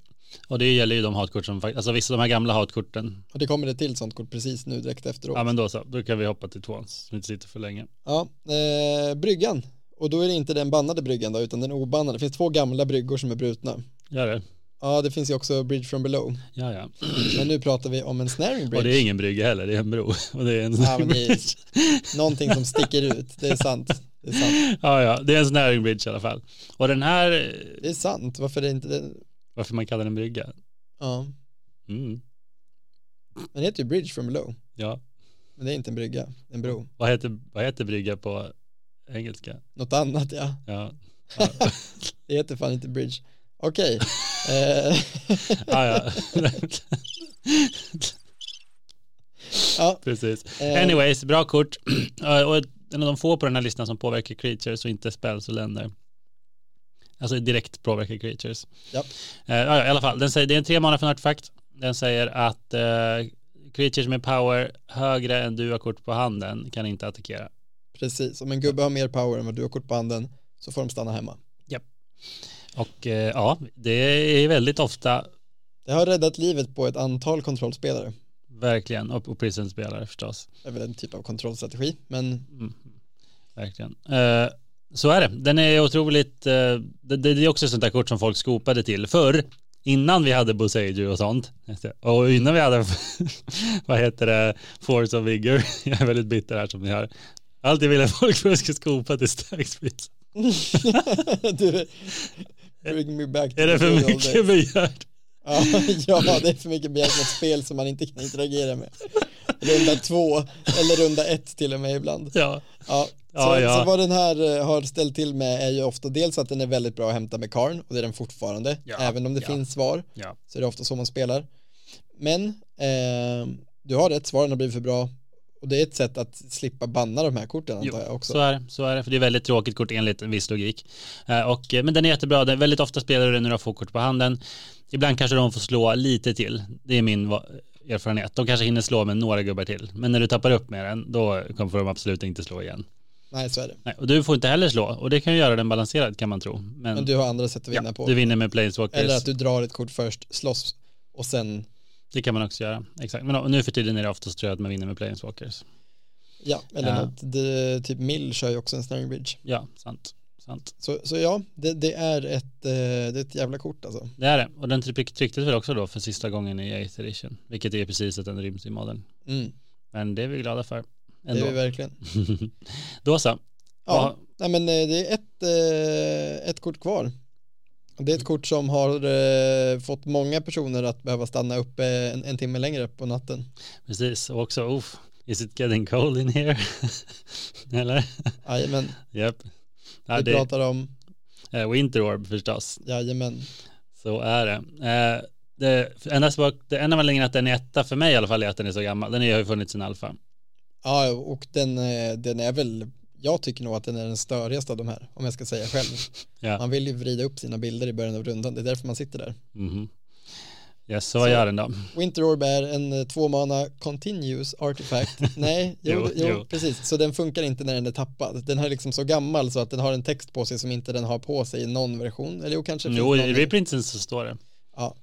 Speaker 2: Och det gäller ju de hatkort som faktiskt, alltså vissa av de här gamla hatkorten.
Speaker 1: Och det kommer ett till sånt kort precis nu direkt efteråt.
Speaker 2: Ja men då så, då kan vi hoppa till tvåan så vi inte sitter för länge.
Speaker 1: Ja, eh, bryggan. Och då är det inte den bannade bryggan då, utan den obannade. Det finns två gamla bryggor som är brutna.
Speaker 2: Gör det?
Speaker 1: Ja, det finns ju också Bridge from Below.
Speaker 2: Ja ja.
Speaker 1: Men nu pratar vi om en snaring bridge.
Speaker 2: Och det är ingen brygga heller, det är en bro. <laughs> Och det är en
Speaker 1: Ja, men
Speaker 2: <laughs>
Speaker 1: det är
Speaker 2: bridge.
Speaker 1: någonting som sticker ut. Det är sant. Det är sant.
Speaker 2: Ja ja, det är en snaring bridge i alla fall. Och den här, eh,
Speaker 1: Det är sant. Varför är det inte det?
Speaker 2: varför man kallar den brygga?
Speaker 1: Ja,
Speaker 2: Mm.
Speaker 1: den heter ju Bridge from Below.
Speaker 2: Ja,
Speaker 1: Men det är inte en brygga, det är en bro.
Speaker 2: vad heter, vad heter brygga på engelska?
Speaker 1: Något annat ja.
Speaker 2: Ja. Ja,
Speaker 1: Det heter fan inte bridge. Okej. Eh, <laughs>
Speaker 2: ja, <laughs> ja.
Speaker 1: ja,
Speaker 2: precis.
Speaker 1: eh,
Speaker 2: Anyways, bra kort. <clears throat> Eh, och en av de få på den här listan som påverkar creatures och inte spells och länder. Alltså direkt påverkar creatures.
Speaker 1: Ja.
Speaker 2: Eh, ja, ja, I alla fall, den säger, det är en tre mana från artefakt. Den säger att eh, creatures med power högre än du har kort på handen kan inte attackera.
Speaker 1: Precis, om en gubbe har mer power än vad du har kortbanden så får de stanna hemma.
Speaker 2: Och eh, ja, det är väldigt ofta
Speaker 1: Det har räddat livet på ett antal kontrollspelare.
Speaker 2: verkligen, och, och prisonspelare förstås.
Speaker 1: Det är väl en typ av kontrollstrategi, men <laughs>
Speaker 2: Mm. Verkligen. Eh, så är det. Den är otroligt, eh, det, det är också ett sånt där kort som folk skopade till förr. Innan vi hade Busager och sånt. Och innan vi hade, <laughs> vad heter det, Force of Vigor. <laughs> Jag är väldigt bitter här som ni hör. Alltid ville folk att jag skulle skopa till stark sprit.
Speaker 1: du, bring me back to
Speaker 2: Är
Speaker 1: the
Speaker 2: det för
Speaker 1: good old
Speaker 2: mycket
Speaker 1: days.
Speaker 2: begärt?
Speaker 1: Ja, ja, <laughs> det är för mycket begärt med ett spel som man inte kan interagera med. Runda två, eller runda ett till och med ibland.
Speaker 2: Ja.
Speaker 1: Ja, så,
Speaker 2: Ja, ja.
Speaker 1: så vad den här eh, har ställt till med är ju ofta dels att den är väldigt bra att hämta med karn och det är den fortfarande,
Speaker 2: Ja,
Speaker 1: även om det
Speaker 2: ja.
Speaker 1: finns svar
Speaker 2: Ja.
Speaker 1: så är det ofta så man spelar. Men eh, du har rätt, svaren har blivit för bra och det är ett sätt att slippa banna de här korten
Speaker 2: Jo,
Speaker 1: antar jag också.
Speaker 2: Så är, det, så är det, för det är väldigt tråkigt kort enligt en viss logik. Eh, och, eh, men den är jättebra, den, väldigt ofta spelar du den när du har få kort på handen. Ibland kanske de får slå lite till, det är min va- erfarenhet. De kanske hinner slå med några gubbar till, men när du tappar upp med den, då kommer får de absolut inte slå igen.
Speaker 1: Nej, så är det.
Speaker 2: Nej, och du får inte heller slå, och det kan ju göra den balanserad kan man tro. Men,
Speaker 1: Men du har andra sätt att vinna
Speaker 2: ja,
Speaker 1: på.
Speaker 2: du vinner med planeswalkers,
Speaker 1: Eller att du drar ett kort först, slåss och sen,
Speaker 2: det kan man också göra. Exakt. Men och nu för tiden är det oftast tror jag att man vinner med planeswalkers.
Speaker 1: ja, eller
Speaker 2: Ja.
Speaker 1: något. Det, typ Mill kör ju också en snaring bridge.
Speaker 2: Ja, sant. sant.
Speaker 1: Så, så ja, det, det, är ett, eh, det är ett jävla kort alltså.
Speaker 2: Det är det. Och den tryck- trycktes väl också då för sista gången i 8 edition. Vilket är precis att den ryms i modern.
Speaker 1: Mm,
Speaker 2: Men det är vi glada för.
Speaker 1: det är
Speaker 2: Ändå. <laughs>
Speaker 1: vi verkligen.
Speaker 2: då så.
Speaker 1: Ja, nej men eh, det är ett, eh, ett kort kvar. Och Det är ett kort som har eh, fått många personer att behöva stanna uppe en, en timme längre på natten.
Speaker 2: Precis. Och också, oof, is it getting cold in here? <laughs> Eller? <laughs>
Speaker 1: Jajamän,
Speaker 2: Japp. Ja,
Speaker 1: vi
Speaker 2: det
Speaker 1: pratar om,
Speaker 2: är Winter Orb förstås.
Speaker 1: jajamän,
Speaker 2: Så är det. Eh, det, enda, sak- det enda anledningen att den är etta för mig i alla fall är att den är så gammal. Den har ju funnits sin alfa.
Speaker 1: ja och den, eh, den är väl, jag tycker nog att den är den störigaste av de här, om jag ska säga själv.
Speaker 2: Ja.
Speaker 1: Man vill ju vrida upp sina bilder i början av rundan, det är därför man sitter där.
Speaker 2: Mhm. Yes, så vad gör den då?
Speaker 1: Winter Orb är en eh, tvåmana continuous
Speaker 2: <laughs>
Speaker 1: artifact. Nej, jo,
Speaker 2: Jo,
Speaker 1: jo,
Speaker 2: jo.
Speaker 1: precis. Så den funkar inte när den är tappad. Den är liksom så gammal så att den har en text på sig som inte den har på sig i någon version. Eller jo, kanske finns
Speaker 2: Jo,
Speaker 1: någon-
Speaker 2: i reprintsen så står det.
Speaker 1: ja.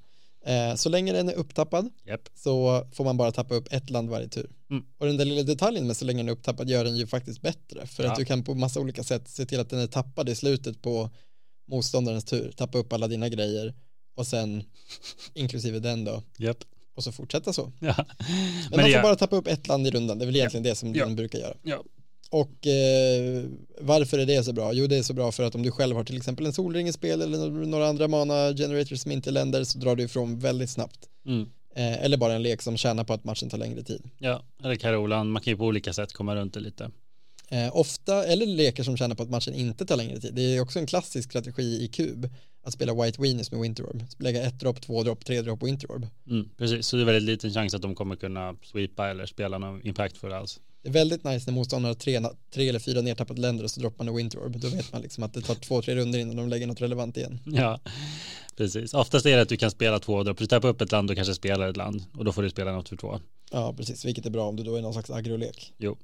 Speaker 1: eh, Så länge den är upptappad
Speaker 2: Japp.
Speaker 1: så får man bara tappa upp ett land varje tur.
Speaker 2: Mm.
Speaker 1: Och den där lilla detaljen med så länge den är upptappad gör den ju faktiskt bättre. För
Speaker 2: Ja.
Speaker 1: att du kan på massa olika sätt se till att den är tappad i slutet på motståndarens tur. Tappa upp alla dina grejer och sen inklusive den då.
Speaker 2: Japp. <laughs>
Speaker 1: Och så fortsätta så.
Speaker 2: Ja.
Speaker 1: Men,
Speaker 2: det
Speaker 1: man får
Speaker 2: gör-
Speaker 1: bara tappa upp ett land i rundan, det är väl egentligen det som
Speaker 2: Ja.
Speaker 1: den brukar göra.
Speaker 2: Ja.
Speaker 1: Och eh, varför är det så bra? Jo, det är så bra för att om du själv har till exempel en solring i spel eller no- några andra mana generators som inte är länder så drar du ifrån väldigt snabbt.
Speaker 2: Mm.
Speaker 1: Eh, eller bara en lek som tjänar på att matchen tar längre tid.
Speaker 2: Ja, eller Carolan. Man kan ju på olika sätt komma runt det lite.
Speaker 1: Eh, ofta, eller lekar som tjänar på att matchen inte tar längre tid. Det är också en klassisk strategi i kub att spela White Venus med Winter Orb. Lägga ett dropp, två dropp, tre dropp Winter Orb.
Speaker 2: Mm, precis, så det är väldigt liten chans att de kommer kunna sweepa eller spela någon impact för det alls. <laughs>
Speaker 1: Det är väldigt nice när motståndaren har tre, tre eller fyra nedtappade länder och så droppar man en Winter Orb. Då vet man liksom att det tar två, tre runder innan de lägger något relevant igen.
Speaker 2: Ja, precis. Oftast är det att du kan spela två dropp. Du tappar upp ett land och kanske spelar ett land och då får du spela något för två.
Speaker 1: Ja, precis, vilket är bra om du då är någon slags agrolek.
Speaker 2: Jo.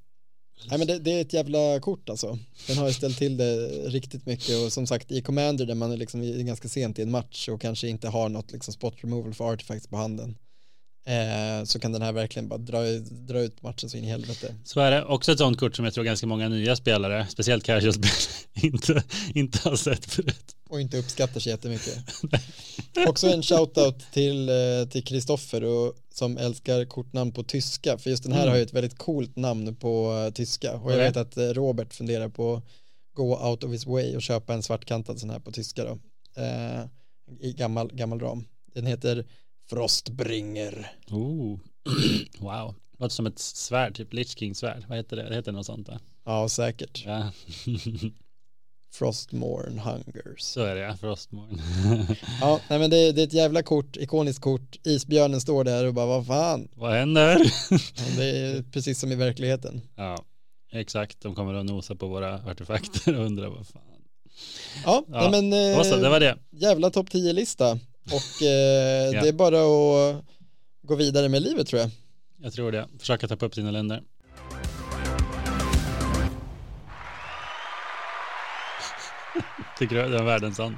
Speaker 1: Nej, men det, det är ett jävla kort alltså. Den har ju ställt till det riktigt mycket och som sagt i Commander där man är liksom i- ganska sent i en match och kanske inte har något liksom spot removal för artifacts på handen. Eh, så kan den här verkligen bara dra, dra ut matchen så in i helvete.
Speaker 2: Så är det också ett sånt kort som jag tror ganska många nya spelare, speciellt casual-spelare, <laughs> inte, inte har sett förut.
Speaker 1: och inte uppskattar sig
Speaker 2: <laughs>
Speaker 1: jättemycket. Också en shoutout till, eh, till Kristoffer och- som älskar kortnamn på tyska, för just den här
Speaker 2: Mm.
Speaker 1: har ju ett väldigt coolt namn på eh, tyska och jag
Speaker 2: Okej.
Speaker 1: vet att eh, Robert funderar på att gå out of his way och köpa en svartkantad sån här på tyska då. Eh, I gammal, gammal ram. Den heter Frostbringer.
Speaker 2: Oh. <clears throat> Wow, låter som ett svärd, typ Lich King-svärd. Vad heter det? Det heter något sånt va?
Speaker 1: Ja, säkert.
Speaker 2: Ja, <laughs>
Speaker 1: Frostmorn Hungers.
Speaker 2: så är det ja, Frostmorn.
Speaker 1: Ja, nej men det, det är ett jävla kort, ikoniskt kort. Isbjörnen står där och bara, vad fan?
Speaker 2: <laughs> Vad händer? <laughs>
Speaker 1: Ja, Det är precis som i verkligheten.
Speaker 2: Ja, exakt. De kommer att nosa på våra artefakter och undra vad fan.
Speaker 1: Ja,
Speaker 2: Ja,
Speaker 1: Nej, men
Speaker 2: Då så,
Speaker 1: eh,
Speaker 2: det var det.
Speaker 1: jävla topp 10-lista och eh,
Speaker 2: Ja.
Speaker 1: det är bara att gå vidare med livet tror jag.
Speaker 2: Jag tror det. Försöka tappa upp sina länder. <laughs> Tycker du den världen sån?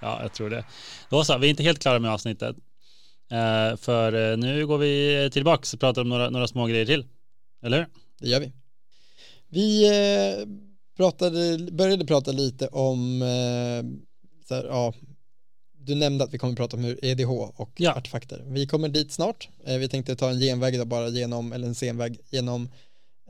Speaker 2: Ja, jag tror det. Då så, vi är inte helt klara med avsnittet. Eh, för eh, nu går vi tillbaks och pratar om några, några små grejer till. Eller hur?
Speaker 1: Det gör vi. Vi eh, pratade, började prata lite om, eh, så här, ja, du nämnde att vi kommer prata om hur EDH och
Speaker 2: Ja.
Speaker 1: artefakter. Vi kommer dit snart. Eh, vi tänkte ta en genväg då bara genom, eller en senväg genom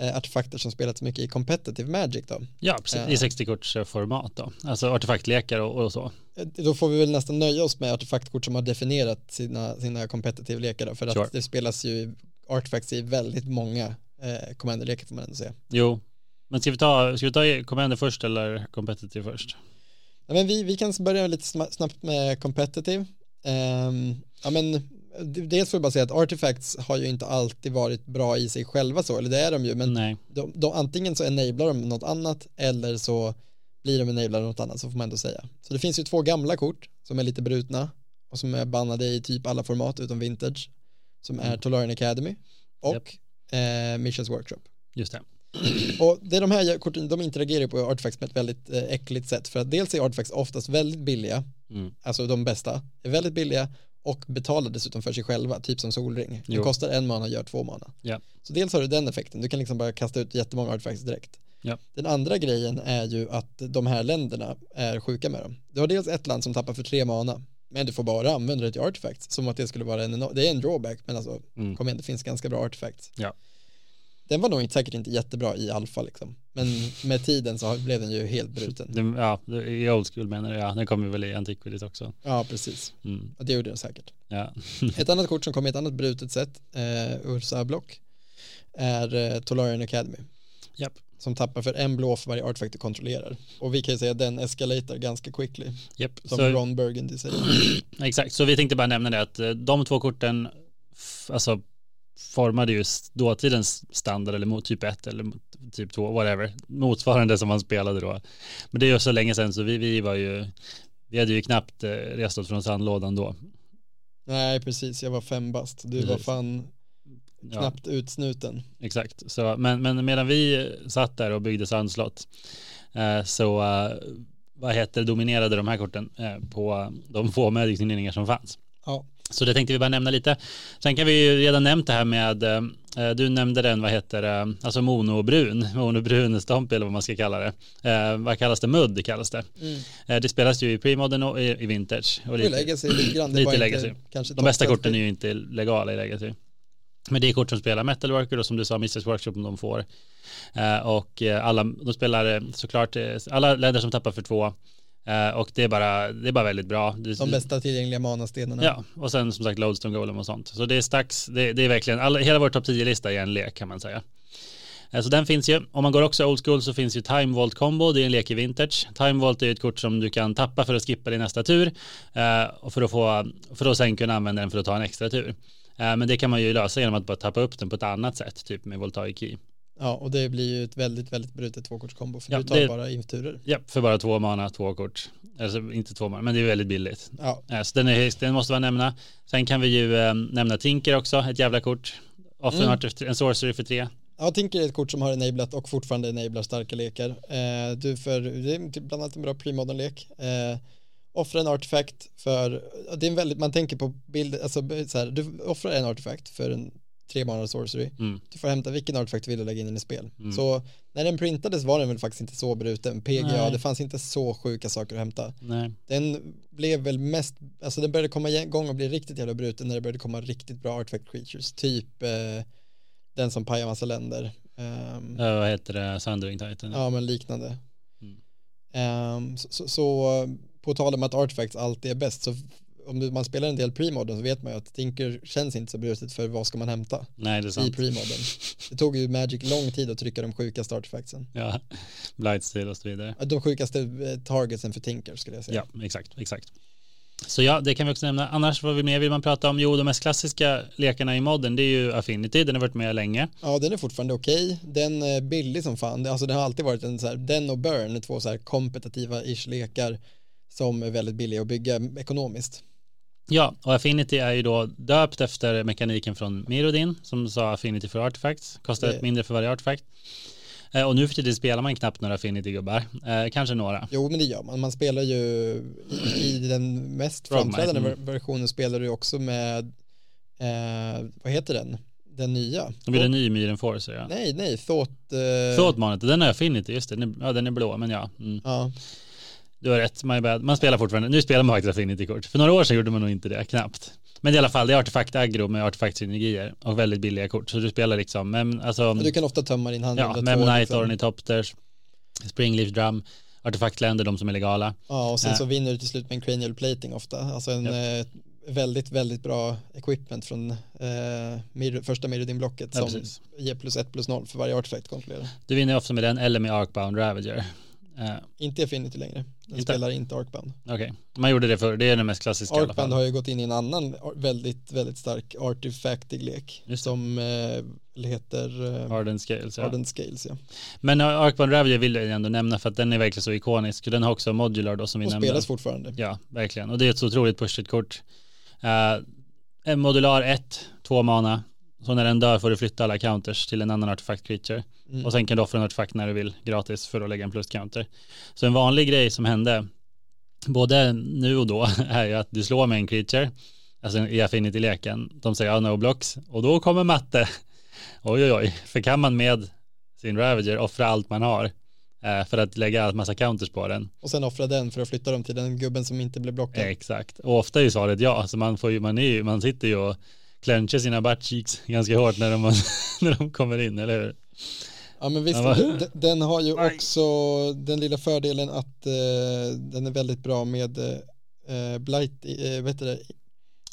Speaker 1: eh, artefakter som spelats mycket i competitive magic då.
Speaker 2: Ja, precis.
Speaker 1: Ja.
Speaker 2: I 60-kortsformat då. Alltså artefaktlekar och, och så.
Speaker 1: Eh, Då får vi väl nästan nöja oss med artefaktkort som har definierat sina, sina competitive lekar då, för
Speaker 2: Sure.
Speaker 1: att det spelas ju artefacts i väldigt många eh, commander-lekar får man ändå säga.
Speaker 2: Jo. Men ska vi ta, ska vi ta Commander först eller Competitive först?
Speaker 1: Ja, men vi, vi kan börja lite sma- snabbt med competitive. Ehm, ja, men, d- dels får jag bara säga att artifacts har ju inte alltid varit bra i sig själva så, eller det är de ju, men
Speaker 2: Nej.
Speaker 1: de, de, antingen så enablar de något annat eller så blir de enablade av något annat, så får man ändå säga. Så det finns ju två gamla kort som är lite brutna och som är bannade i typ alla format utom vintage, som är Tolarian Academy och eh, Missions Workshop.
Speaker 2: Just det.
Speaker 1: Och det är de här korten, de interagerar ju på artefacts med ett väldigt eh, äckligt sätt för att dels är artefacts oftast väldigt billiga,
Speaker 2: Mm.
Speaker 1: alltså de bästa, är väldigt billiga och betalar dessutom för sig själva, typ som solring. Det
Speaker 2: Jo.
Speaker 1: kostar en mana och gör två mana.
Speaker 2: Ja.
Speaker 1: Så dels har du den effekten, du kan liksom bara kasta ut jättemånga artefacts direkt.
Speaker 2: Ja.
Speaker 1: Den andra grejen är ju att de här länderna är sjuka med dem. Du har dels ett land som tappar för tre mana, men du får bara använda det till artefacts, som att det skulle vara en, eno- det är en drawback, men alltså
Speaker 2: Mm.
Speaker 1: kom igen, det finns ganska bra artefacts.
Speaker 2: Ja.
Speaker 1: Den var nog inte, säkert inte jättebra i alfa liksom, men med tiden så har- blev den ju helt bruten.
Speaker 2: Det, ja, det- i old school menar du. Ja, den kommer väl i Antiquity också.
Speaker 1: Ja, precis.
Speaker 2: Mm.
Speaker 1: Och det gjorde den säkert.
Speaker 2: Ja.
Speaker 1: Ett annat kort som kom i ett annat brutet sätt, eh, Ursa Block, är eh, Tolarian Academy.
Speaker 2: Japp.
Speaker 1: Som tappar för en blå för varje artefakt du kontrollerar. Och vi kan ju säga att den escalatar ganska quickly,
Speaker 2: Japp.
Speaker 1: som
Speaker 2: Så-
Speaker 1: Ron Burgundy säger.
Speaker 2: Exakt, så vi tänkte bara nämna det att eh, de två korten f- alltså, formade ju s- dåtidens standard eller mot typ 1 eller mot typ 2, whatever, motsvarande som man spelade då. Men det är ju så länge sedan så vi, vi var ju, vi hade ju knappt eh, rest oss från sandlådan då.
Speaker 1: Nej, precis, jag var fem bast. Du var
Speaker 2: Precis.
Speaker 1: fan
Speaker 2: Ja,
Speaker 1: knappt utsnuten.
Speaker 2: Exakt, så, men, men medan vi satt där och byggde sandslott eh, så eh, vad heter det, dominerade de här korten eh, på de få magic som fanns.
Speaker 1: Ja,
Speaker 2: Så det tänkte vi bara nämna lite. Sen kan vi ju redan nämnt det här med, eh, du nämnde den, vad heter det, alltså monobrun, <laughs> monobrun stomp eller vad man ska kalla det. Eh, vad kallas det, mudd kallas det.
Speaker 1: mm.
Speaker 2: Eh, det spelas ju i premodern och i, i vintage. Och
Speaker 1: det
Speaker 2: lite-
Speaker 1: lägger sig lite grann. Det
Speaker 2: lite
Speaker 1: var inte
Speaker 2: legacy.
Speaker 1: Kanske
Speaker 2: de bästa korten är ju inte legala i legacy. Men det är kort som spelar Metalworker och som du sa Mrs Workshop om de får. Eh, och eh, alla, de spelar eh, såklart, eh, alla länder som tappar för två. Eh, och det är bara, det är bara väldigt bra. Det-
Speaker 1: De bästa tillgängliga manastenarna.
Speaker 2: Ja, och sen som sagt Lodestone Golem och sånt. Så det är Stax, det, det är verkligen, alla, hela vår topp 10-lista är en lek kan man säga. Eh, Så den finns ju, om man går också old school så finns ju Time Vault Combo, det är en lek i vintage. Time Vault är ju ett kort som du kan tappa för att skippa din nästa tur eh, och för att, få, för att sen kunna använda den för att ta en extra tur. Eh, Men det kan man ju lösa genom att bara tappa upp den på ett annat sätt, typ med Voltaic Key.
Speaker 1: ja, och det blir ju ett väldigt, väldigt brutet tvåkortskombo för
Speaker 2: Ja,
Speaker 1: du tar
Speaker 2: det-
Speaker 1: bara inturer.
Speaker 2: Ja, för bara två mana, två kort. Alltså inte två mana, men det är väldigt billigt.
Speaker 1: Ja,
Speaker 2: Eh, Så den, är, högst, den måste man nämna. Sen kan vi ju eh, nämna Tinker också, ett jävla kort. Often
Speaker 1: Mm.
Speaker 2: artef- en sorcery för tre.
Speaker 1: Ja, Tinker är ett kort som har enablat och fortfarande enablar starka lekar. Eh, du för, det är typ bland annat en bra premodern lek. Eh, offra en artefakt för, ja, det är en väldigt, man tänker på bild, alltså b- så här, du offrar en artefakt för en tre mana sorcery.
Speaker 2: Mm.
Speaker 1: Du får hämta vilken artefakt du vill och lägga in den i spel.
Speaker 2: Mm.
Speaker 1: Så när den printades var den väl faktiskt inte så bruten. PGA,
Speaker 2: Nej.
Speaker 1: det fanns inte så sjuka saker att hämta.
Speaker 2: Nej.
Speaker 1: Den blev väl mest, alltså den började komma igång och bli riktigt jävla bruten när det började komma riktigt bra artifact creatures, typ eh, den som pajar massa länder. Ehm,
Speaker 2: Eh, vad heter det? Sundering Titan.
Speaker 1: Ja, men liknande.
Speaker 2: Mm.
Speaker 1: Ehm, så, så, så på tal om att artifacts alltid är bäst, så om du- man spelar en del premodern så vet man ju att Tinker känns inte så brutet för vad ska man hämta
Speaker 2: Nej, det är
Speaker 1: i
Speaker 2: sant.
Speaker 1: premodern. Det tog ju Magic lång tid att trycka de sjukaste artefactsen.
Speaker 2: Ja, <laughs> Blightsteel och så vidare.
Speaker 1: De sjukaste eh, targetsen för Tinker skulle jag säga.
Speaker 2: Ja, exakt, exakt. Så ja, det kan vi också nämna. Annars, vad vi mer vill man prata om? Jo, de mest klassiska lekarna i modden, det är ju Affinity, den har varit med länge.
Speaker 1: Ja, den är fortfarande okej. Den är billig som fan. Det- Alltså den har alltid varit en så här, den och Burn, två så här kompetitiva ish lekar som är väldigt billiga att bygga ekonomiskt.
Speaker 2: Ja, och Affinity är ju då döpt efter mekaniken från Mirodin som sa Affinity för artifacts, kostar
Speaker 1: Det-
Speaker 2: ett mindre för varje artefakt. Eh, Och nu för tiden spelar man knappt några Affinity-gubbar. Eh, Kanske några.
Speaker 1: Jo, men det gör man. Man spelar ju i den mest
Speaker 2: Frogmite,
Speaker 1: framträdande
Speaker 2: mm.
Speaker 1: ver- versionen spelar du ju också med, eh, vad heter den? Den nya?
Speaker 2: De blir en ny Myr Enforcer ja.
Speaker 1: Nej, nej, Thought. Eh,
Speaker 2: Förlåt Manet, den är Affinity, just det. Den är- Ja, den är blå, men ja. Mm.
Speaker 1: Ja,
Speaker 2: Du har rätt, my bad. Man spelar fortfarande, nu spelar man faktiskt Affinity-kort. För några år sedan gjorde man nog inte det, knappt. Men i alla fall, det är artefakt-aggro med artefakt-synergier och väldigt billiga kort. Så du spelar liksom, men alltså...
Speaker 1: och du kan ofta tömma din hand.
Speaker 2: Ja,
Speaker 1: under två,
Speaker 2: Memnite,
Speaker 1: liksom.
Speaker 2: Ornithopters, Springleaf Drum, Artefaktländer, de som är legala.
Speaker 1: Ja, och sen
Speaker 2: Ja.
Speaker 1: så vinner du till slut med en cranial plating ofta. Alltså en eh, väldigt, väldigt bra equipment från eh, mirror, första Mirrodin-blocket
Speaker 2: Ja,
Speaker 1: som
Speaker 2: precis.
Speaker 1: ger plus ett plus noll för varje artefakt kontrollerar.
Speaker 2: Du vinner ofta med den eller med Arcbound Ravager. Eh,
Speaker 1: Inte Affinity längre. Den
Speaker 2: Inte?
Speaker 1: spelar inte Arkband.
Speaker 2: Okej, man gjorde det förr, det är den mest klassiska i alla
Speaker 1: Arkband
Speaker 2: fall.
Speaker 1: har ju gått in i en annan ar- väldigt, väldigt stark artefaktig lek
Speaker 2: Just det.
Speaker 1: som eh, heter eh,
Speaker 2: Arden Scales, ja.
Speaker 1: Ardent Scales. Ja.
Speaker 2: Men Arcbound Ravager vill jag ändå nämna för att den är verkligen så ikonisk. Och Den har också modular då som vi
Speaker 1: Och
Speaker 2: nämnde.
Speaker 1: spelas fortfarande.
Speaker 2: Ja, verkligen. Och det är ett så otroligt pushigt kort. Eh, en modular 1, 2 mana. Så när den dör får du flytta alla counters till en annan artefakt creature.
Speaker 1: Mm.
Speaker 2: Och sen kan du offra en artefakt när du vill gratis för att lägga en plus counter. Så en vanlig grej som hände både nu och då <laughs> är ju att du slår med en creature, alltså i affinity-leken. De säger ja, no blocks och då kommer matte. <laughs> Oj, oj, oj. För kan man med sin ravager offra allt man har eh, för att lägga en massa counters på den,
Speaker 1: Och sen offra den för att flytta dem till den gubben som inte blev blockad.
Speaker 2: Exakt, och ofta är ju svaret ja, så man, får ju, man, är ju, man sitter ju och clenchar sina butt cheeks ganska hårt när de, <laughs> när de kommer in, eller hur?
Speaker 1: Ja men visst,
Speaker 2: Ja, va?
Speaker 1: d- den har ju
Speaker 2: Nej.
Speaker 1: också den lilla fördelen att eh, den är väldigt bra med eh, Blight, eh, vad heter det,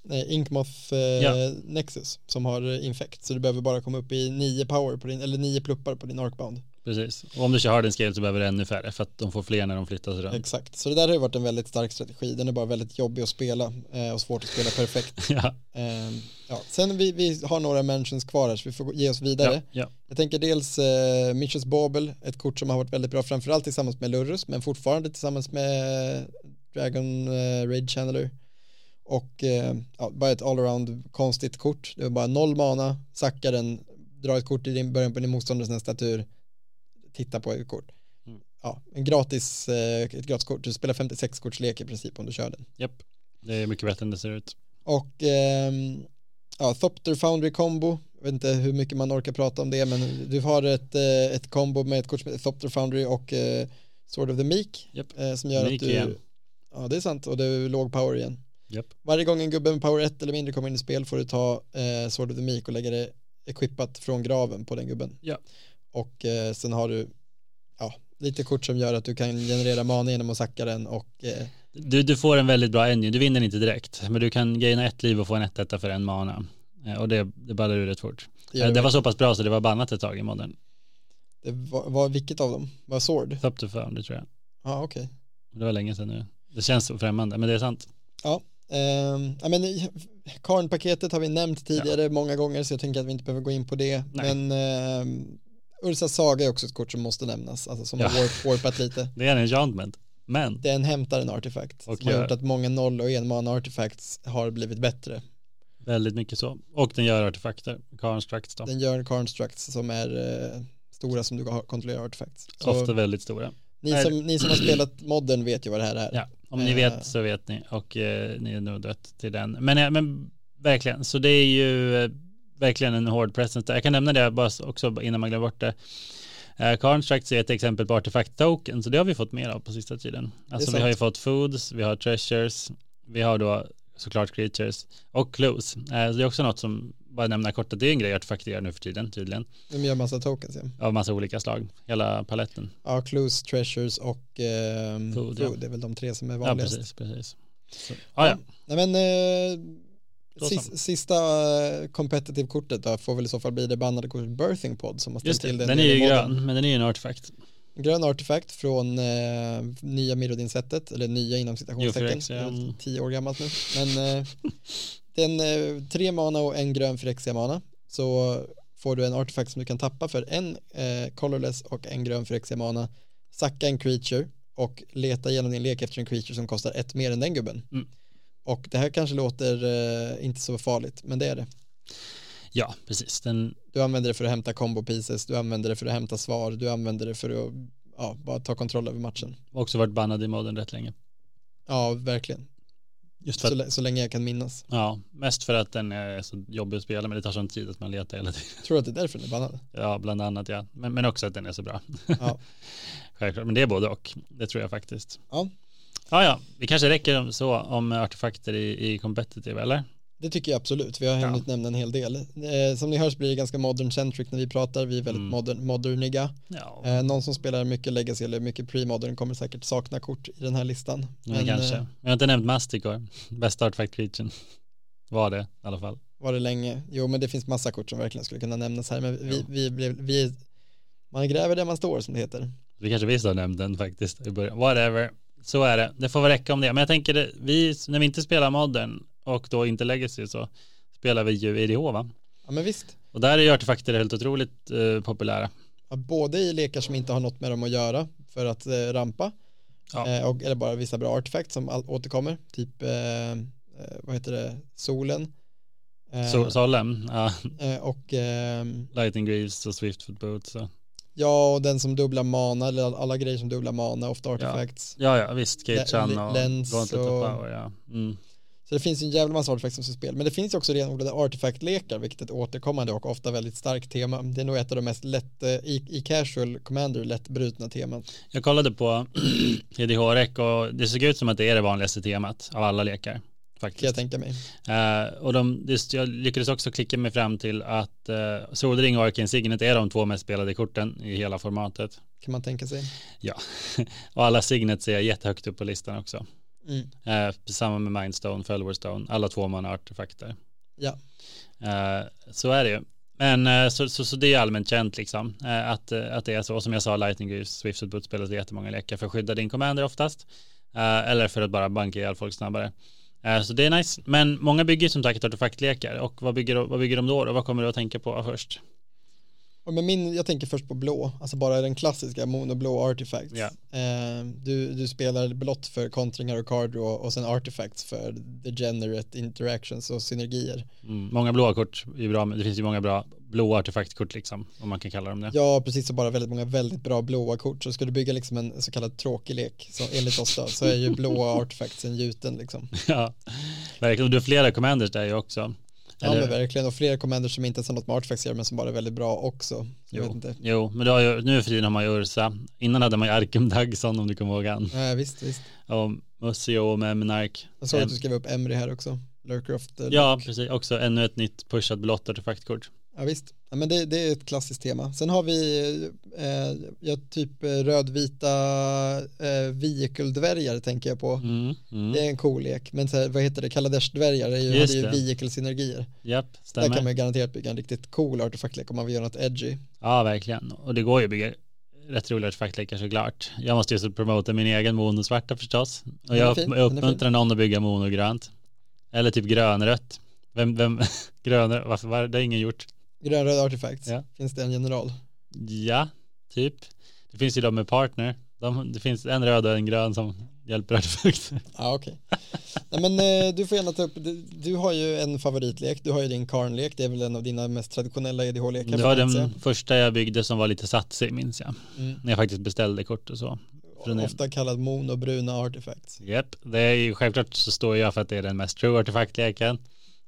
Speaker 1: nej, Inkmoth eh,
Speaker 2: Ja.
Speaker 1: Nexus som har infekt. Så du behöver bara komma upp i nio power på din, eller nio pluppar på din arkbound.
Speaker 2: Precis, och om du kör harden scale så behöver du ännu färre för att de får fler när de flyttas runt.
Speaker 1: Exakt, så det där har ju varit en väldigt stark strategi. Den är bara väldigt jobbig att spela eh, och svårt att spela
Speaker 2: <laughs>
Speaker 1: perfekt.
Speaker 2: Ja,
Speaker 1: Eh, ja. Sen vi, vi har några mentions kvar här så vi får gå- ge oss vidare.
Speaker 2: ja, ja.
Speaker 1: Jag tänker dels eh, Mitches Babel, ett kort som har varit väldigt bra, framförallt tillsammans med Lurrus, men fortfarande tillsammans med Dragon eh, Raid Channeler. Och eh, ja, bara ett allround konstigt kort. Det var bara noll mana, sacka den, dra ett kort i din början på din motståndares nästa tur, titta på ett kort.
Speaker 2: Mm.
Speaker 1: Ja, en gratis, eh, ett gratis kort. Du spelar 56 kortslek i princip om du kör den.
Speaker 2: Japp. det är mycket bättre än det ser ut.
Speaker 1: Och ehm, ja, Thopter Foundry Combo, jag vet inte hur mycket man orkar prata om det, men du har ett, eh, ett combo med ett kort som heter Thopter Foundry och eh, Sword of the Meek
Speaker 2: Japp.
Speaker 1: eh, som gör
Speaker 2: Meek
Speaker 1: att du...
Speaker 2: igen.
Speaker 1: Ja, det är sant, och det är låg power igen.
Speaker 2: Japp.
Speaker 1: Varje gång en gubbe med power 1 eller mindre kommer in i spel får du ta eh, Sword of the Meek och lägga det equippat från graven på den gubben.
Speaker 2: Ja.
Speaker 1: Och eh, sen har du ja, lite kort som gör att du kan generera mana genom att sacka den och eh,
Speaker 2: Du, du får en väldigt bra engine, du vinner inte direkt, men du kan gaina ett liv och få en 1 för en mana. Eh, Och det, det ballar ur rätt fort.
Speaker 1: gör
Speaker 2: Eh, Det var så pass bra så det var bannat ett tag i modden.
Speaker 1: det var, var, vilket av dem? Var Sword?
Speaker 2: Top to found, det tror jag.
Speaker 1: Ja, okej.
Speaker 2: Det var länge sedan nu. Det känns så främmande, men det är sant.
Speaker 1: Ehm, ja, men i- Karn-paketet har vi nämnt tidigare många gånger så jag tänker att vi inte behöver gå in på det.
Speaker 2: Nej.
Speaker 1: Men ehm, Ursa Saga är också ett kort som måste nämnas, alltså som
Speaker 2: Ja.
Speaker 1: har warp, warpat lite.
Speaker 2: Det är en enchantment. Men
Speaker 1: Den hämtar en artefakt
Speaker 2: Och
Speaker 1: som har
Speaker 2: gör-
Speaker 1: gjort att många noll och enmana artefacts har blivit bättre.
Speaker 2: väldigt mycket så. Och den gör artefakter. Constructs då.
Speaker 1: Den gör Karnstructs som är eh, stora som du har- kontrollerar artefacts.
Speaker 2: Ofta
Speaker 1: Så
Speaker 2: väldigt stora.
Speaker 1: ni, som, ni som har spelat modden vet ju vad det här är.
Speaker 2: Ja, om ni
Speaker 1: Eh.
Speaker 2: vet så vet ni. Och eh, ni är nog dött till den. Men, eh, men verkligen, så det är ju eh, verkligen en hård presence. där. Jag kan nämna det bara s- också innan man glömmer bort det. Eh, Constructs är ett exempel på artefakt-token, så det har vi fått mer av på sista tiden. Alltså vi
Speaker 1: sant.
Speaker 2: har ju fått foods, vi har treasures, vi har då såklart creatures och clues. Eh, så det är också något som, bara nämna kort, att det är en grej artefakter gör nu för tiden tydligen.
Speaker 1: De gör massa tokens. Ja,
Speaker 2: av massa olika slag, hela paletten.
Speaker 1: ja Clues, Treasures och ehm,
Speaker 2: Food,
Speaker 1: food,
Speaker 2: ja.
Speaker 1: det är väl de tre som är
Speaker 2: Ja,
Speaker 1: vanligast.
Speaker 2: precis, precis. Så, ja, ja.
Speaker 1: Nej men eh,
Speaker 2: Då
Speaker 1: sis,
Speaker 2: så.
Speaker 1: sista eh, competitive kortet då får väl i så fall bli det bannade kortet Birthing Pod som har ställt
Speaker 2: Just det,
Speaker 1: till det.
Speaker 2: den är ju grön, men den är ju en artefakt.
Speaker 1: Grön artefakt från eh, nya Mirrodin-sättet, eller nya inom
Speaker 2: Jo, för
Speaker 1: citationstecken,
Speaker 2: Exia,
Speaker 1: det är väl
Speaker 2: mm.
Speaker 1: tio år gammalt nu. Men
Speaker 2: <laughs>
Speaker 1: eh, den, eh, tre mana och en grön Phyrexia mana. Så får du en artefakt som du kan tappa för en eh, colorless och en grön Phyrexia mana. Sacka en creature och leta igenom din lek efter en creature som kostar ett mer än den gubben.
Speaker 2: Mm.
Speaker 1: Och det här kanske låter eh, inte så farligt, men det är det.
Speaker 2: Ja, precis. Den,
Speaker 1: Du använder det för att hämta combo pieces, du använder det för att hämta svar, du använder det för att ja, bara ta kontroll över matchen.
Speaker 2: har också varit bannad i modden rätt länge.
Speaker 1: Ja, verkligen.
Speaker 2: Just för
Speaker 1: Så,
Speaker 2: att,
Speaker 1: lä- så länge jag kan minnas.
Speaker 2: ja, mest för att den är så jobbig att spela men det tar sån tid att man letar hela tiden.
Speaker 1: Tror du att det är därför den är bannad?
Speaker 2: Ja, bland annat ja. Men, men också att den är så bra.
Speaker 1: Ja.
Speaker 2: <laughs> Självklart, men det är både och. Det tror jag faktiskt.
Speaker 1: Ja.
Speaker 2: Ja, ja. Vi kanske räcker om- så om artefakter i, i competitive, eller?
Speaker 1: Det tycker jag absolut, vi har hunnit nämna en hel del. Eh, som ni hörs blir det ganska modern centric när vi pratar, vi är väldigt
Speaker 2: Mm.
Speaker 1: modern, moderniga.
Speaker 2: Ja,
Speaker 1: Eh, någon som spelar mycket legacy eller mycket pre-modern kommer säkert sakna kort i den här listan.
Speaker 2: men, kanske.
Speaker 1: eh,
Speaker 2: Jag har inte nämnt Masticor, <laughs> bästa artefact-creaturen. Var det i alla fall.
Speaker 1: var det länge? Jo, men det finns massa kort som verkligen skulle kunna nämnas här, men vi,
Speaker 2: Jo.
Speaker 1: vi, blev, vi man gräver där man står som det heter.
Speaker 2: Vi kanske visst har nämnt den faktiskt i början. Whatever. Så är det. Det får väl räcka om det. Men jag tänker, det, vi, när vi inte spelar modern och då inte legacy så spelar vi ju IDH va?
Speaker 1: Ja, men visst.
Speaker 2: Och där är ju artefakter helt otroligt eh, populära.
Speaker 1: Ja, både i lekar som inte har något med dem att göra för att eh, rampa
Speaker 2: Ja.
Speaker 1: eh, och, eller bara vissa bra artefakt som all, återkommer, typ eh, eh, vad heter det, solen eh,
Speaker 2: So Solemn, ja, <laughs>
Speaker 1: eh, och ehm,
Speaker 2: Lightning Greaves och Swiftfoot Boots. Och.
Speaker 1: ja, och den som dubblar mana eller all- alla grejer som dubblar mana, ofta artefacts.
Speaker 2: Ja, ja, visst. Kate
Speaker 1: Le-
Speaker 2: Chan
Speaker 1: le-
Speaker 2: och
Speaker 1: Lens
Speaker 2: Gauntlet
Speaker 1: och-
Speaker 2: of Power, ja. Mm.
Speaker 1: Så det finns ju en jävla massa artefakt som står i spel, men det finns ju också renodlade artefaktlekar, vilket är ett återkommande och ofta väldigt starkt tema. Det är nog ett av de mest lätt, eh, i, i casual commander, lätt brutna teman.
Speaker 2: Jag kollade på <clears throat> EDH-rec och det såg ut som att det är det vanligaste temat av alla lekar.
Speaker 1: Kan jag
Speaker 2: Faktiskt.
Speaker 1: tänka mig.
Speaker 2: Eh, och de, just, jag lyckades också klicka mig fram till att uh, Solring och Arcane Signet är de två mest spelade korten i hela formatet.
Speaker 1: Kan man tänka sig.
Speaker 2: Ja, <laughs> och alla Signets är jättehögt upp på listan också.
Speaker 1: Mm.
Speaker 2: Eh, samma med Mindstone, Fellowstone, alla två man artefakter.
Speaker 1: Ja.
Speaker 2: Eh, så är det ju. Men eh, så, så, så det är allmänt känt liksom eh, att, eh, att det är så. Och som jag sa, Lightning Greaves, Swift och Boot spelas i jättemånga lekar för att skydda din commander oftast. Eh, eller för att bara banka ihjäl folk snabbare. Eh, så det är nice. Men många bygger ju som sagt artefaktlekar. Och vad bygger, vad bygger de då? Och vad kommer du att tänka på först?
Speaker 1: Ja, men min, jag tänker först på blå, alltså bara den klassiska monoblå artifacts.
Speaker 2: Ja.
Speaker 1: Eh, du, du spelar blått för kontringar och card draw och sen artifacts för degenerate interactions och synergier.
Speaker 2: Mm. Många blåa kort är ju bra. men Det finns ju många bra blåa artefaktkort liksom. Om man kan kalla dem det.
Speaker 1: Ja, precis, så bara väldigt många väldigt bra blåa kort. Så ska du bygga liksom en så kallad tråkig lek, så enligt oss då, så är ju
Speaker 2: <laughs>
Speaker 1: blåa artifacts en gjuten liksom.
Speaker 2: <laughs> ja. Verkligen. Och du har flera commanders där ju också.
Speaker 1: Ja,
Speaker 2: Eller-
Speaker 1: men verkligen, och flera commanders som inte ens har något med artifacts att göra, men som bara är väldigt bra också. Så Jag vet inte.
Speaker 2: Jo, men du har ju, nu för tiden har man ju Ursa. Innan hade man ju Arkem Dagson om du kommer ihåg han.
Speaker 1: Nej, visst, visst.
Speaker 2: Och Museo med Menark.
Speaker 1: Jag såg
Speaker 2: Em-
Speaker 1: att du skrev upp Emry här också. Lurker of the
Speaker 2: Ja, precis. Också ännu ett nytt pushat blått artefaktkort.
Speaker 1: Ja visst, ja, men det, det är ett klassiskt tema. Sen har vi eh, ja, typ eh, rödvita eh, vehicle-dvärgar tänker jag på.
Speaker 2: Mm, mm.
Speaker 1: Det är en cool lek, men så här, vad heter det, Kaladesh-dvärgar är ju,
Speaker 2: Just
Speaker 1: hade ju
Speaker 2: det.
Speaker 1: vehicle-synergier.
Speaker 2: Japp,
Speaker 1: Där kan
Speaker 2: stämmer.
Speaker 1: man ju garanterat bygga en riktigt cool artefaktlek om man vill göra något edgy.
Speaker 2: Ja, verkligen. Och det går ju att bygga rätt roliga artefaktlekar såklart. Jag måste ju så promota min egen monosvarta förstås. Och
Speaker 1: är
Speaker 2: jag,
Speaker 1: fin,
Speaker 2: upp,
Speaker 1: den är
Speaker 2: jag uppmuntrar någon att bygga monogrönt. Eller typ grönrött. Vem, vem, <laughs> grönrött, varför var det har ingen gjort?
Speaker 1: Grönröd artefakt,
Speaker 2: Ja.
Speaker 1: finns det en general?
Speaker 2: Ja, typ. Det finns ju de med partner. De, det finns en röd och en grön som hjälper artefakter.
Speaker 1: Ja okej. <laughs> Nej men eh, du får gärna ta upp, du, du har ju en favoritlek, du har ju din Karn-lek, det är väl en av dina mest traditionella E EDH-lekar.
Speaker 2: Det
Speaker 1: får
Speaker 2: var
Speaker 1: man
Speaker 2: den
Speaker 1: säga.
Speaker 2: första jag byggde som var lite satsig minns jag.
Speaker 1: Mm.
Speaker 2: När jag faktiskt beställde kort och så. Från en-
Speaker 1: Ofta kallad monobruna artefakt.
Speaker 2: Japp, det är ju självklart så står jag för att det är den mest true artefaktleken.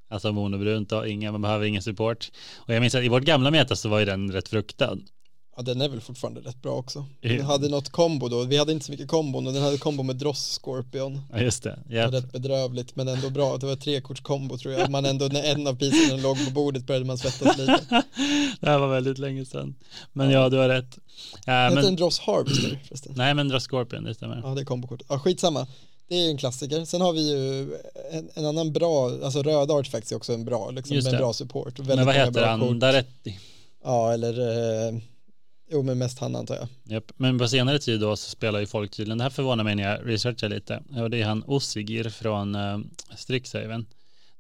Speaker 2: Alltså monobrunt och inga, man behöver ingen support. Och jag minns att i vårt gamla meta så var ju den rätt fruktad.
Speaker 1: Ja den är väl fortfarande rätt bra också. Vi
Speaker 2: Ja.
Speaker 1: hade något kombo då, vi hade inte så mycket kombon och den hade kombo med Dross Scorpion.
Speaker 2: Ja, just det.
Speaker 1: Det var
Speaker 2: Japp.
Speaker 1: Rätt bedrövligt men ändå bra, det var ett trekortskombo tror jag. Man ändå, när en av piserna låg på bordet började man svettas lite.
Speaker 2: <laughs> det här var väldigt länge sedan. Men ja, du har rätt. Ja,
Speaker 1: Hette den
Speaker 2: men,
Speaker 1: Dross Harvester förresten?
Speaker 2: nej, men dra Scorpion, det stämmer.
Speaker 1: Ja det är kombokort. Ja skitsamma, det är ju en klassiker. Sen har vi ju en, en annan bra, alltså röda artefakter är också en bra, liksom,
Speaker 2: Just
Speaker 1: med en
Speaker 2: det.
Speaker 1: bra support. och
Speaker 2: Men
Speaker 1: väldigt
Speaker 2: vad
Speaker 1: många
Speaker 2: heter
Speaker 1: bra
Speaker 2: han?
Speaker 1: kort.
Speaker 2: Daretti.
Speaker 1: Ja eller, eh, jo men mest han antar jag.
Speaker 2: Japp, men på senare tid då så spelar ju folk tydligen, det här förvånar mig när jag researchar lite, och det är han Osigir från uh, Strixhaven.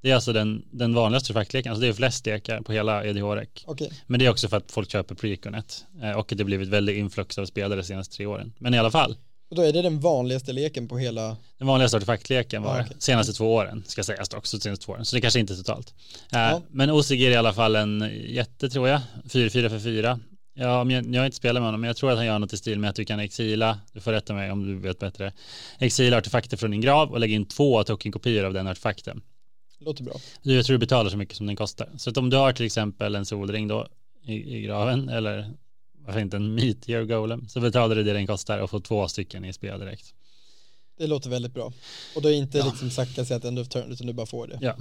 Speaker 2: Det är alltså den, den vanligaste fackleken, alltså det är flest lekar på hela E edh
Speaker 1: Okej,
Speaker 2: Men det är också för att folk köper preconet eh, och att det blivit väldigt influx av spelare de senaste tre åren. Men i alla fall,
Speaker 1: Och då är det den vanligaste leken på hela,
Speaker 2: Den vanligaste artefaktleken var
Speaker 1: Ja,
Speaker 2: det
Speaker 1: okej.
Speaker 2: senaste två åren, ska sägas dock, så senaste två åren, så det kanske inte är totalt. Eh,
Speaker 1: Ja.
Speaker 2: Men Osig är i alla fall en jätte tror jag, 4-4 för 4. Ja, om jag, jag har inte spelat med honom, men jag tror att han gör något i stil med att du kan exila, du får rätta mig om du vet bättre, exila artefakter från din grav och lägga in två tokenkopior av den artefakten.
Speaker 1: låter bra.
Speaker 2: Du, jag tror du betalar så mycket som den kostar. Så att om du har till exempel en solring då i, i graven eller varför inte en meteor golem så betalar du det den kostar och får två stycken i spel direkt.
Speaker 1: Det låter väldigt bra. Och då är inte
Speaker 2: Ja.
Speaker 1: liksom sacka sig att end of turn utan du bara får det.
Speaker 2: Eh,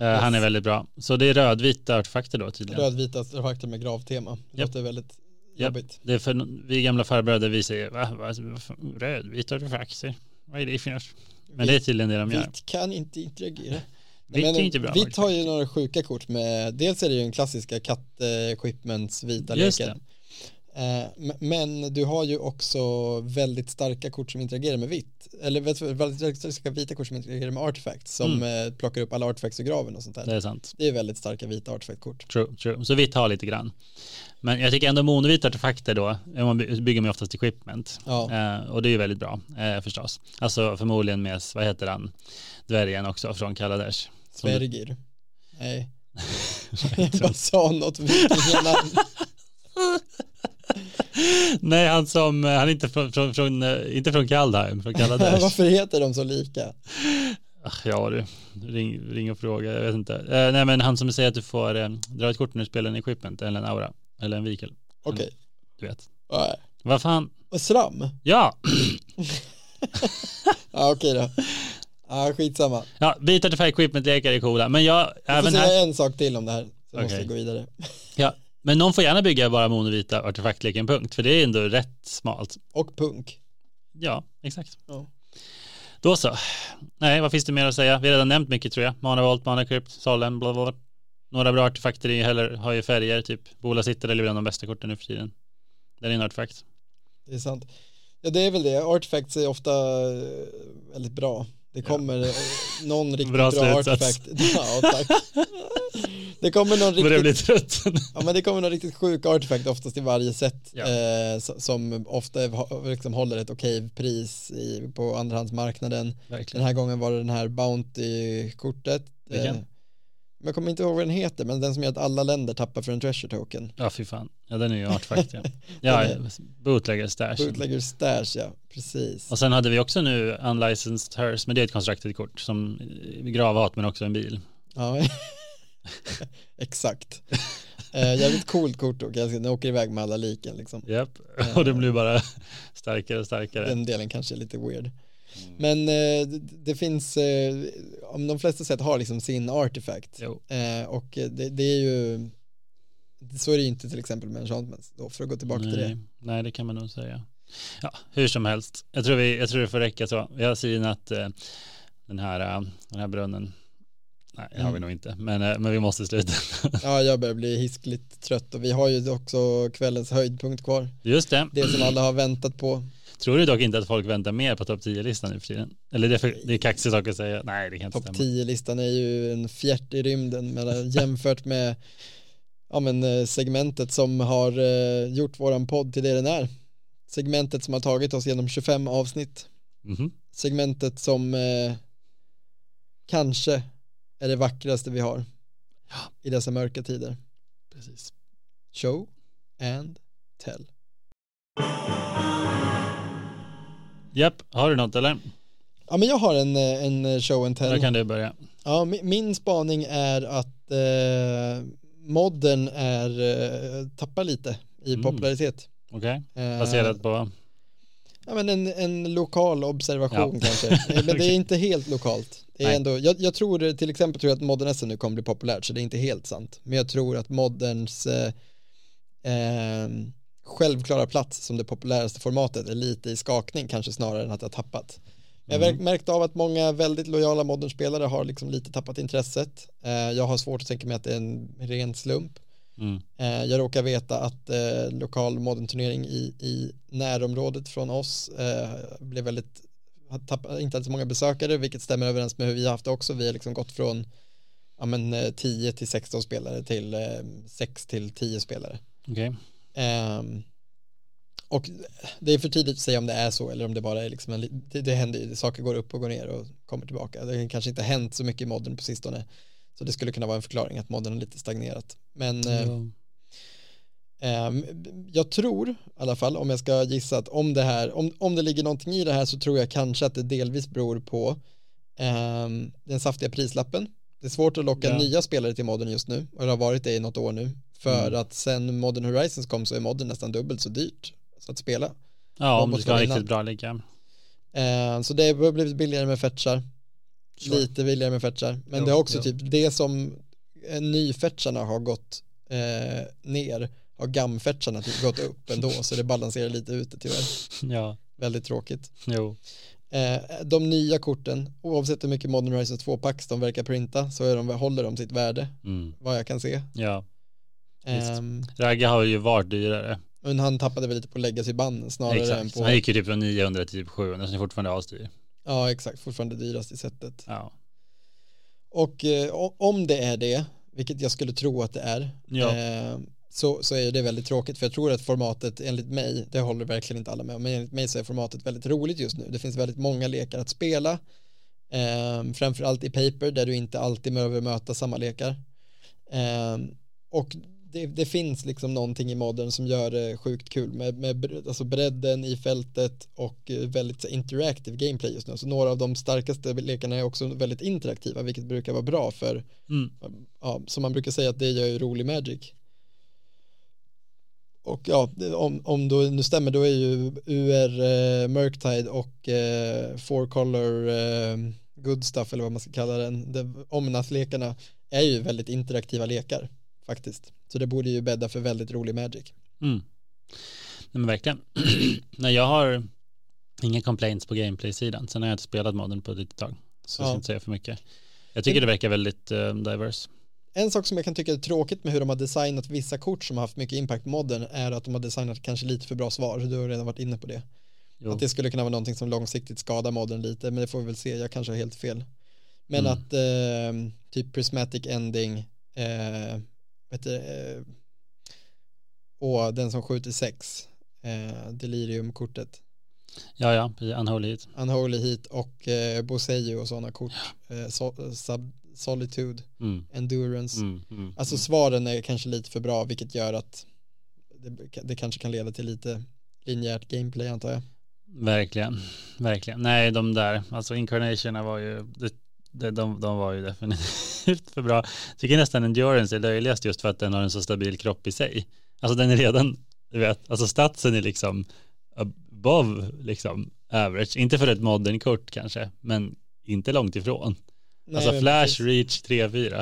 Speaker 1: Yes.
Speaker 2: Han är väldigt bra. Så det är rödvita artefakter då tydligen.
Speaker 1: Rödvita artefakter med gravtema. Det
Speaker 2: Japp.
Speaker 1: låter väldigt
Speaker 2: Japp.
Speaker 1: jobbigt.
Speaker 2: Det är för, vi gamla farbröder vi säger va, va, vad fan, rödvita artefakter. Vad är det för något? Men det är tydligen det de gör.
Speaker 1: Vitt kan inte interagera.
Speaker 2: Vitt
Speaker 1: Men
Speaker 2: är inte bra.
Speaker 1: Vitt har ju några sjuka kort med, dels är det ju den klassiska kattskipmens eh, vita
Speaker 2: Just
Speaker 1: leken. Eh, m- Men du har ju också väldigt starka kort som interagerar med vitt. Eller vet du, väldigt starka vita kort som interagerar med artefacts som
Speaker 2: Mm.
Speaker 1: eh, plockar upp alla artefacts ur graven och sånt där.
Speaker 2: Det är sant.
Speaker 1: Det är väldigt starka vita artefaktkort.
Speaker 2: True, true. Så vitt har lite grann. Men jag tycker ändå monovita artefakter då, man by- bygger man ju oftast till shipment.
Speaker 1: Ja.
Speaker 2: Eh, och det är ju väldigt bra eh, förstås. Alltså förmodligen med, vad heter han, dvärgen också från Kaladesh. Som-
Speaker 1: Svergir.
Speaker 2: <laughs>
Speaker 1: Nej. <laughs> Jag bara sa något vikinganamn.
Speaker 2: Nej, han som, eh, han är inte från, från, från eh, inte från
Speaker 1: <laughs>
Speaker 2: Kaldheim, från Kaladesh.
Speaker 1: Varför heter de så lika?
Speaker 2: Ach, ja du, ring, ring och fråga, jag vet inte. Eh, nej men han som säger att du får eh, dra ett kort när du spelar en equipment eller en aura, eller en vikel,
Speaker 1: Okej.
Speaker 2: Mm. du vet.
Speaker 1: Ja.
Speaker 2: Vad fan,
Speaker 1: Och sram?
Speaker 2: ja,
Speaker 1: Ja okej då. Ja skitsamma.
Speaker 2: ja vita artefakt equipment-lekar är coola, men jag,
Speaker 1: Jag får
Speaker 2: även här,
Speaker 1: säga en sak till om det här. Så måste
Speaker 2: Okej.
Speaker 1: vi gå vidare.
Speaker 2: ja, men någon får gärna bygga bara monovita artefaktleken punkt, för det är ändå rätt smalt.
Speaker 1: Och punk.
Speaker 2: Ja, exakt.
Speaker 1: Ja.
Speaker 2: Då så. Nej, vad finns det mer att säga? Vi har redan nämnt mycket tror jag. Manavolt, Manacrypt, Solen, bla bla. bla. Några bra artefakter i heller har ju färger, typ Bola sitter eller bland de bästa korten nu för tiden. Den är en artefakt.
Speaker 1: Det är sant. Ja det är väl det. Artifacts är ofta eh, väldigt bra. Det kommer eh, någon riktigt
Speaker 2: <laughs> Bra
Speaker 1: bra,
Speaker 2: slutsats.
Speaker 1: artifact. <laughs> Ja
Speaker 2: <laughs>
Speaker 1: tack. Det kommer någon
Speaker 2: Börjar bli
Speaker 1: riktigt,
Speaker 2: trött.
Speaker 1: ja, men det kommer någon riktigt sjuk artifact oftast i varje set.
Speaker 2: Ja.
Speaker 1: Eh, so- som ofta ha- liksom håller ett okej pris i, på andrahandsmarknaden. Den
Speaker 2: Verkligen.
Speaker 1: här gången var det den här Bounty-kortet. Eh,
Speaker 2: Vilken?
Speaker 1: men jag kommer inte ihåg vad den heter, men den som gör att alla länder tappar för en treasure token.
Speaker 2: Ja, fy fan. Ja, den är ju en artefakt. Ja, <laughs> ja bootlegger stash.
Speaker 1: Bootlegger stash, ja, precis.
Speaker 2: Och sen hade vi också nu Unlicensed Hers, men det är ett constructed kort som eh, gravhat men också en bil.
Speaker 1: Ja. <laughs> Exakt. Eh, jävligt coolt kort dock, jag ska- den åker iväg med alla liken liksom.
Speaker 2: Japp, <laughs> och den blir bara starkare och starkare.
Speaker 1: Den delen kanske är lite weird.
Speaker 2: Mm.
Speaker 1: Men eh, det, det finns, eh, om de flesta sätt har liksom sin artefakt.
Speaker 2: Jo,
Speaker 1: Eh, och eh, det, det är ju, så är det ju inte till exempel med enchantments då, för att gå tillbaka till det.
Speaker 2: nej, nej, det kan man nog säga. Ja, hur som helst, jag tror, vi, jag tror det får räcka så. Jag har synat eh, den, här, eh, den här brunnen. Nej, det har vi
Speaker 1: Mm.
Speaker 2: nog inte, men, eh, men vi
Speaker 1: <laughs>
Speaker 2: måste sluta.
Speaker 1: Ja, jag börjar bli hiskligt trött och vi har ju också kvällens höjdpunkt kvar.
Speaker 2: Just det.
Speaker 1: Det som alla har väntat på.
Speaker 2: Tror du dock inte att folk väntar mer på topp 10-listan nu för tiden? Eller det är, för, det är kaxigt sak att säga. Nej, det kan inte
Speaker 1: Topp
Speaker 2: stämma.
Speaker 1: 10-listan är ju en fjärt i rymden men eh, jämfört med ja, men, eh, segmentet som har eh, gjort våran podd till det den är. Segmentet som har tagit oss genom 25 avsnitt.
Speaker 2: Mhm.
Speaker 1: Segmentet som eh, kanske är det vackraste vi har i dessa mörka tider.
Speaker 2: Precis.
Speaker 1: Show and tell.
Speaker 2: Japp, har du något eller?
Speaker 1: Ja men jag har en, eh, en show and
Speaker 2: Då
Speaker 1: tell.
Speaker 2: kan du börja.
Speaker 1: Ja, mi- min spaning är att eh, modden är, eh, tappar lite i
Speaker 2: Mm.
Speaker 1: popularitet.
Speaker 2: Okej,
Speaker 1: Eh,
Speaker 2: baserat på?
Speaker 1: Ja, men en, en lokal observation kanske. Eh, Men det är inte helt lokalt. Det är
Speaker 2: Nej.
Speaker 1: ändå, jag, jag tror, eh, till exempel tror jag att modden SM nu kommer bli populärt, så det är inte helt sant. Men jag tror att moddens eh, eh, självklara plats som det populäraste formatet är lite i skakning, kanske snarare än att det har tappat. Men Jag har märkt av att många väldigt lojala modernspelare har liksom lite tappat intresset. Eh, jag har svårt att tänka mig att det är en ren slump.
Speaker 2: Mm.
Speaker 1: Eh, jag råkar veta att eh, lokal modernturnering i, i närområdet från oss eh, blev väldigt, har tappat, inte hade så många besökare, vilket stämmer överens med hur vi har haft det också. Vi har liksom gått från ja, men, eh, 10 till 16 spelare till eh, 6 till 10 spelare.
Speaker 2: Okej,
Speaker 1: Ehm, Och det är för tidigt att säga om det är så eller om det bara är liksom en, li- det, det händer ju, saker går upp och går ner och kommer tillbaka. Det har kanske inte hänt så mycket i modden på sistone. Så det skulle kunna vara en förklaring att modden har lite stagnerat. Men eh,
Speaker 2: Jo.
Speaker 1: Ehm, jag tror i alla fall, om jag ska gissa, att om det här, om, om det ligger någonting i det här så tror jag kanske att det delvis beror på ehm, den saftiga prislappen. Det är svårt att locka
Speaker 2: Ja.
Speaker 1: nya spelare till modden just nu och det har varit det i något år nu. För att sen Modern Horizons kom så är modden nästan dubbelt så dyrt så att spela.
Speaker 2: Ja, om
Speaker 1: Robot
Speaker 2: du ska ha
Speaker 1: var
Speaker 2: en
Speaker 1: innan.
Speaker 2: riktigt bra liga.
Speaker 1: Ehm, så det har blivit billigare med fetchar,
Speaker 2: Sure.
Speaker 1: lite billigare med fetchar. Men
Speaker 4: Jo,
Speaker 1: det är också
Speaker 4: jo.
Speaker 1: typ det som eh, nyfetcharna har gått eh, ner har gamfetcharna typ gått upp
Speaker 2: <laughs>
Speaker 1: ändå så det balanserar lite ut det tyvärr.
Speaker 2: Ja,
Speaker 1: Väldigt tråkigt. <laughs>
Speaker 2: jo.
Speaker 1: Eh, de nya korten, oavsett hur mycket Modern Horizons 2-packs de verkar printa så är de, håller de sitt värde,
Speaker 2: Mm.
Speaker 1: vad jag kan se.
Speaker 2: Ja, Visst.
Speaker 1: Ehm,
Speaker 2: Ragga har ju varit dyrare.
Speaker 1: men han tappade väl lite på legacy-band snarare än
Speaker 2: Exakt.
Speaker 1: på...
Speaker 2: Han gick ju typ från 900 till typ 700, så det är fortfarande asdyr.
Speaker 1: Ja, exakt. Fortfarande dyrast i sättet.
Speaker 2: Ja.
Speaker 1: Och eh, o- om det är det, vilket jag skulle tro att det är,
Speaker 2: Ja.
Speaker 1: eh, så, så är det väldigt tråkigt. För jag tror att formatet, enligt mig, det håller verkligen inte alla med om, men enligt mig så är formatet väldigt roligt just nu. Det finns väldigt många lekar att spela, eh, framförallt i paper där du inte alltid behöver möta samma lekar. Eh, och det, det finns liksom någonting i modden som gör det sjukt kul med, med bre- alltså bredden i fältet och eh, väldigt så, interactive gameplay just nu. Så några av de starkaste lekarna är också väldigt interaktiva, vilket brukar vara bra för,
Speaker 2: Mm.
Speaker 1: ja, som man brukar säga att det gör ju rolig magic. Och ja, det- om, om då, nu stämmer, då är ju UR eh, Murktide och eh, Four Color eh, Good Stuff, eller vad man ska kalla den, de- Omnath-lekarna är ju väldigt interaktiva lekar faktiskt. Så det borde ju bädda för väldigt rolig Magic.
Speaker 2: Mm. Nej men verkligen. <clears throat> Nej jag har inga complaints på gameplay-sidan. Sen har jag inte spelat modden på ett litet tag. Så jag
Speaker 1: Ja.
Speaker 2: ska inte säga för mycket. Jag tycker det verkar väldigt eh, diverse.
Speaker 1: En sak som jag kan tycka är tråkigt med hur de har designat vissa kort som har haft mycket impact på modden är att de har designat kanske lite för bra svar. Du har redan varit inne på det.
Speaker 2: Jo.
Speaker 1: Att det skulle kunna vara någonting som långsiktigt skadar modden lite, men det får vi väl se, jag kanske har helt fel. Men
Speaker 2: Mm.
Speaker 1: att eh, typ prismatic ending, eh, vet du, eh, och den som skjuter sex, eh, delirium-kortet,
Speaker 2: Ja, ja, i Unholy Heat.
Speaker 1: unholy heat och eh, boseju och sådana kort, eh, so- sub- solitude,
Speaker 2: Mm.
Speaker 1: endurance.
Speaker 2: Mm. Mm.
Speaker 1: Alltså svaren är kanske lite för bra, vilket gör att det, det kanske kan leda till lite linjärt gameplay antar jag.
Speaker 2: Verkligen, verkligen. Nej, de där, alltså incarnationerna var ju, det- det- de, de var ju definitivt för bra. Jag tycker nästan endurance är löjligast just för att den har en så stabil kropp i sig. Alltså den är redan, du vet, alltså statsen är liksom above liksom average. Inte för ett modern kort kanske, men inte långt ifrån.
Speaker 1: Nej,
Speaker 2: alltså
Speaker 1: men
Speaker 2: flash,
Speaker 1: precis.
Speaker 2: reach, 3-4.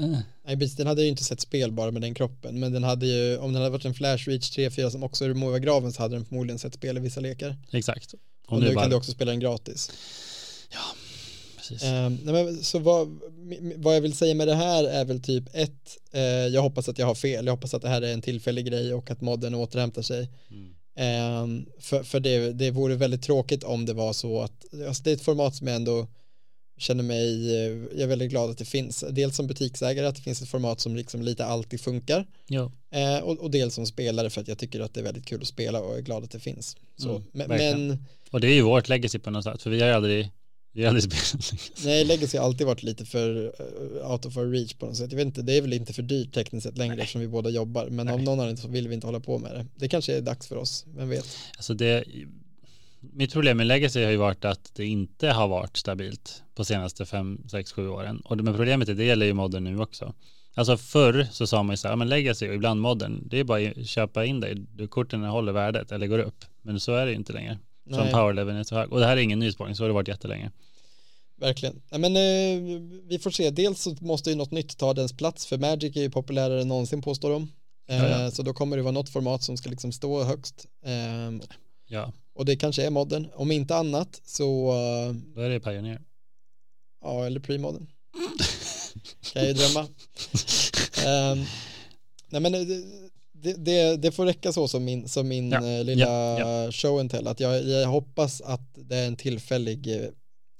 Speaker 2: Eh,
Speaker 1: Nej, precis, den hade ju inte sett spelbar med den kroppen, men den hade ju, om den hade varit en Flash Reach 3-4 som också removar graven så hade den förmodligen sett spel i vissa lekar.
Speaker 2: exakt.
Speaker 1: Och, nu, kan du också spela den gratis.
Speaker 2: precis.
Speaker 1: Ehm, nej, men, så vad, mi- mi- vad jag vill säga med det här är väl typ ett, eh, jag hoppas att jag har fel, jag hoppas att det här är en tillfällig grej och att modden återhämtar sig.
Speaker 2: Mm.
Speaker 1: Ehm, för för det, det vore väldigt tråkigt om det var så att, alltså det är ett format som jag ändå känner mig, eh, jag är väldigt glad att det finns. Dels som butiksägare att det finns ett format som liksom lite alltid funkar.
Speaker 2: Jo.
Speaker 1: Eh, och, och dels som spelare för att jag tycker att det är väldigt kul att spela och är glad att det finns. Så,
Speaker 2: Mm,
Speaker 1: men,
Speaker 2: verkligen.
Speaker 1: men
Speaker 2: Och det är ju vårt legacy på något sätt, för vi har ju aldrig, vi har aldrig <laughs> spelat.
Speaker 1: nej, Legacy har alltid varit lite för eh, out of our reach på något sätt. Jag vet inte, det är väl inte för dyrt tekniskt sett längre eftersom vi båda jobbar. Men av
Speaker 2: Nej.
Speaker 1: någon anledning så vill vi inte hålla på med det. Det kanske är dags för oss, vem vet.
Speaker 2: Alltså det, mitt problem med legacy har ju varit att det inte har varit stabilt på senaste fem sex sju åren. Och det, men problemet är det gäller ju modden nu också. Alltså förr så sa man ju så här, "Ja, men legacy och ibland modden, det är bara att köpa in dig, du, korten håller värdet eller går upp. Men så är det ju inte längre. Som
Speaker 1: Nej.
Speaker 2: powerleveln är så hög. Och det här är ingen nyspårning, så har det varit jättelänge.
Speaker 1: Verkligen. Nej, men, eh, vi får se. Dels så måste ju något nytt ta dens plats, för Magic är ju populärare än någonsin påstår de. Eh,
Speaker 2: Ja, ja.
Speaker 1: Så då kommer det vara något format som ska liksom stå högst. Ehm,
Speaker 2: Ja,
Speaker 1: och det kanske är modden. Om inte annat så, eh,
Speaker 2: då är det Pioneer. <laughs>
Speaker 1: ja, eller pre-modden. kan jag ju drömma. Ehm, nej, men eh, det, det, det får räcka så som min, som min
Speaker 2: Ja,
Speaker 1: eh, lilla
Speaker 2: ja,
Speaker 1: show and tell. Att jag, jag hoppas att det är en tillfällig,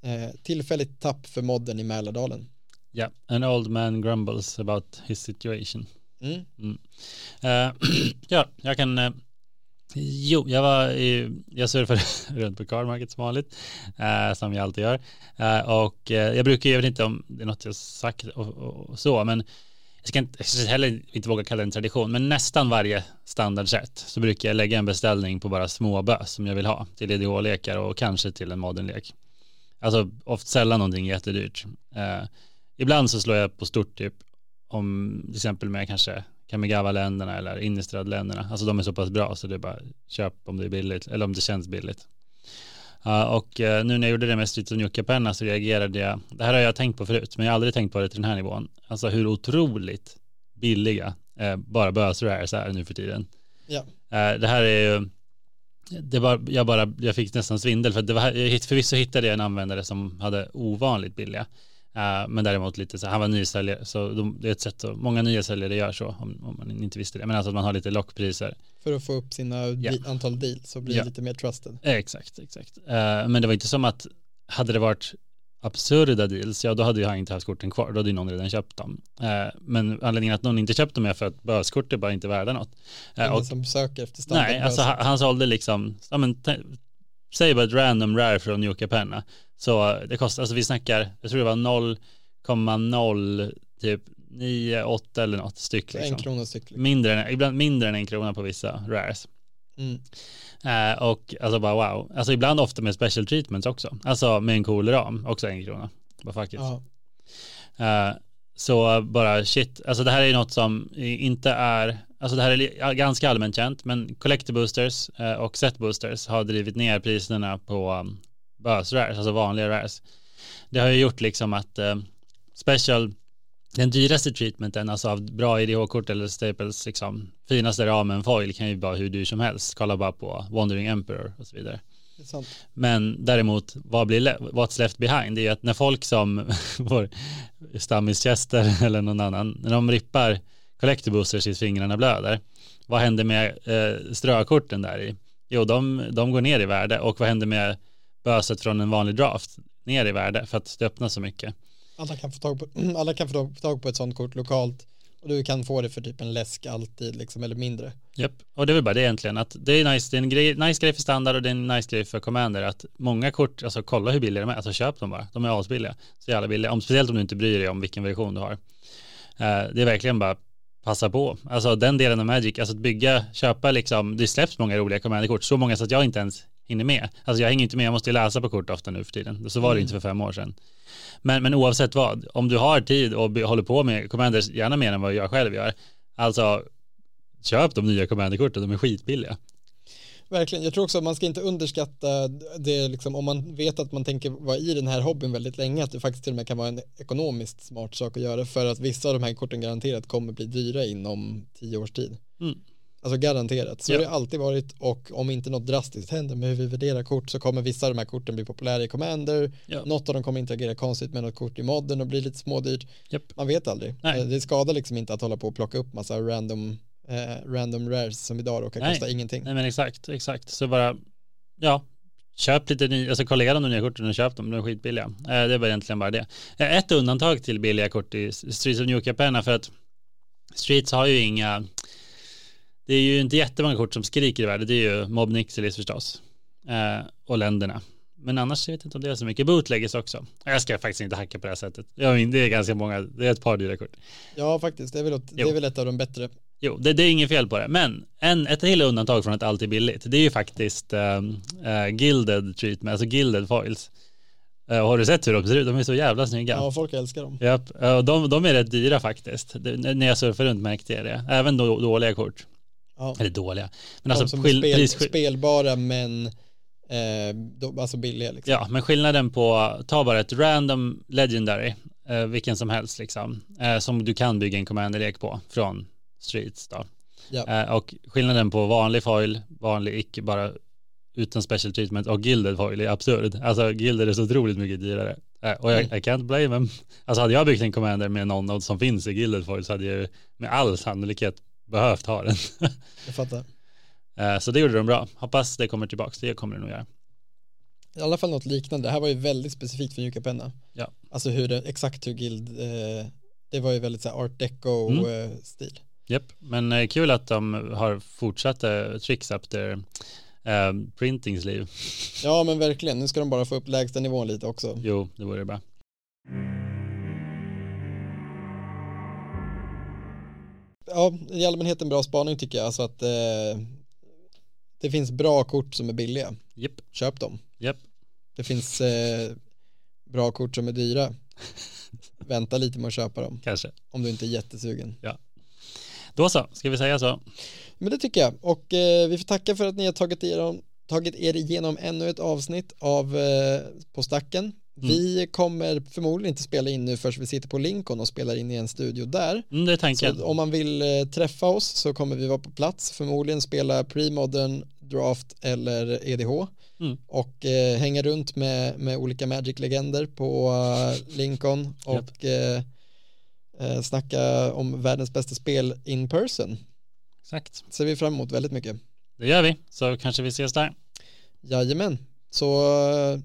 Speaker 1: eh, tillfälligt tapp för modden i Mälardalen.
Speaker 2: Ja, an old man grumbles about his situation.
Speaker 1: Mm.
Speaker 2: <clears throat> Eh, ja, jag kan eh, Jo, jag, var i, jag surfade <laughs> runt på car market som vanligt, eh, som jag alltid gör. Eh, och eh, jag brukar, jag vet inte om det är något jag sagt och, och, och så, men jag ska inte, jag ska heller inte våga kalla det en tradition, men nästan varje standardsätt så brukar jag lägga en beställning på bara småbös som jag vill ha till EDH-lekar och kanske till en modernlek. Alltså oft sällan någonting jättedyrt. Eh, ibland så slår jag på stort typ om till exempel med kanske Kamigawa-länderna eller Innistrad-länderna. Alltså de är så pass bra så det är bara köp om det är billigt eller om det känns billigt. Ja, och eh, nu när jag gjorde det med Streets of Nuka-penna så reagerade jag, det här har jag tänkt på förut, men jag har aldrig tänkt på det till den här nivån, alltså hur otroligt billiga eh, bara bösor är så här nu för tiden.
Speaker 1: Ja.
Speaker 2: Eh, det här är ju, det var, jag, bara, jag fick nästan svindel för att det var, jag hitt- förvisso hittade jag en användare som hade ovanligt billiga, eh, men däremot lite så här, han var nysäljare, så de, det är ett sätt, så, många nya säljare gör så, om, om man inte visste det, men alltså att man har lite lockpriser.
Speaker 1: För att få upp sina
Speaker 2: Ja.
Speaker 1: di- antal deals så blir
Speaker 2: Ja.
Speaker 1: det lite mer trusted.
Speaker 2: Eh, Exakt, exakt. Eh, men det var inte som att hade det varit absurda deals, ja då hade jag inte haft korten kvar, då hade ju någon redan köpt dem. Eh, men anledningen att någon inte köpt dem är för att börskort är bara inte värda något. Eh,
Speaker 1: Ingen
Speaker 2: och,
Speaker 1: som söker efter standard.
Speaker 2: nej, alltså han, han sålde liksom, ja, men, t- säg bara ett random rare från Yuka Penna, så eh, det kostar, alltså vi snackar, jag tror det var 0,0 typ 9, 8 eller något styck
Speaker 1: För en
Speaker 2: liksom.
Speaker 1: krona styck. liksom.
Speaker 2: Mindre än, ibland mindre än en krona på vissa rares.
Speaker 1: Mm.
Speaker 2: Eh, och alltså bara wow. Alltså ibland ofta med special treatments också. Alltså med en cool ram, också en krona. Bara faktiskt.
Speaker 1: Ja.
Speaker 2: Eh, så bara shit, alltså det här är ju något som inte är, alltså det här är li- ganska allmänt känt, men collector boosters eh, och set boosters har drivit ner priserna på um, bös rares, alltså vanliga rares. Det har ju gjort liksom att eh, special, den dyraste treatmenten, alltså av bra IDH-kort eller staples, liksom, finaste ramen foil kan ju vara hur dyr som helst. Kolla bara på Wandering Emperor och så vidare.
Speaker 1: Det är sant.
Speaker 2: Men däremot, vad blir le- what's left behind? Det är ju att när folk som <laughs> vår stammis Chester <laughs> eller någon annan, när de rippar collector boosters tills fingrarna blöder, vad händer med eh, strökorten där i? Jo, de, de går ner i värde och vad händer med böset från en vanlig draft? Ner i värde för att det öppnas så mycket.
Speaker 1: Alla kan få tag på, <clears throat> alla kan få tag på ett sånt kort lokalt och du kan få det för typ en läsk alltid liksom eller mindre.
Speaker 2: Japp, och det är väl bara det egentligen att det är nice, det är en grej, nice grej för standard och det är en nice grej för commander att många kort, alltså kolla hur billiga de är, alltså köp dem bara, de är asbilliga, så jävla billiga, om, speciellt om du inte bryr dig om vilken version du har. Eh, det är verkligen bara passa på, alltså den delen av Magic, alltså att bygga, köpa liksom, det släpps många roliga commanderkort, så många så att jag inte ens hinner med, alltså jag hänger inte med, jag måste ju läsa på kort ofta nu för tiden, så var det ju inte för fem år sedan. Men, men oavsett vad, om du har tid och be- håller på med commanders, gärna mer än vad jag själv gör, alltså köp de nya commanderkorten, de är skitbilliga.
Speaker 1: Verkligen, jag tror också att man ska inte underskatta det liksom, om man vet att man tänker vara i den här hobbyn väldigt länge att det faktiskt till och med kan vara en ekonomiskt smart sak att göra för att vissa av de här korten garanterat kommer bli dyra inom tio års tid.
Speaker 2: Mm.
Speaker 1: Alltså garanterat, så
Speaker 2: Ja.
Speaker 1: har det alltid varit och om inte något drastiskt händer med hur vi värderar kort så kommer vissa av de här korten bli populära i Commander,
Speaker 2: Ja.
Speaker 1: något av dem kommer interagera konstigt med något kort i modden och bli lite smådyrt.
Speaker 2: Japp.
Speaker 1: Man vet aldrig.
Speaker 2: Nej.
Speaker 1: Eh, Det skadar liksom inte att hålla på och plocka upp massa random, eh, random rares som idag råkar
Speaker 2: Nej.
Speaker 1: kosta ingenting.
Speaker 2: Nej men exakt, exakt. Så bara, ja, köp lite nya, alltså kolla igenom de nya korten och köp dem, de är skitbilliga. Eh, det är bara egentligen bara det. Eh, ett undantag till billiga kort i Streets of New Capenna för att Streets har ju inga, det är ju inte jättemånga kort som skriker i världen, det är ju Mob Nixilis förstås eh, och länderna. Men annars jag vet jag inte om det är så mycket bootleggers också. Jag ska faktiskt inte hacka på det här sättet. Jag menar, det är ganska många, det är ett par dyra kort.
Speaker 1: Ja, faktiskt. Det är väl, ett- det
Speaker 2: Jo.
Speaker 1: är väl ett av de bättre.
Speaker 2: Jo, det, det är inget fel på det. Men en, ett till undantag från att allt är billigt, det är ju faktiskt ehm, eh, gilded treatment, alltså gilded foils. Eh, har du sett hur de ser ut? De är så jävla snygga.
Speaker 1: Ja, folk älskar dem.
Speaker 2: Japp, eh, och de, de är rätt dyra faktiskt. Det, när- när jag surfar runt märkte jag det. Även då, dåliga kort.
Speaker 1: Ja.
Speaker 2: Eller dåliga. Men
Speaker 1: de
Speaker 2: alltså
Speaker 1: som
Speaker 2: skill-
Speaker 1: är
Speaker 2: prisskill-
Speaker 1: spel, spelbara men eh, de, alltså billiga liksom.
Speaker 2: Ja, men skillnaden på, ta bara ett random legendary, eh, vilken som helst liksom, eh, som du kan bygga en commander-lek på från streets då.
Speaker 1: Ja.
Speaker 2: Eh, och skillnaden på vanlig foil, vanlig icke, bara utan special treatment och gilded foil är absurd. Alltså gilded är så otroligt mycket dyrare. Eh, och jag, I can't blame them. Alltså hade jag byggt en commander med någon nod som finns i gilded foil så hade jag ju med all sannolikhet behövt ha den. <laughs>
Speaker 1: Jag fattar.
Speaker 2: eh, så det gjorde de bra. Hoppas det kommer tillbaka, det kommer det nog göra.
Speaker 1: I alla fall något liknande. Det här var ju väldigt specifikt för Nuka Penna.
Speaker 2: Ja. Mm.
Speaker 1: Alltså hur det, exakt hur Guild, eh, det var ju väldigt så här art deco-stil.
Speaker 2: Japp, men eh, kul att de har fortsatt eh, tricks after eh, printings liv.
Speaker 1: Ja men verkligen, nu ska de bara få upp lägsta nivån lite också.
Speaker 2: Jo, det vore bra.
Speaker 1: Ja, i allmänhet en bra spaning tycker jag, så att eh, det finns bra kort som är billiga,
Speaker 2: Japp,
Speaker 1: köp dem.
Speaker 2: japp.
Speaker 1: Det finns eh, bra kort som är dyra, vänta lite med att köpa dem
Speaker 2: Kanske.
Speaker 1: om du inte är jättesugen.
Speaker 2: Då så, ska vi säga så?
Speaker 1: Men det tycker jag. Och eh, vi får tacka för att ni har tagit er, om, tagit er igenom ännu ett avsnitt av eh, På stacken. Vi kommer förmodligen inte spela in nu förrän vi sitter på Lincoln och spelar in i en studio där.
Speaker 2: Mm, det är tanken.
Speaker 1: Så om man vill eh, träffa oss så kommer vi vara på plats, förmodligen spela premodern, draft eller EDH
Speaker 2: Mm.
Speaker 1: och eh, hänga runt med, med olika Magic-legender på eh, Lincoln och eh, eh, snacka om världens bästa spel in person.
Speaker 2: Exakt.
Speaker 1: Ser vi fram emot väldigt mycket.
Speaker 2: Det gör vi, så kanske vi ses där.
Speaker 1: Jajamän, så eh,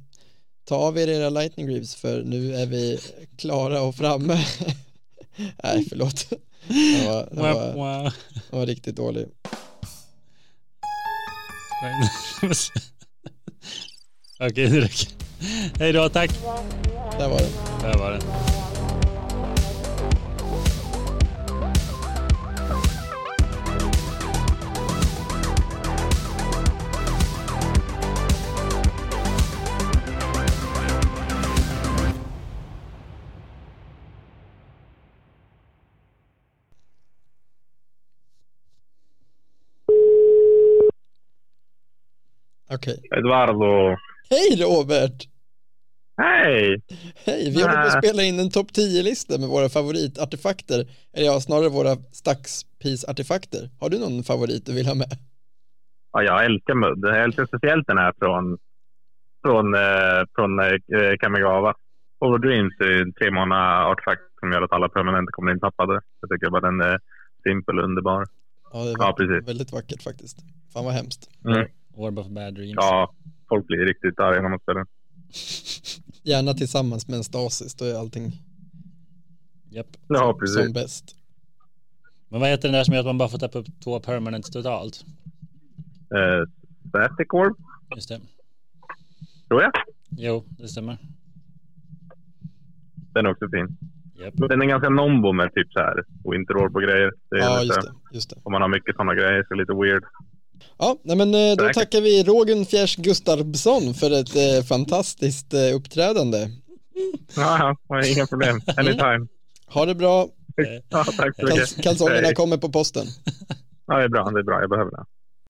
Speaker 1: ta av er era lightning greaves för nu är vi klara och framme. <laughs> Nej, förlåt. Det var, det var,
Speaker 2: Wah, wah.
Speaker 1: det var riktigt dålig.
Speaker 2: <laughs> Okej, det räcker. Hej då, tack.
Speaker 1: Där var det.
Speaker 2: Där var den.
Speaker 1: Okej.
Speaker 4: Eduardo.
Speaker 1: Hej Robert!
Speaker 4: Hej!
Speaker 1: Hej! Vi håller på att
Speaker 4: Nä.
Speaker 1: spela in en topp 10-lista med våra favoritartefakter. Eller ja, snarare våra stackspis-artefakter. Har du någon favorit du vill ha med?
Speaker 4: Ja, jag älskar mudd. Jag älskar speciellt den här från, från, eh, från eh, Kamigawa. Over Dreams är en tre månader artefakt som gör att alla permanenter kommer intappade. Jag tycker bara den är simpel och underbar.
Speaker 1: Ja, det
Speaker 4: Ja,
Speaker 1: var
Speaker 4: precis.
Speaker 1: väldigt vackert faktiskt. Fan vad hemskt.
Speaker 2: Orb of bad dreams.
Speaker 4: Ja, folk blir riktigt arga när man spelar den.
Speaker 1: Gärna tillsammans med en stasis, då är allting
Speaker 2: Japp.
Speaker 4: Ja,
Speaker 1: som
Speaker 4: precis.
Speaker 1: bäst.
Speaker 2: Men vad heter den där som gör att man bara får tappa upp två permanents totalt?
Speaker 4: Eh, Static Orb,
Speaker 2: Just det.
Speaker 4: tror jag.
Speaker 2: Jo, det stämmer.
Speaker 4: Den är också fin.
Speaker 2: Japp.
Speaker 4: Den är ganska nombo med typ så här Winter Orb och grejer. Det är
Speaker 1: Ja,
Speaker 4: lite,
Speaker 1: just det. Just det.
Speaker 4: Om man har mycket sådana grejer så är det lite weird. <laughs>
Speaker 1: Ja, nej men eh, då
Speaker 4: Säkert.
Speaker 1: tackar vi Rogen Fjärs Gustafsson för ett eh, fantastiskt eh, uppträdande.
Speaker 4: Ja, ja,
Speaker 1: <laughs>
Speaker 4: inga problem.
Speaker 1: Mm.
Speaker 4: Anytime.
Speaker 1: Ha det bra.
Speaker 2: Eh,
Speaker 4: Ja, tack så mycket.
Speaker 1: Kals- kalsongerna
Speaker 4: Hej.
Speaker 1: kommer på posten.
Speaker 4: Ja, det är bra. Det är bra. Jag behöver det.